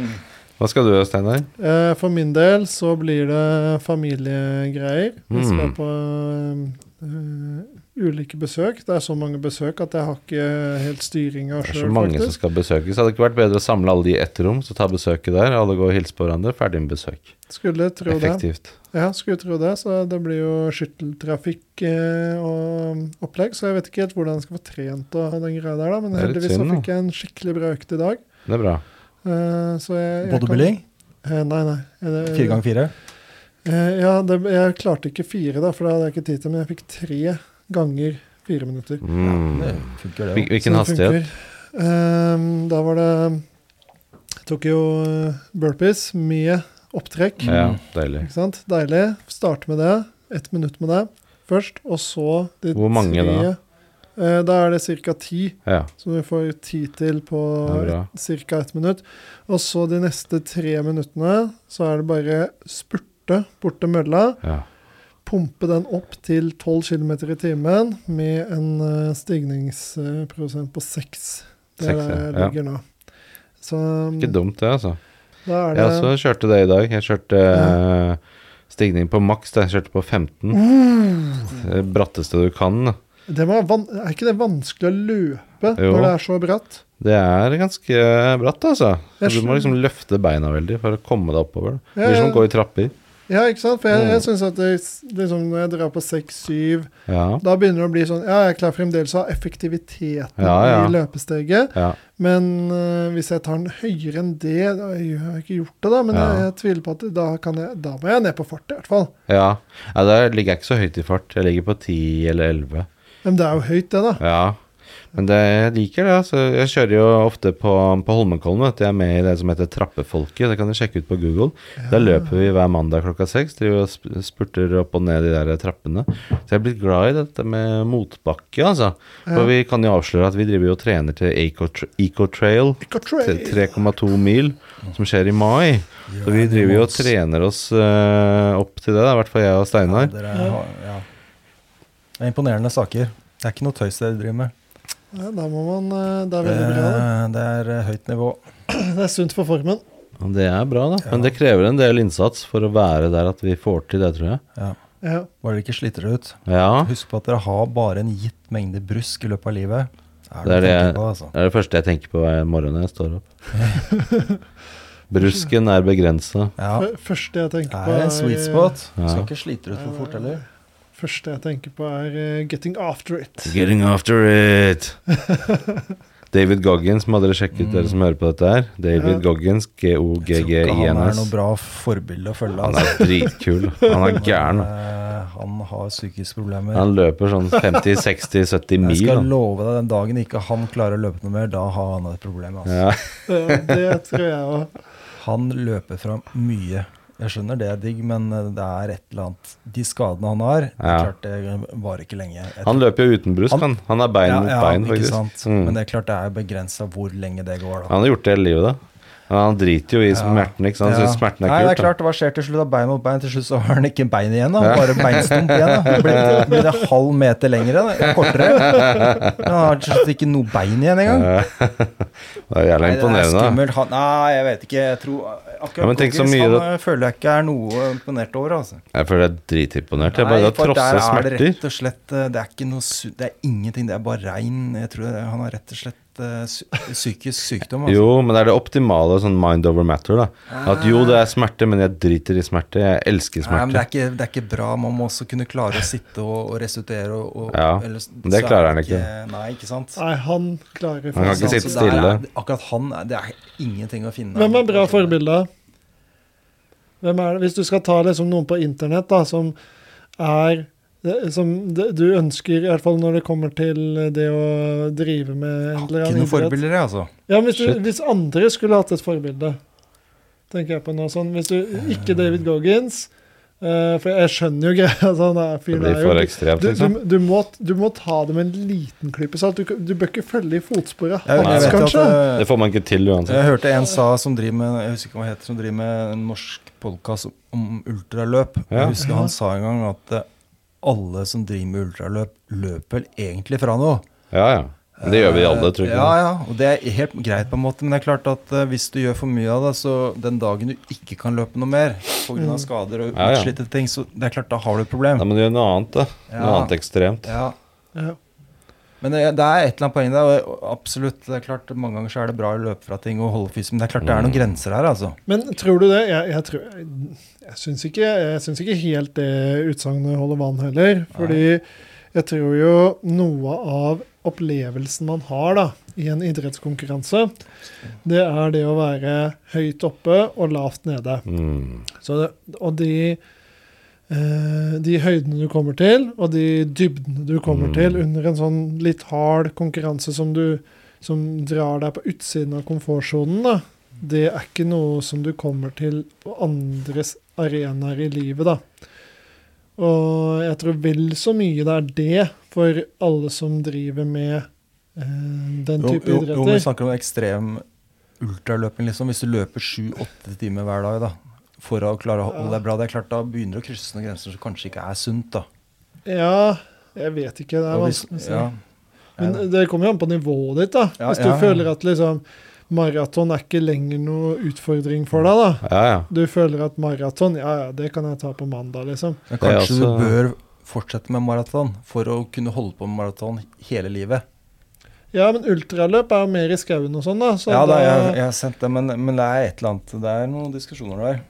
Speaker 2: Hva skal du, Steinar?
Speaker 3: Eh, For min del så blir det familiegreier. Vi skal
Speaker 2: Mm.
Speaker 3: på eh, ulike besøk. Det er så mange besøk at jeg har ikke helt styringa
Speaker 2: Det er så
Speaker 3: sjøl,
Speaker 2: mange som
Speaker 3: faktisk.
Speaker 2: skal besøkes. Hadde det ikke vært bedre å samle alle de i ett rom, så ta besøket der, alle går og hilser på hverandre, ferdig med besøk.
Speaker 3: Skulle tro det.
Speaker 2: Effektivt.
Speaker 3: Ja, skulle tro det. Så det blir jo skytteltrafikk eh, og opplegg. Så jeg vet ikke helt hvordan jeg skal få trent og den greia der, da. Men
Speaker 2: Det er litt
Speaker 3: heldigvis så
Speaker 2: synd, da.
Speaker 3: fikk jeg en skikkelig bra økt i dag.
Speaker 2: Det er bra.
Speaker 3: Eh, så jeg, jeg
Speaker 1: Bodybuilding,
Speaker 3: kan- Eh, nei, nei. Eh,
Speaker 1: fire ganger fire.
Speaker 3: Eh, ja, det, jeg klarte ikke fire, da, for det hadde jeg ikke tid til. Men jeg fikk tre ganger fire minutter.
Speaker 2: Mm.
Speaker 1: Det funker, det.
Speaker 2: Hvil- Hvilken
Speaker 3: Så det
Speaker 2: hastighet?
Speaker 3: funker. Eh, da var det Jeg tok jo eh, burpees med opptrekk.
Speaker 1: Mm.
Speaker 2: Ja, deilig.
Speaker 3: Ikke sant? Deilig. Starte med det. Ett minutt med det først, og så de
Speaker 2: Hvor mange da?
Speaker 3: Eh, Da er det ca. ti,
Speaker 2: Ja.
Speaker 3: så du får ti til på
Speaker 2: Det er bra.
Speaker 3: ca. ett minutt. Og så de neste tre minuttene, så er det bare spurte bort til mølla.
Speaker 2: ja.
Speaker 3: Pumpe den opp til 12 km i timen med en eh, stigningsprosent på 6. Det er
Speaker 2: Seks,
Speaker 3: der
Speaker 2: ja.
Speaker 3: jeg
Speaker 2: Ja.
Speaker 3: ligger nå. Så mm,
Speaker 2: Ikke dumt, det, altså.
Speaker 3: da er
Speaker 2: Jeg
Speaker 3: det
Speaker 2: også kjørte det i dag. Jeg kjørte eh, stigning på maks. da. Jeg kjørte på 15.
Speaker 3: Mm.
Speaker 2: Det bratteste du kan. da.
Speaker 3: Det var van er ikke det vanskelig å løpe
Speaker 2: Jo.
Speaker 3: når det er så bratt?
Speaker 2: Det er ganske bratt, altså. Så
Speaker 3: Jeg
Speaker 2: du må
Speaker 3: skjønner.
Speaker 2: liksom løfte beina veldig for å komme deg oppover. da. Det
Speaker 3: Ja,
Speaker 2: blir som
Speaker 3: ja.
Speaker 2: å gå i trapper.
Speaker 3: Ja, ikke sant? For jeg,
Speaker 2: Mm.
Speaker 3: jeg syns at det, liksom, når jeg drar på 6-7,
Speaker 2: Ja.
Speaker 3: da begynner det å bli sånn Ja, jeg klarer fremdeles å ha effektiviteten
Speaker 2: Ja, ja.
Speaker 3: i løpesteget,
Speaker 2: ja.
Speaker 3: men øh, hvis jeg tar den høyere enn det da, Jeg har ikke gjort det, da, men
Speaker 2: Ja.
Speaker 3: jeg, jeg tviler på at da, kan jeg, da må jeg ned på fart, i hvert fall.
Speaker 2: ja. ja der ligger jeg ikke så høyt i fart. Jeg ligger på 10 eller 11.
Speaker 3: Men det er jo høyt, det, da.
Speaker 2: Ja. Men det, jeg liker det. Altså. Jeg kjører jo ofte på, på Holmenkollen. vet du. Jeg er med i det som heter Trappefolket. Det kan du sjekke ut på Google. Der løper vi hver mandag klokka seks. Driver og sp- spurter opp og ned de der trappene. Så jeg er blitt glad i dette med motbakke, altså. For vi kan jo avsløre at vi driver jo og trener til Ecotra- Ecotrail.
Speaker 3: Eh, Ikke å
Speaker 2: tre-
Speaker 3: trail.
Speaker 2: 3,2 mil, som skjer i mai. Så vi driver jo og trener oss eh, opp til det, da, i hvert fall jeg
Speaker 1: Ja,
Speaker 2: og Steinar.
Speaker 1: dere har- ja. Det er imponerende saker. Det er ikke noe tøys dere driver med.
Speaker 3: Ja, da må man øh, Det er
Speaker 1: Det,
Speaker 3: veldig bra. Da.
Speaker 1: det er eh, høyt nivå.
Speaker 3: Det er sunt for formen.
Speaker 2: Og Det er bra, da. Men
Speaker 1: Ja.
Speaker 2: det krever en del innsats for å være der at vi får til det, tror jeg.
Speaker 1: Ja.
Speaker 3: Ja.
Speaker 1: Bare dere ikke sliter dere ut.
Speaker 2: Ja.
Speaker 1: Husk på at dere har bare en gitt mengde brusk i løpet av livet.
Speaker 2: Det er
Speaker 1: å
Speaker 2: det
Speaker 1: tenke
Speaker 2: jeg-
Speaker 1: på, altså.
Speaker 2: Det er det første jeg tenker på hver morgen når jeg står opp.
Speaker 1: [laughs]
Speaker 2: Brusken er begrensa.
Speaker 1: Ja,
Speaker 3: Fø- Første jeg tenker
Speaker 1: det
Speaker 3: på eh,
Speaker 1: er en sweet spot. Du
Speaker 2: Ja.
Speaker 1: skal ikke slite deg ut for fort heller.
Speaker 3: Første jeg tenker på, er eh, 'Getting After It'.
Speaker 2: Getting after it. David Goggins, må dere sjekke ut, dere som hører på dette her. David Goggins,
Speaker 1: Jeg tror ikke han er
Speaker 2: G-O-G-G-I-N-S.
Speaker 1: noe bra forbilde å følge.
Speaker 2: Han
Speaker 1: Altså.
Speaker 2: er dritkul. Han er gæren.
Speaker 1: Eh, Han har psykiske problemer.
Speaker 2: Han løper sånn 50-60-70
Speaker 1: jeg
Speaker 2: mil.
Speaker 1: skal
Speaker 2: han.
Speaker 1: love deg, den dagen ikke han klarer å løpe noe mer, da har han et problem. Altså.
Speaker 2: Ja.
Speaker 3: Eh, Det tror jeg òg.
Speaker 1: Han løper fra mye. Jeg skjønner det er digg, men eh, det er et eller annet De skadene han har, det er
Speaker 2: Ja.
Speaker 1: klart det varer ikke lenge. Jeg
Speaker 2: Han løper jo uten brusk, han. Han er bein mot bein,
Speaker 1: ikke sant?
Speaker 2: faktisk.
Speaker 1: Men
Speaker 2: Mm.
Speaker 1: det er klart det er begrensa hvor lenge det går. da.
Speaker 2: Han har gjort det hele livet, da. Men Han driter jo i smerten, ikke sant. Han
Speaker 1: Ja.
Speaker 2: syns smerten er
Speaker 1: Nei, det er
Speaker 2: kult. da.
Speaker 1: klart, hva skjer til slutt? da? Bein mot bein, til slutt så har han ikke bein igjen. da.
Speaker 2: Ja.
Speaker 1: Bare beinstump igjen. da. Det Blir, det blir det halv meter lengre, da. kortere. Men Han har til slutt ikke noe bein igjen engang.
Speaker 2: Det er jævla
Speaker 1: Nei, det er
Speaker 2: imponerende. da.
Speaker 1: skummelt. Han, nei, jeg vet ikke. Jeg tror akkurat
Speaker 2: Ja, men tenk så
Speaker 1: Goggins,
Speaker 2: mye
Speaker 1: han
Speaker 2: det-
Speaker 1: eh, føler jeg ikke er noe imponert over. altså.
Speaker 2: Jeg føler jeg er dritimponert. Jeg bare
Speaker 1: Nei,
Speaker 2: nei,
Speaker 1: for der
Speaker 2: trosser
Speaker 1: er det
Speaker 2: smerter.
Speaker 1: rett og slett eh, Det er ikke noe su Det er ingenting. Det er bare rein Jeg tror det- han har rett og slett eh, sy- psykisk sykdom. Altså.
Speaker 2: Jo, men det er det optimale sånn mind over matter, da. At jo, det er smerte, men jeg driter i smerte. Jeg elsker
Speaker 1: Nei, men det
Speaker 2: smerte.
Speaker 1: er, ikke, det er ikke bra. Man må også kunne klare å sitte og, og restituere. Og, og,
Speaker 2: Ja,
Speaker 1: ellers-
Speaker 2: men det
Speaker 1: så er
Speaker 2: klarer han
Speaker 1: Nei, ikke sant?
Speaker 3: Nei, eh, han klarer
Speaker 2: Han kan ikke
Speaker 1: Så-
Speaker 3: faen
Speaker 2: sitte
Speaker 1: så der er-
Speaker 2: stille.
Speaker 1: Akkurat han er- Det er ingenting å finne.
Speaker 3: Hvem er bra forbilde? Hvem er det? Hvis du skal ta liksom noen på internett da, som er som det- du ønsker, i hvert fall når det kommer til det å drive med en eller
Speaker 1: Ikke
Speaker 3: annen
Speaker 1: noen
Speaker 3: idrett.
Speaker 1: forbilder, jeg, altså.
Speaker 3: Ja, men hvis, du,
Speaker 2: Shit.
Speaker 3: hvis andre skulle hatt et forbilde, tenker jeg på noe sånn. Hvis du, ikke David Goggins, eh, for jeg skjønner jo greia. [laughs] Altså, han er
Speaker 2: Det
Speaker 3: fyren
Speaker 2: blir
Speaker 3: er
Speaker 2: for
Speaker 3: jo
Speaker 2: ekstremt,
Speaker 3: du,
Speaker 2: liksom.
Speaker 3: du, du, må, du må ta det med en liten klype salt. Du, kan- du bør ikke følge i fotsporet
Speaker 1: Jeg, jeg vet
Speaker 3: hans,
Speaker 1: at,
Speaker 3: kanskje.
Speaker 1: eh,
Speaker 2: Det får man ikke til uansett.
Speaker 1: Jeg hørte en sa som driver med jeg husker ikke hva han heter, som driver med en norsk podkast om ultraløp.
Speaker 2: Ja.
Speaker 1: Jeg husker han sa en gang at eh, alle som driver med ultraløp, løper vel egentlig fra noe.
Speaker 2: Ja, ja. Men det gjør vi alle, tror jeg.
Speaker 1: Ja, ja, og det er helt greit på en måte, men det er klart at eh, hvis du gjør for mye av det, så den dagen du ikke kan løpe noe mer pga.
Speaker 3: Mm.
Speaker 1: skader og
Speaker 2: Ja, ja.
Speaker 1: utslitte ting, så det er klart da har du et problem.
Speaker 2: Da må du gjøre noe annet, da. Noe
Speaker 1: Ja.
Speaker 2: annet ekstremt.
Speaker 1: Ja,
Speaker 3: Ja.
Speaker 1: Men det, det er et eller annet poeng der. og Absolutt. det er klart Mange ganger så er det bra å løpe fra ting og holde fysen, men det er klart det er
Speaker 2: Mm.
Speaker 1: noen grenser her, altså.
Speaker 3: Men tror du det? Jeg, jeg, tror- jeg, jeg syns ikke, jeg syns ikke helt det utsagnet holder vann heller. Fordi jeg tror jo noe av opplevelsen man har da, i en idrettskonkurranse, det er det å være høyt oppe og lavt nede.
Speaker 2: Mm.
Speaker 3: Så det, og de, eh, de høydene du kommer til, og de dybdene du kommer
Speaker 2: Mm.
Speaker 3: til under en sånn litt hard konkurranse som, du, som drar deg på utsiden av komfortsonen, da, det er ikke noe som du kommer til på andres arenaer i livet, da. Og jeg tror vel så mye det er det for alle som driver med eh, den
Speaker 1: Jo,
Speaker 3: type
Speaker 1: jo, jo, men vi
Speaker 3: idretter.
Speaker 1: snakker om ekstrem ultraløping, liksom. Hvis du løper sju-åtte timer hver dag da, for å klare å holde deg bra, det er klart da begynner du å krysse noen grenser som kanskje ikke er sunt. da.
Speaker 3: ja, jeg vet ikke. Det er
Speaker 1: Og hvis-
Speaker 3: vanskelig å si.
Speaker 1: ja. Ja,
Speaker 3: Men det kommer jo an på nivået ditt, da.
Speaker 1: Ja,
Speaker 3: Hvis du
Speaker 1: ja, ja.
Speaker 3: føler at liksom maraton er ikke lenger noe utfordring for deg, da.
Speaker 2: Ja, ja.
Speaker 3: Du føler at maraton, ja ja, det kan jeg ta på mandag, liksom.
Speaker 1: Men
Speaker 2: Det er
Speaker 1: kanskje
Speaker 2: altså-
Speaker 1: du bør fortsette med maraton for å kunne holde på med maraton hele livet.
Speaker 3: Ja, men ultraløp er jo mer i skauen og sånn, da. Så
Speaker 1: Ja, da, jeg,
Speaker 3: da-
Speaker 1: jeg har sett det, men, men det er et eller annet, det er noen diskusjoner der.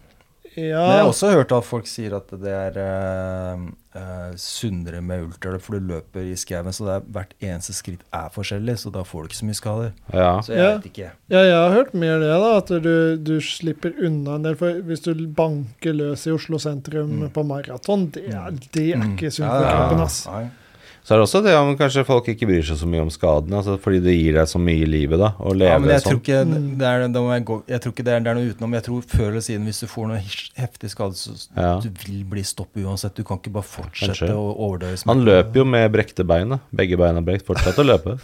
Speaker 3: ja,
Speaker 1: Men jeg har også hørt at folk sier at det er eh, eh, sunnere med ultraløp, for du løper i skauen, så det er, hvert eneste skritt er forskjellig, så da får du ikke så mye skader.
Speaker 2: ja.
Speaker 1: Så jeg
Speaker 3: Ja.
Speaker 1: vet ikke.
Speaker 3: ja, jeg har hørt mer det, da. At du, du slipper unna en del. For hvis du banker løs i Oslo sentrum
Speaker 1: Mm.
Speaker 3: på maraton, det, er- det er
Speaker 1: Mm.
Speaker 3: ikke sunt
Speaker 1: Ja,
Speaker 3: for
Speaker 1: ja,
Speaker 3: kroppen,
Speaker 1: ja.
Speaker 3: ass.
Speaker 1: Nei.
Speaker 2: Så er det også det om kanskje folk ikke bryr seg så mye om skadene, altså fordi det gir deg så mye i livet da, å leve
Speaker 1: Ja, men jeg tror
Speaker 2: sånn.
Speaker 1: ikke
Speaker 3: Mm.
Speaker 1: det er, da må jeg gå, jeg tror ikke det, er, det er noe utenom. Jeg tror før eller siden, hvis du får noe hish- heftig skade, så s-
Speaker 2: Ja.
Speaker 1: du vil bli stoppet uansett. Du kan ikke bare fortsette
Speaker 2: Kanskje.
Speaker 1: å overdøye
Speaker 2: Han
Speaker 1: smerten.
Speaker 2: løper jo med brekte bein, da. Begge beina brekt. Fortsett å
Speaker 1: [laughs]
Speaker 2: løpe.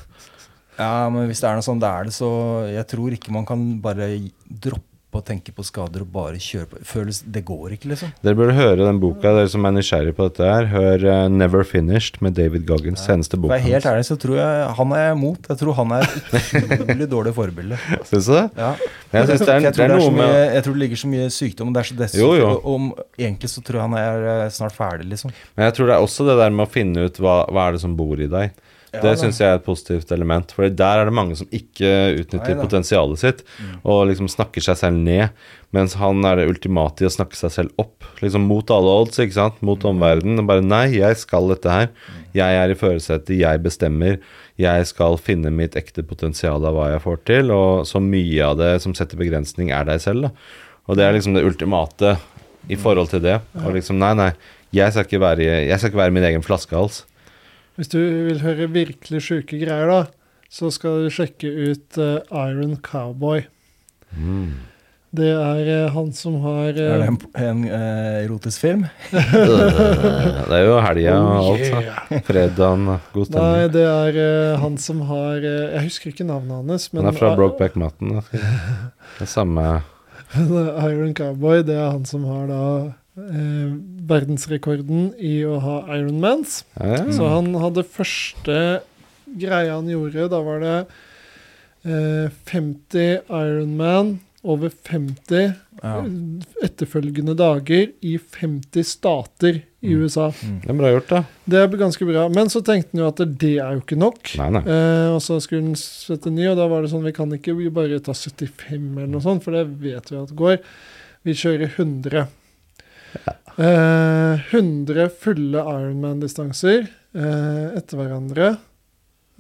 Speaker 1: Ja, men hvis det er noe sånn det er det, så jeg tror ikke man kan bare gi- droppe å tenke på skader og bare kjøre på. Føles, det går ikke, liksom.
Speaker 2: Dere burde høre den boka, dere som er nysgjerrig på dette her. Hør eh, 'Never Finished' med David Goggins, seneste
Speaker 1: For
Speaker 2: boka
Speaker 1: jeg er helt
Speaker 2: hans.
Speaker 1: ærlig, så tror jeg han er jeg imot. Jeg tror han er et utrolig [laughs] dårlig forbilde.
Speaker 2: Syns du det?
Speaker 1: Ja.
Speaker 2: Jeg synes det er-
Speaker 1: For altså. jeg tror
Speaker 2: det er
Speaker 1: så
Speaker 2: noe med-
Speaker 1: mye- Jeg tror det ligger så mye sykdom, og det er så
Speaker 2: Jo,
Speaker 1: destruktivt.
Speaker 2: jo.
Speaker 1: og- og Egentlig så tror jeg han er eh, snart ferdig, liksom.
Speaker 2: Men jeg tror det er også det der med å finne ut hva, hva er det som bor i deg.
Speaker 1: Ja,
Speaker 2: det
Speaker 1: da.
Speaker 2: syns jeg er et positivt element. For der er det mange som ikke
Speaker 1: Nei
Speaker 2: utnytter
Speaker 1: da.
Speaker 2: potensialet sitt, og liksom snakker seg selv ned. Mens han er det ultimate i å snakke seg selv opp. Liksom mot alle odds, ikke sant. Mot omverdenen. og Bare nei, jeg skal dette her. Jeg er i førersetet, jeg bestemmer. Jeg skal finne mitt ekte potensial av hva jeg får til. Og så mye av det som setter begrensning, er deg selv, da. Og det er liksom det ultimate i forhold til det. Og liksom, nei, nei, jeg skal ikke være, jeg skal ikke være min egen flaskehals.
Speaker 3: Hvis du vil høre virkelig sjuke greier, da, så skal du sjekke ut eh, Iron Cowboy. Det er eh, han som har eh,
Speaker 1: Er det en, en eh, erotisk film?
Speaker 2: [laughs] det er jo helga og
Speaker 3: Oh,
Speaker 2: alt, så. Fredagen, god
Speaker 3: Nei,
Speaker 2: stemning.
Speaker 3: det er eh, han som har eh, Jeg husker ikke navnet hans, men
Speaker 2: Han er fra
Speaker 3: I- [laughs]
Speaker 2: Brokeback Mountain. da. Det er samme
Speaker 3: Iron Cowboy det er han som har da eh, verdensrekorden i å ha Ironmans.
Speaker 2: ja, ja.
Speaker 3: Så han hadde første greia han gjorde, da var det eh, 50 Ironman over 50
Speaker 1: Ja.
Speaker 3: Mm. etterfølgende dager i 50 stater i
Speaker 1: Mm.
Speaker 3: USA.
Speaker 2: Det er bra gjort, da.
Speaker 3: Det er ganske bra. Men så tenkte han jo at det er jo ikke nok.
Speaker 2: Nei, nei.
Speaker 3: Eh, og så skulle han sette ny, og da var det sånn vi kan ikke vi bare ta 75 eller noe sånt, for det vet vi at går. Vi kjører 100. Eh, 100 fulle Ironman-distanser eh, etter hverandre.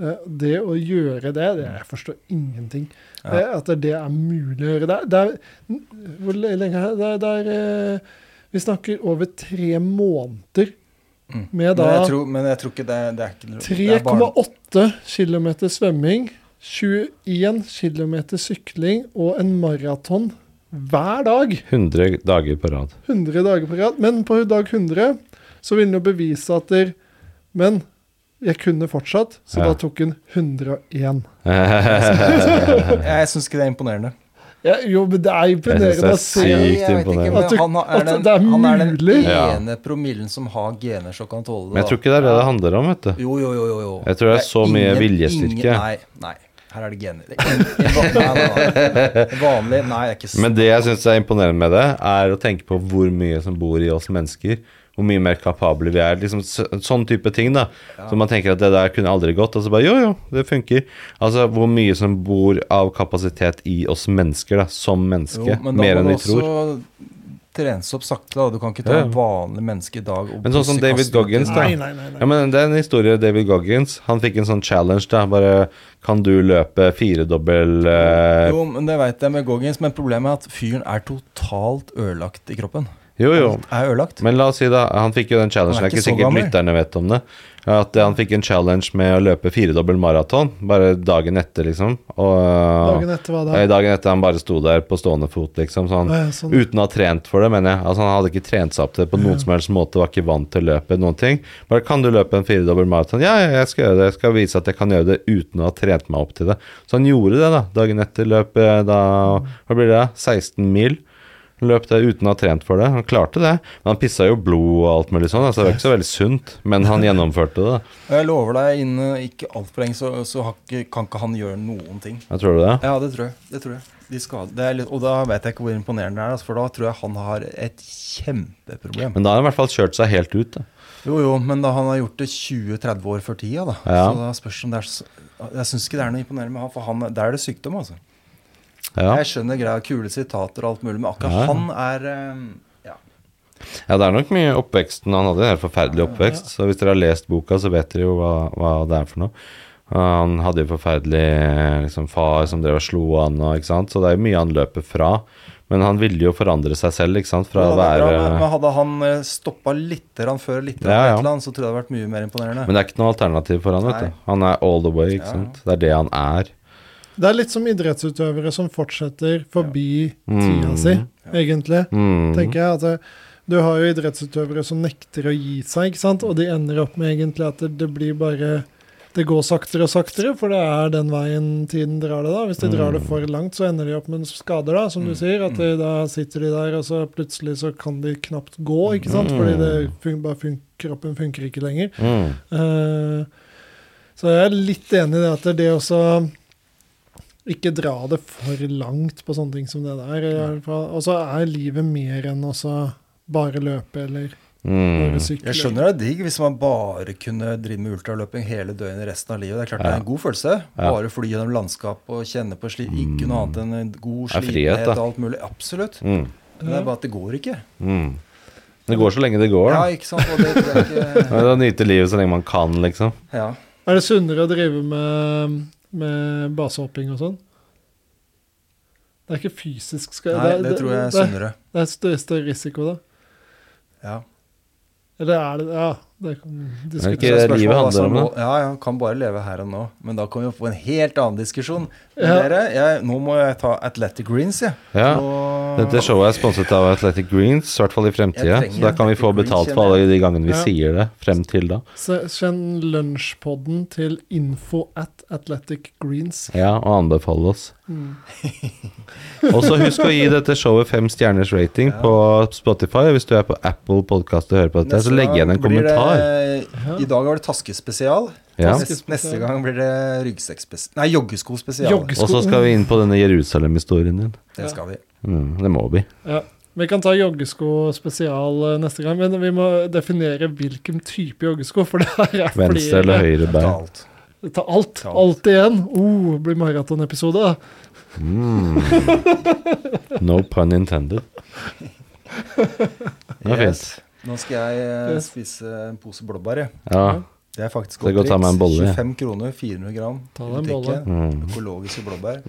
Speaker 3: Eh, det å gjøre det, det jeg forstår ingenting.
Speaker 1: Ja.
Speaker 3: Det, at det er mulig å gjøre. Det, er- det er Hvor le- lenge er det? Det er, det er eh, Vi snakker over tre måneder
Speaker 1: Mm.
Speaker 3: med
Speaker 1: men,
Speaker 3: da
Speaker 1: jeg tror, men jeg tror ikke det, det er ikke det er bare-
Speaker 3: 3,8 km svømming, 21 km sykling og en maraton hver dag.
Speaker 2: 100 dager på rad. [laughs]
Speaker 3: 100 dager på rad. Men på dag 100 så ville han jo bevise at der, Men jeg kunne fortsatt, så
Speaker 2: Ja.
Speaker 3: da tok han 101.
Speaker 1: Jeg syns ikke det er imponerende.
Speaker 3: Ja, jo, men det er
Speaker 2: Jeg synes det
Speaker 3: imponerende
Speaker 2: er
Speaker 3: å se.
Speaker 2: sykt.
Speaker 1: Jeg vet ikke,
Speaker 2: imponerende.
Speaker 1: men
Speaker 3: At du-
Speaker 1: han
Speaker 3: at
Speaker 1: er den,
Speaker 3: det er
Speaker 1: han er den
Speaker 3: mulig.
Speaker 2: Ja.
Speaker 1: ene promillen som har gener som kan tåle det.
Speaker 2: Men jeg
Speaker 1: da.
Speaker 2: tror ikke det er det det handler om, vet du.
Speaker 1: Jo, jo, jo. jo, jo.
Speaker 2: Jeg tror det er så mye viljestyrke.
Speaker 1: Ingen, nei, nei. Her er det gener. Det er ingen- nei, nei, nei. Vanlig Nei, det er ikke s-
Speaker 2: Men det jeg syns er imponerende med det, er å tenke på hvor mye som bor i oss mennesker. hvor mye mer kapable vi er. Liksom s- sånn type ting, da. Så man tenker at det der kunne aldri gått. Og så bare jo, jo, det funker. Altså hvor mye som bor av kapasitet i oss mennesker, da. Som menneske. mer enn vi tror.
Speaker 1: også trenes opp sakte. da. Du kan ikke ta
Speaker 2: Ja, ja.
Speaker 1: en vanlig menneske i dag og
Speaker 2: Men sånn som
Speaker 1: plutselig
Speaker 2: David
Speaker 1: kaste ut
Speaker 2: Goggins, da.
Speaker 1: en-
Speaker 3: Nei, nei, nei.
Speaker 2: Ja,
Speaker 3: nei.
Speaker 2: men Det er en historie David Goggins. Han fikk en sånn challenge. da, Bare Kan du løpe firedobbel eh,
Speaker 1: Jo, men det veit jeg med Goggins, men problemet er at fyren er totalt ødelagt i kroppen.
Speaker 2: Jo, jo.
Speaker 1: Alt er ødelagt.
Speaker 2: Men la oss si, da. Han fikk jo den challengen.
Speaker 1: Han er
Speaker 2: Det er
Speaker 1: ikke
Speaker 2: ikke
Speaker 1: så
Speaker 2: sikkert
Speaker 1: gammel.
Speaker 2: lytterne vet om det. At eh, han fikk en challenge med å løpe firedobbel maraton bare dagen etter, liksom. Og
Speaker 3: Dagen etter hva da?
Speaker 2: eh, dagen etter han bare sto der på stående fot, liksom. Sånn.
Speaker 3: Å, ja, sånn.
Speaker 2: Uten å ha trent for det, mener jeg. Altså, han hadde ikke trent seg opp til det på noen som helst måte, var ikke vant til løpet, noen ting. Bare 'Kan du løpe en firedobbel maraton?' Ja, ja, jeg skal gjøre det. Jeg skal vise at jeg kan gjøre det uten å ha trent meg opp til det. Så han gjorde det, da. Dagen etter løp eh, da Hva blir det? da? 16 mil. Løp det uten å ha trent for det. Han klarte det. Men han pissa jo blod og alt mulig sånn, altså det var ikke så veldig sunt. Men
Speaker 3: [laughs]
Speaker 2: han gjennomførte det, da.
Speaker 1: Og Jeg lover deg, innen ikke altfor lenge så, så har ikke, kan ikke han gjøre noen ting.
Speaker 2: Jeg tror det.
Speaker 1: Ja, det tror jeg. Det tror jeg. De skal, det er litt, og da vet jeg ikke hvor imponerende det er, altså, for da tror jeg han har et kjempeproblem.
Speaker 2: Men da har han i hvert fall kjørt seg helt ut, da.
Speaker 1: Jo, jo, men da han har gjort det 20-30 år før tida, da.
Speaker 2: Ja.
Speaker 1: Så da spørs det om det er så, Jeg syns ikke det er noe imponerende med han, for han, der er det sykdom, altså.
Speaker 2: Ja.
Speaker 1: Jeg skjønner greia, kule sitater og alt mulig, men akkurat
Speaker 2: Ja, ja.
Speaker 1: han er eh, ja.
Speaker 2: Ja, det er nok mye oppveksten. Han hadde en helt forferdelig oppvekst. Så hvis dere har lest boka, så vet dere jo hva, hva det er for noe. Og Han hadde jo forferdelig liksom, far som drev og slo han, og, ikke sant? så det er jo mye han løper fra. Men han ville jo forandre seg selv, ikke sant, fra
Speaker 1: Ja,
Speaker 2: å
Speaker 1: det er bra,
Speaker 2: være
Speaker 1: men- Men hadde han stoppa litt grann før, litt grann
Speaker 2: eh, Ja,
Speaker 1: et
Speaker 2: ja.
Speaker 1: eller annet, så tror jeg det hadde vært mye mer imponerende.
Speaker 2: Men det er ikke noe alternativ for han, vet
Speaker 1: Nei.
Speaker 2: du. Han er all the way, ikke
Speaker 1: Ja.
Speaker 2: sant. Det er det han er.
Speaker 3: Det er litt som idrettsutøvere som fortsetter forbi
Speaker 2: Mm.
Speaker 3: tida si, egentlig.
Speaker 2: Mm.
Speaker 3: tenker jeg. at det- du har jo idrettsutøvere som nekter å gi seg, ikke sant? og de ender opp med egentlig at det, det blir bare Det går saktere og saktere, for det er den veien tiden drar det. da. Hvis de drar det for langt, så ender de opp med skader, da, som du sier. at de, Da sitter de der, og så plutselig så kan de knapt gå, ikke sant? fordi det fun bare fun kroppen funker ikke lenger.
Speaker 2: Mm.
Speaker 3: Eh, så jeg er litt enig i det at det også Ikke dra det for langt på sånne ting som det der. i hvert fall. Og så er livet mer enn også bare løpe eller
Speaker 2: Mm.
Speaker 3: bare sykle.
Speaker 1: Jeg skjønner det er digg hvis man bare kunne drive med ultraløping hele døgnet resten av livet. Det er klart det er en god følelse.
Speaker 2: Ja. Mm.
Speaker 1: Bare fly gjennom landskap og kjenne på sli ikke noe annet enn en god
Speaker 2: Det er frihet,
Speaker 1: slitenhet
Speaker 2: da.
Speaker 1: og alt mulig. Absolutt.
Speaker 2: Mm.
Speaker 1: Men det er bare at det går ikke.
Speaker 2: Mm. Det går så lenge det går,
Speaker 1: Ja,
Speaker 2: da.
Speaker 1: ikke sant. Og det tror jeg
Speaker 2: [laughs]
Speaker 1: ikke
Speaker 2: Ja, Nyte livet så lenge man kan, liksom.
Speaker 1: Ja.
Speaker 3: Er det sunnere å drive med, med basehopping og sånn? Det er ikke fysisk skal,
Speaker 1: Nei, det tror jeg er
Speaker 3: det,
Speaker 1: sunnere.
Speaker 3: det er større, større risiko, da.
Speaker 1: Ja.
Speaker 3: Eller er det Ja, det kan
Speaker 2: ikke-
Speaker 3: diskuteres.
Speaker 1: Så spørsmålet
Speaker 2: livet
Speaker 1: er
Speaker 2: handler om
Speaker 1: sånn, Ja, ja, kan bare leve her og nå. Men da kommer vi opp på en helt annen diskusjon. Men
Speaker 3: Ja.
Speaker 1: Dere, jeg, nå må jeg ta Athletic Greens, jeg.
Speaker 2: Ja.
Speaker 1: Nå-
Speaker 2: Dette showet er sponset av Athletic Greens, i hvert fall i fremtida.
Speaker 1: Jeg trenger
Speaker 2: Så da kan vi få
Speaker 1: Athletic
Speaker 2: betalt
Speaker 1: Greens,
Speaker 2: for alle de gangene vi
Speaker 3: Ja.
Speaker 2: sier det, frem til da.
Speaker 3: Så Send lunsjpodden til info at Athletic Greens.
Speaker 2: Ja, og anbefale oss.
Speaker 3: Mm.
Speaker 2: Og så husk å gi dette showet fem stjerners rating
Speaker 1: Ja.
Speaker 2: på Spotify. Hvis du er på Apple Podcast og hører på dette,
Speaker 1: Neste
Speaker 2: så legg igjen en
Speaker 1: gang blir
Speaker 2: kommentar.
Speaker 1: Det, I dag var det taskespesial.
Speaker 2: Ja.
Speaker 1: Neste, neste gang blir det ryggsekkspesial Nei, joggeskospesial.
Speaker 3: Joggesko.
Speaker 2: Og så skal vi inn på denne Jerusalem-historien din.
Speaker 1: Det skal vi.
Speaker 2: Mm, det må vi.
Speaker 3: Ja. Vi kan ta joggesko spesial eh, neste gang, men vi må definere hvilken type joggesko. For det her er
Speaker 2: Venstre eller høyre
Speaker 1: Ta
Speaker 2: bein.
Speaker 1: alt.
Speaker 3: Ta alt.
Speaker 1: Ta alt.
Speaker 3: Alt igjen. Oh, blir maratonepisode. da.
Speaker 2: Mm. No pun intended. Det var fint.
Speaker 1: Yes. Nå skal jeg eh,
Speaker 3: Yes.
Speaker 1: spise en pose blåbær. jeg.
Speaker 2: Ja.
Speaker 1: Det er faktisk
Speaker 2: Det er
Speaker 1: godt
Speaker 2: godt å ta med en bolle, ja.
Speaker 1: 25 kroner, 400 gram.
Speaker 3: Ta
Speaker 1: i
Speaker 3: deg en
Speaker 1: butikken.
Speaker 2: Mm.
Speaker 1: Økologiske blåbær.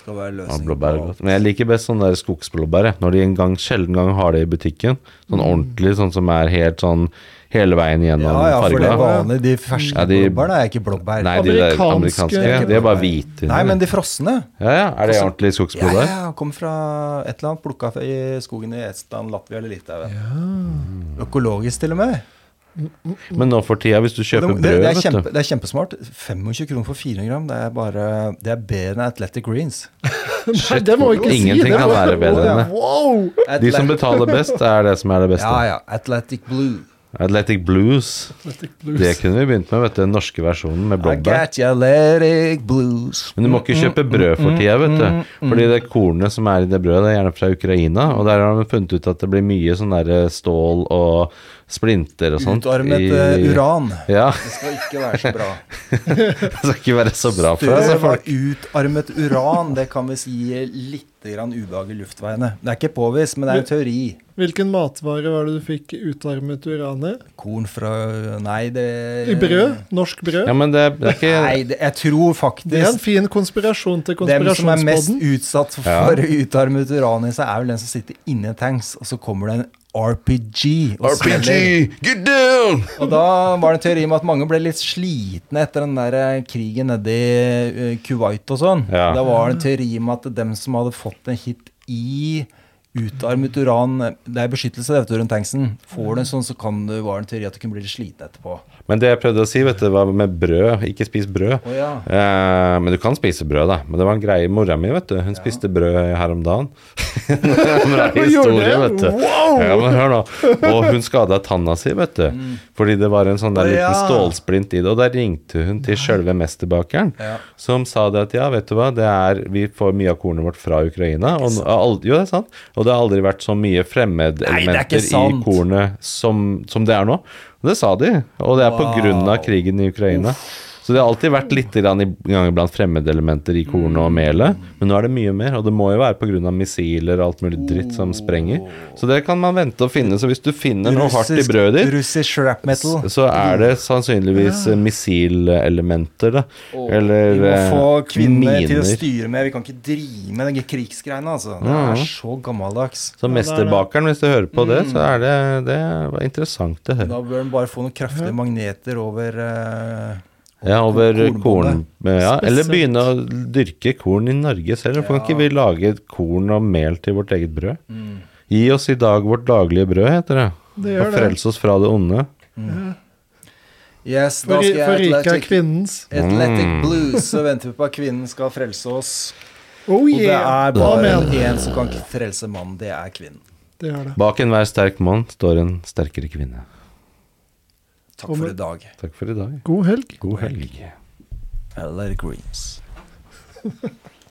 Speaker 1: Skal være
Speaker 2: Ja,
Speaker 1: løsningen.
Speaker 2: blåbær er
Speaker 1: på alt.
Speaker 2: godt. Men jeg liker best sånne der skogsblåbær. jeg. Når de en gang, sjelden gang har det i butikken. Sånn ordentlig, sånn som er helt sånn hele veien gjennom
Speaker 1: Ja, ja, for det
Speaker 2: farga.
Speaker 1: er vanlig. De ferske
Speaker 2: Ja, de-
Speaker 1: blåbærene er ikke blåbær.
Speaker 2: Nei, de der
Speaker 3: Amerikanske-
Speaker 2: amerikanske, de er bare hvite.
Speaker 1: Nei, men de frosne.
Speaker 2: Ja, ja, Er det ordentlig
Speaker 1: Ja,
Speaker 2: skogsblåbær?
Speaker 1: ja, kom fra et eller annet plukka i skogen i Estland, Latvia eller Litauen. Økologisk til og med.
Speaker 2: Men nå for tida, hvis du
Speaker 1: Det,
Speaker 2: kjøper
Speaker 1: det,
Speaker 2: brød,
Speaker 1: er
Speaker 2: vet
Speaker 1: kjempe,
Speaker 2: du
Speaker 1: det er kjempesmart. 25 kroner for 400 gram, det er bare Det er bedre enn Athletic Greens.
Speaker 3: Nei, det må vi ikke si.
Speaker 2: Ingenting
Speaker 3: det
Speaker 2: kan
Speaker 3: må-
Speaker 2: være bedre enn det.
Speaker 3: Wow!
Speaker 2: De som betaler best, er det som er det beste.
Speaker 1: Ja, ja. Athletic Blue.
Speaker 2: Atlantic Blues.
Speaker 3: Athletic Blues.
Speaker 2: Det kunne vi begynt med, vet du. Den norske versjonen med
Speaker 1: I
Speaker 2: blåbær.
Speaker 1: got you Atlantic blues.
Speaker 2: Men du må ikke kjøpe brød for tida, vet du. Fordi det kornet som er i det brødet, det er gjerne fra Ukraina. Og der har de funnet ut at det blir mye sånn der stål og splinter og sånt.
Speaker 1: Utarmet
Speaker 2: i-
Speaker 1: eh, uran.
Speaker 2: Ja, [laughs]
Speaker 1: Det skal ikke være så bra.
Speaker 2: det skal ikke være så bra for deg. så
Speaker 1: Støv
Speaker 2: folk-
Speaker 1: av utarmet uran, det kan visst gi litt grann ubehag i luftveiene. Det er ikke påvist, men det er en teori.
Speaker 3: Hvilken matvare var det du fikk utarmet uran i?
Speaker 1: Korn fra Nei, det
Speaker 3: I brød? Norsk brød?
Speaker 2: Ja, men det, det er ikke
Speaker 1: Nei, det, jeg tror faktisk
Speaker 3: Det er en fin konspirasjon til
Speaker 1: Dem som er mest
Speaker 3: konspirasjonspodden.
Speaker 1: utsatt for
Speaker 2: Ja.
Speaker 1: utarmet uran i seg, er vel den som sitter inni tanks, og så kommer det en RPG. Og, smeller.
Speaker 2: RPG, get down!
Speaker 1: og da var det en teori om at mange ble litt slitne etter den der eh, krigen nede i eh, Kuwait og sånn.
Speaker 2: Ja.
Speaker 1: Da var det en teori om at dem som hadde fått en hit i utarmet uran Det er beskyttelse det vet du, rundt tanksen. Får du en sånn, så kan du, var det en teori at du kunne bli litt sliten etterpå.
Speaker 2: Men det jeg prøvde å si, vet du, var med brød. Ikke spis brød.
Speaker 1: Å ja.
Speaker 2: Eh, men du kan spise brød, da. Men det var en greie mora mi, vet du. Hun spiste brød her
Speaker 1: [laughs]
Speaker 2: om dagen. en bra historie,
Speaker 3: Gjorde det?
Speaker 2: vet du. Ja, men hør nå. Og hun skada tanna si, vet du. Fordi det var en sånn der
Speaker 1: Mm. Å,
Speaker 2: liten
Speaker 1: ja.
Speaker 2: stålsplint i det. Og da ringte hun til sjølve mesterbakeren,
Speaker 1: Ja.
Speaker 2: som sa det at ja, vet du hva, det er, vi får mye av kornet vårt fra Ukraina. Og, nå- al- jo, det er sant. Og det har aldri vært så mye
Speaker 1: Nei, det er
Speaker 2: fremmedelementer
Speaker 1: ikke
Speaker 2: i
Speaker 1: sant.
Speaker 2: kornet som, som det er nå. Og det sa de. Og det er på
Speaker 1: Wow.
Speaker 2: grunn av krigen i Ukraina. Så det har alltid vært litt grann i ganger blant fremmedelementer i kornet og
Speaker 1: Mm.
Speaker 2: melet. Men nå er det mye mer, og det må jo være pga. missiler og alt mulig dritt som sprenger. Så det kan man vente å finne. Så hvis du finner noe hardt i
Speaker 1: Russisk-
Speaker 2: brødet ditt,
Speaker 1: Russisk rap metal.
Speaker 2: så er det sannsynligvis eh, missilelementer, da. Eller
Speaker 1: Vi må få
Speaker 2: eh,
Speaker 1: kvinner til å
Speaker 2: miner.
Speaker 1: styre med. Vi kan ikke drive med de krigsgreiene, altså. Det
Speaker 3: Mm.
Speaker 1: er så gammeldags.
Speaker 2: Så
Speaker 3: Ja, det er det.
Speaker 2: mesterbakeren, hvis du hører på det, så
Speaker 1: Mm.
Speaker 2: er det, det var interessant å høre.
Speaker 1: Da bør den bare få noen kraftige magneter over eh,
Speaker 2: Ja, over
Speaker 1: kornbonde.
Speaker 2: korn. Ja, eller
Speaker 3: Spesielt.
Speaker 2: begynne å dyrke korn i Norge selv. For kan ikke vi lage korn og mel til vårt eget brød? Gi oss i dag vårt daglige brød, heter det.
Speaker 3: Mm. Det gjør
Speaker 2: og
Speaker 3: det.
Speaker 2: frels oss fra det onde.
Speaker 1: Yes, da
Speaker 3: For,
Speaker 1: Mm. skal
Speaker 3: for Mm.
Speaker 1: jeg
Speaker 3: riket er
Speaker 1: Atlantic,
Speaker 3: kvinnens.
Speaker 1: Atlantic Blues, så venter vi på at kvinnen skal frelse oss.
Speaker 3: Oh
Speaker 1: Og det
Speaker 3: yeah!
Speaker 1: er bare
Speaker 3: Amen.
Speaker 1: én som kan frelse mannen, det er kvinnen.
Speaker 3: Det gjør det.
Speaker 2: Bak enhver sterk mann står en sterkere kvinne.
Speaker 1: Takk for i dag.
Speaker 2: Takk for i dag.
Speaker 3: God helg.
Speaker 2: God helg.
Speaker 1: Eller Greens.